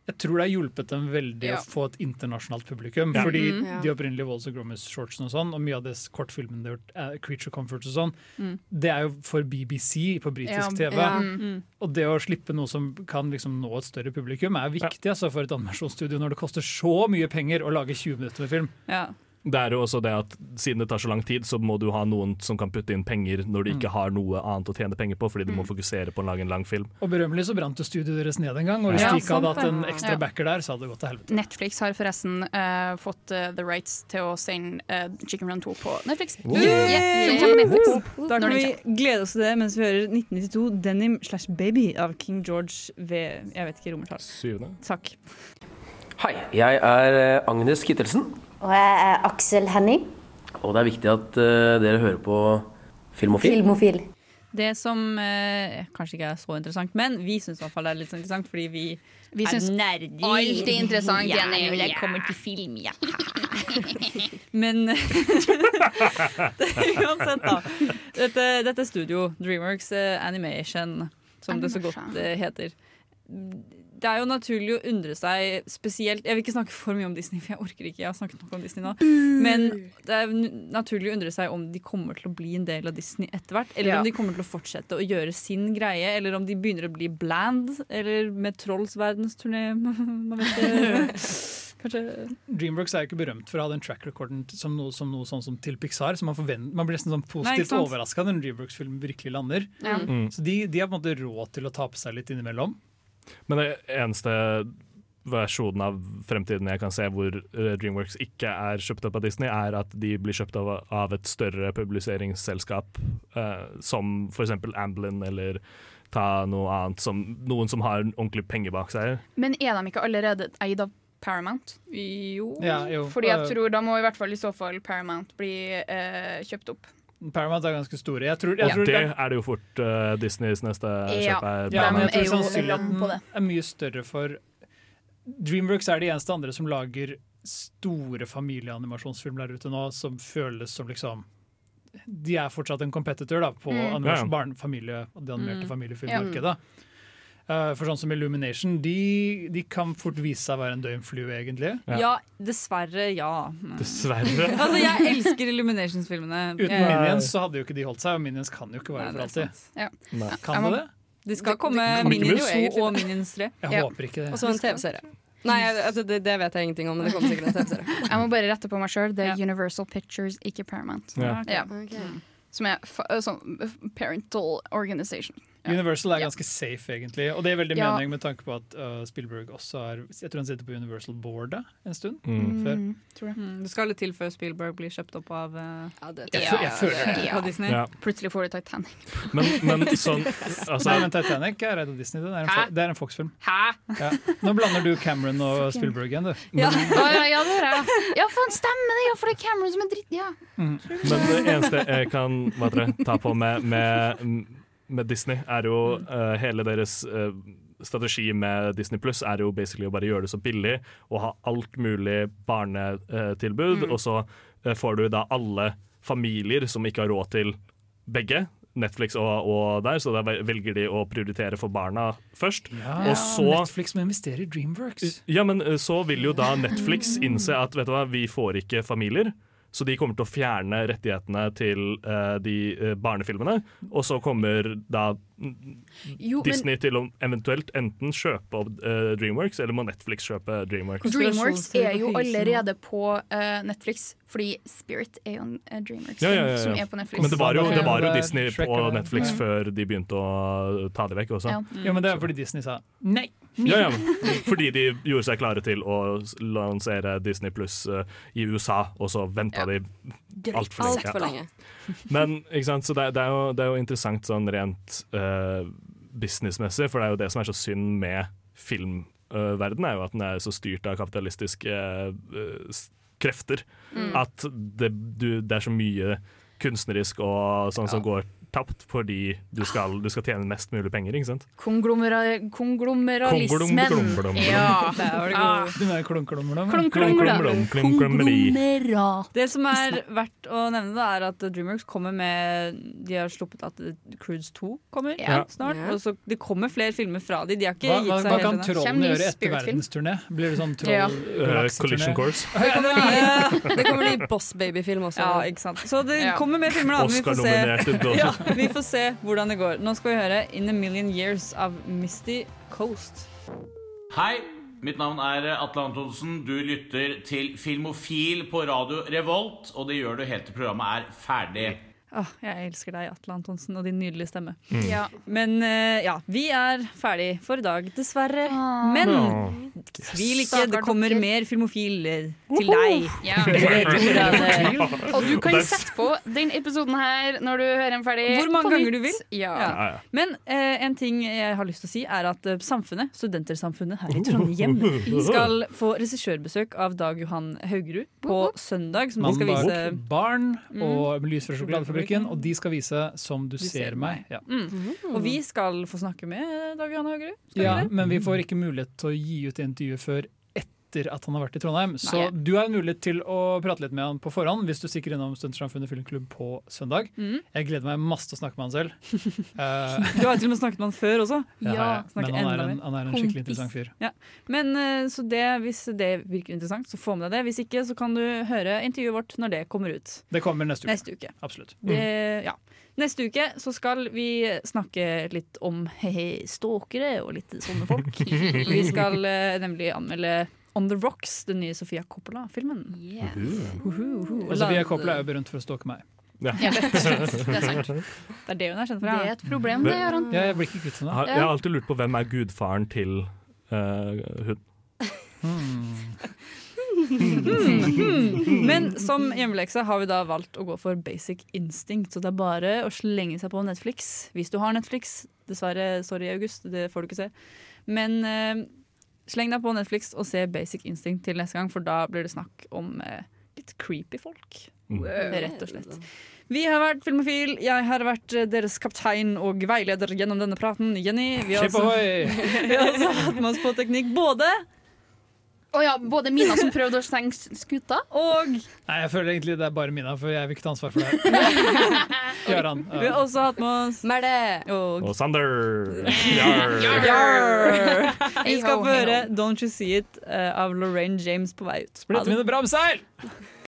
Speaker 4: Jeg tror det har hjulpet dem veldig
Speaker 3: Ja.
Speaker 4: å få et internasjonalt publikum.
Speaker 3: Ja.
Speaker 4: Fordi
Speaker 3: Mm. Ja.
Speaker 4: de opprinnelige Walls og Grommes-shortsene og sånn, og mye av det kortfilmen de har gjort, eh, Creature Comforts og sånn,
Speaker 3: Mm.
Speaker 4: det er jo for BBC på
Speaker 3: Ja,
Speaker 4: britisk TV.
Speaker 3: ja. Mm.
Speaker 4: Og det å slippe noe som kan liksom nå et større publikum, er viktig altså, for et animasjonsstudio når det koster så mye penger å lage 20 minutter med film.
Speaker 3: Ja.
Speaker 1: Det er jo også det at siden det tar så lang tid, så må du ha noen som kan putte inn penger når du
Speaker 4: Mm.
Speaker 1: ikke har noe annet å tjene penger på, fordi du må fokusere på å lage en lang film.
Speaker 4: Og berømmelig så brant jo studioet deres ned en gang, og hvis
Speaker 5: Ja,
Speaker 4: de ikke hadde
Speaker 5: sant
Speaker 4: hatt en
Speaker 5: det.
Speaker 4: ekstra
Speaker 5: Ja.
Speaker 4: backer der, så hadde det gått til helvete.
Speaker 5: Netflix har forresten eh, fått eh, the rights til å sende eh, Chicken Run 2 på Netflix.
Speaker 3: Woo!
Speaker 5: Yeah, den kommer på Netflix.
Speaker 3: Da
Speaker 5: Når
Speaker 3: kan
Speaker 5: den
Speaker 3: vi
Speaker 5: kommer.
Speaker 3: glede oss til det mens vi hører 1992 Denim slash Baby av King George ved Jeg vet ikke romertall.
Speaker 1: Syvende.
Speaker 3: Takk.
Speaker 17: Hei, jeg er eh, Agnes Kittelsen,
Speaker 18: Og jeg er Aksel Henning,
Speaker 17: og det er viktig at eh, dere hører på Filmofil.
Speaker 18: filmofil.
Speaker 3: Det som eh, kanskje ikke er så interessant, men vi syns i hvert fall det er litt interessant, fordi vi,
Speaker 5: Vi
Speaker 3: er
Speaker 5: syns
Speaker 3: nerder.
Speaker 5: alt er interessant, Jenny.
Speaker 3: når det
Speaker 5: Ja.
Speaker 3: kommer til film, ja. Men uansett, da. Dette, dette studio, Dreamworks eh, Animation, som det så godt eh, heter. Det er jo naturlig å undre seg spesielt Jeg vil ikke snakke for mye om Disney, for jeg orker ikke. Jeg har snakket nok om Disney nå. Men det er n- naturlig å undre seg om de kommer til å bli en del av Disney etter hvert. Eller
Speaker 5: Ja.
Speaker 3: om de kommer til å fortsette å gjøre sin greie. Eller om de begynner å bli bland. Eller med Trolls verdensturné. Man vet ikke. Kanskje
Speaker 4: Dreamworks er jo ikke berømt for å ha den track recorden t- som noe, som noe sånn som til Pixar. Så man, forvent- man blir nesten sånn
Speaker 3: Nei, ikke
Speaker 4: positivt
Speaker 3: sant?
Speaker 4: overraska når en Dreamworks-film virkelig lander.
Speaker 3: Ja. Mm.
Speaker 4: Så de, de har på en måte råd til å tape seg litt innimellom.
Speaker 1: Men det eneste versjonen av fremtiden jeg kan se hvor eh, Dreamworks ikke er kjøpt opp av Disney, er at de blir kjøpt av, av et større publiseringsselskap, eh, som f.eks. Amblin eller ta noe annet, som, noen som har ordentlig penger bak seg.
Speaker 5: Men er de ikke allerede eid av Paramount? Jo.
Speaker 4: Ja, jo.
Speaker 5: Fordi jeg
Speaker 4: Eh.
Speaker 5: tror da må i hvert fall i så fall Paramount bli eh, kjøpt opp.
Speaker 4: Paramount er ganske store. Jeg tror, jeg
Speaker 1: Og
Speaker 4: tror
Speaker 1: det er det jo fort eh, Disneys neste
Speaker 5: Ja,
Speaker 1: kjøp er.
Speaker 4: Ja, men
Speaker 1: Paramount.
Speaker 4: jeg tror
Speaker 5: er jo lam på det.
Speaker 4: sannsynligheten er mye større for Dreamworks er de eneste andre som lager store familieanimasjonsfilmer der ute nå, som føles som liksom De er fortsatt en competitor da, på
Speaker 1: Mm.
Speaker 4: animasjon-
Speaker 1: Ja, ja.
Speaker 4: barne- familie, det animerte
Speaker 1: Mm.
Speaker 4: familiefilmmarkedet. Eh, for sånn som Illumination, de, de kan fort vise seg å være en døgnflue, egentlig.
Speaker 3: Ja, dessverre, ja. Mm.
Speaker 1: Dessverre.
Speaker 3: altså, jeg elsker Illuminations-filmene.
Speaker 4: Uten
Speaker 3: Jeg-
Speaker 4: Minions så hadde jo ikke de holdt seg, og Minions kan jo ikke vare for alltid.
Speaker 5: Ja.
Speaker 3: Nei.
Speaker 4: Kan
Speaker 3: Jeg må-
Speaker 4: de det?
Speaker 3: Det skal komme
Speaker 4: det-
Speaker 3: Minions
Speaker 4: Minions
Speaker 3: 2 og Minions 3.
Speaker 4: Jeg Ja. håper ikke det.
Speaker 7: Og så en TV-serie. Nei, altså, det, det vet jeg ingenting om, men det kommer sikkert en TV-serie.
Speaker 5: Jeg må bare rette på meg sjøl. Det er Universal Pictures, ikke Paramount.
Speaker 4: Ja. Ok.
Speaker 5: Som er fa eh, sånn eh, parental organization.
Speaker 4: Universal er ganske safe, egentlig. Og det er veldig
Speaker 5: Ja.
Speaker 4: mening med tanke på at øh, Spielberg også er Jeg tror han sitter på Universal-boardet en stund.
Speaker 3: Mm.
Speaker 4: Før.
Speaker 3: Mm, det skal litt til før Spielberg blir kjøpt opp av eh,
Speaker 4: Jeg fø- jeg føler det.
Speaker 3: av Disney.
Speaker 1: Ja.
Speaker 5: Plutselig får du Titanic.
Speaker 1: Men, men sånn altså,
Speaker 4: Nei, men Titanic er eid av Disney. Det er en,
Speaker 5: Hæ?
Speaker 4: fo det er en Fox-film.
Speaker 5: Hæ?
Speaker 4: Ja. Nå blander du Cameron og
Speaker 5: Fucking-
Speaker 4: Spielberg igjen, du.
Speaker 5: Ja, Å, ja, ja, det hører jeg. Ja, faen, stemmer det! Ja, for det er Cameron som er dritt... Ja.
Speaker 4: Mm.
Speaker 1: Men det eneste jeg kan hva heter det, ta på med, med, med Disney, er jo eh, hele deres eh, strategi med Disney Pluss er jo basically å bare gjøre det så billig og ha alt mulig barnetilbud,
Speaker 13: Mm.
Speaker 1: og så eh, får du da alle familier som ikke har råd til begge. Netflix og, og der, så da velger de å prioritere for barna først. og så
Speaker 4: Netflix som investerer i Dreamworks.
Speaker 1: ja, men eh, så vil jo da Netflix innse at vet du hva, vi får ikke familier. Så de kommer til å fjerne rettighetene til eh, de eh, barnefilmene. Og så kommer da mm,
Speaker 5: Jo, men-
Speaker 1: Disney til å eventuelt enten kjøpe opp eh, Dreamworks, eller må Netflix kjøpe Dreamworks.
Speaker 5: Dreamworks er jo allerede på eh, Netflix, fordi Spirit er jo en eh, Dreamworks
Speaker 1: Ja, ja, ja,
Speaker 5: som
Speaker 1: ja.
Speaker 5: er på Netflix.
Speaker 1: Men det var jo, det var jo
Speaker 4: Ja.
Speaker 1: Disney
Speaker 4: Shrek
Speaker 1: på
Speaker 4: og-
Speaker 1: Netflix
Speaker 4: Ja.
Speaker 1: før de begynte å ta det vekk også.
Speaker 3: Mm.
Speaker 4: Ja, men det er fordi Disney sa nei.
Speaker 1: Ja, ja. Fordi de gjorde seg klare til å s- lansere Disney Pluss eh, i USA, og så venta de altfor lenge.
Speaker 19: Altfor lenge.
Speaker 1: Men ikke sant? Så det, det, er jo, det er jo interessant sånn rent eh, businessmessig, for det er jo det som er så synd med filmverdenen, er jo at den er så styrt av kapitalistiske eh, s- krefter.
Speaker 13: Mm.
Speaker 1: At det, du, det er så mye kunstnerisk og sånn som går tapt fordi du skal, du skal tjene mest mulig penger, ikke sant?
Speaker 5: Konglomera
Speaker 1: Konglom, klom, klom, klom.
Speaker 5: konglomeralismen. Ja.
Speaker 3: Mm. Der var det
Speaker 5: Ah.
Speaker 4: Du mener klumklommer, da? men-
Speaker 1: Klom, klom, klom, klommeri.
Speaker 3: Det som er verdt å nevne, da, er at Dreamworks kommer med De har sluppet at Cruise 2 kommer
Speaker 4: Ja.
Speaker 3: snart.
Speaker 4: Ja.
Speaker 3: Og så det kommer flere filmer fra de De har ikke
Speaker 4: Hva, hva,
Speaker 3: gitt seg
Speaker 4: hva
Speaker 3: helt
Speaker 4: kan
Speaker 3: ennå.
Speaker 4: trollene gjøre etter verdensturné? Blir det sånn troll
Speaker 3: Ja.
Speaker 1: Eh, collision course.
Speaker 7: Det kommer ny Boss Baby-film også.
Speaker 3: Ja, ikke sant. Så det
Speaker 7: Ja.
Speaker 3: kommer mer filmer, da. men Vi får,
Speaker 1: Oscar-nominerte
Speaker 3: se.
Speaker 1: dåser.
Speaker 3: Ja, vi får se hvordan det går. Nå skal vi høre In A Million Years av Misty Coast.
Speaker 20: Hei, mitt navn er Atle Antonsen. Du lytter til Filmofil på radio Revolt, og det gjør du helt til programmet er ferdig.
Speaker 3: Åh, jeg elsker deg, Atle Antonsen, og din nydelige stemme.
Speaker 20: Mm.
Speaker 5: Ja.
Speaker 3: Men eh, ja, vi er ferdig for i dag, dessverre.
Speaker 5: Ah.
Speaker 3: Men tvil ikke, det kommer mer filmofil eh, til deg.
Speaker 5: Ja.
Speaker 3: Det vet du hvordan det-
Speaker 5: Og du kan sette på den episoden her når du hører den ferdig.
Speaker 3: Hvor mange
Speaker 5: på
Speaker 3: ganger
Speaker 5: nytt.
Speaker 3: du vil.
Speaker 5: Ja.
Speaker 3: Ja. Men eh, en ting jeg har lyst til å si, er at eh, samfunnet, studentersamfunnet her i Trondheim, skal få regissørbesøk av Dag Johan Haugerud på søndag. Som de
Speaker 4: Mannen
Speaker 3: skal
Speaker 4: bak
Speaker 3: vise
Speaker 4: Barn og Lys fra sjokoladefabrikken, og de skal vise Som du, ser meg. Ja.
Speaker 3: Mm. Og vi skal få snakke med Dag Johan Haugerud. skal vi
Speaker 4: ja,
Speaker 3: det?
Speaker 4: Men vi får ikke mulighet til å gi ut intervjuet før etter at han har vært i Trondheim. Så du har en mulighet til å prate litt med han på forhånd hvis du stikker innom Studentersamfunnet filmklubb på søndag.
Speaker 3: Mhm.
Speaker 4: Jeg gleder meg masse til å snakke med han selv. Eh,
Speaker 3: Du har til og med snakket med han før også.
Speaker 4: Ja, ja, ja.
Speaker 3: Snakker
Speaker 4: Men han er
Speaker 3: enda
Speaker 4: en-
Speaker 3: mer.
Speaker 4: han er en skikkelig interessant fyr.
Speaker 3: Ja. Men eh, så det, Hvis det virker interessant, så få med deg det. Hvis ikke, så kan du høre intervjuet vårt når det kommer ut.
Speaker 4: det kommer neste uke.
Speaker 3: Neste uke.
Speaker 4: Absolutt. Mm.
Speaker 3: Det, ja. Neste uke så skal vi snakke litt om he-he, stalkere og litt sånne folk. Vi skal eh, nemlig anmelde On The Rocks, den nye Sofia Coppola-filmen. Uhu, uhu.
Speaker 4: Og Sofia Coppola er jo berømt for å stalke meg.
Speaker 1: Ja.
Speaker 3: Ja, det er sant. Det er sant. Det er det hun er kjent for.
Speaker 5: Det er et problem, det, Aron.
Speaker 4: Ja, jeg blir ikke kvitt
Speaker 1: Jeg har, jeg har alltid lurt på hvem er gudfaren til eh, hun.
Speaker 4: Mm.
Speaker 3: Hmm. Men som hjemmelekse har vi da valgt å gå for basic instinct. Så det er bare å slenge seg på Netflix. Hvis du har Netflix. Dessverre, sorry, August, det får du ikke se. Men eh, sleng deg på Netflix og se Basic Instinct til neste gang, for da blir det snakk om eh, litt creepy folk.
Speaker 5: Mm.
Speaker 3: Rett og slett. Vi har vært Filmofil. Jeg har vært eh, deres kaptein og veileder gjennom denne praten, Jenny. Vi har
Speaker 4: Skip ahoy!
Speaker 3: vi har også hatt med oss på teknikk både
Speaker 5: Å ja, både Mina som prøvde å stenge s- skuta,
Speaker 3: og
Speaker 4: Nei, jeg føler egentlig det er bare Mina, for jeg vil ikke ta ansvar for det. her. Gøran.
Speaker 3: Vi har også hatt med oss Merde. Og
Speaker 1: Og Sander! Jar.
Speaker 3: Yarr. Vi
Speaker 4: Hei
Speaker 3: skal
Speaker 4: ho,
Speaker 3: få
Speaker 4: hei
Speaker 3: høre Don't You See It eh, av Lorraine James på vei ut.
Speaker 4: Splitter mine bramseil!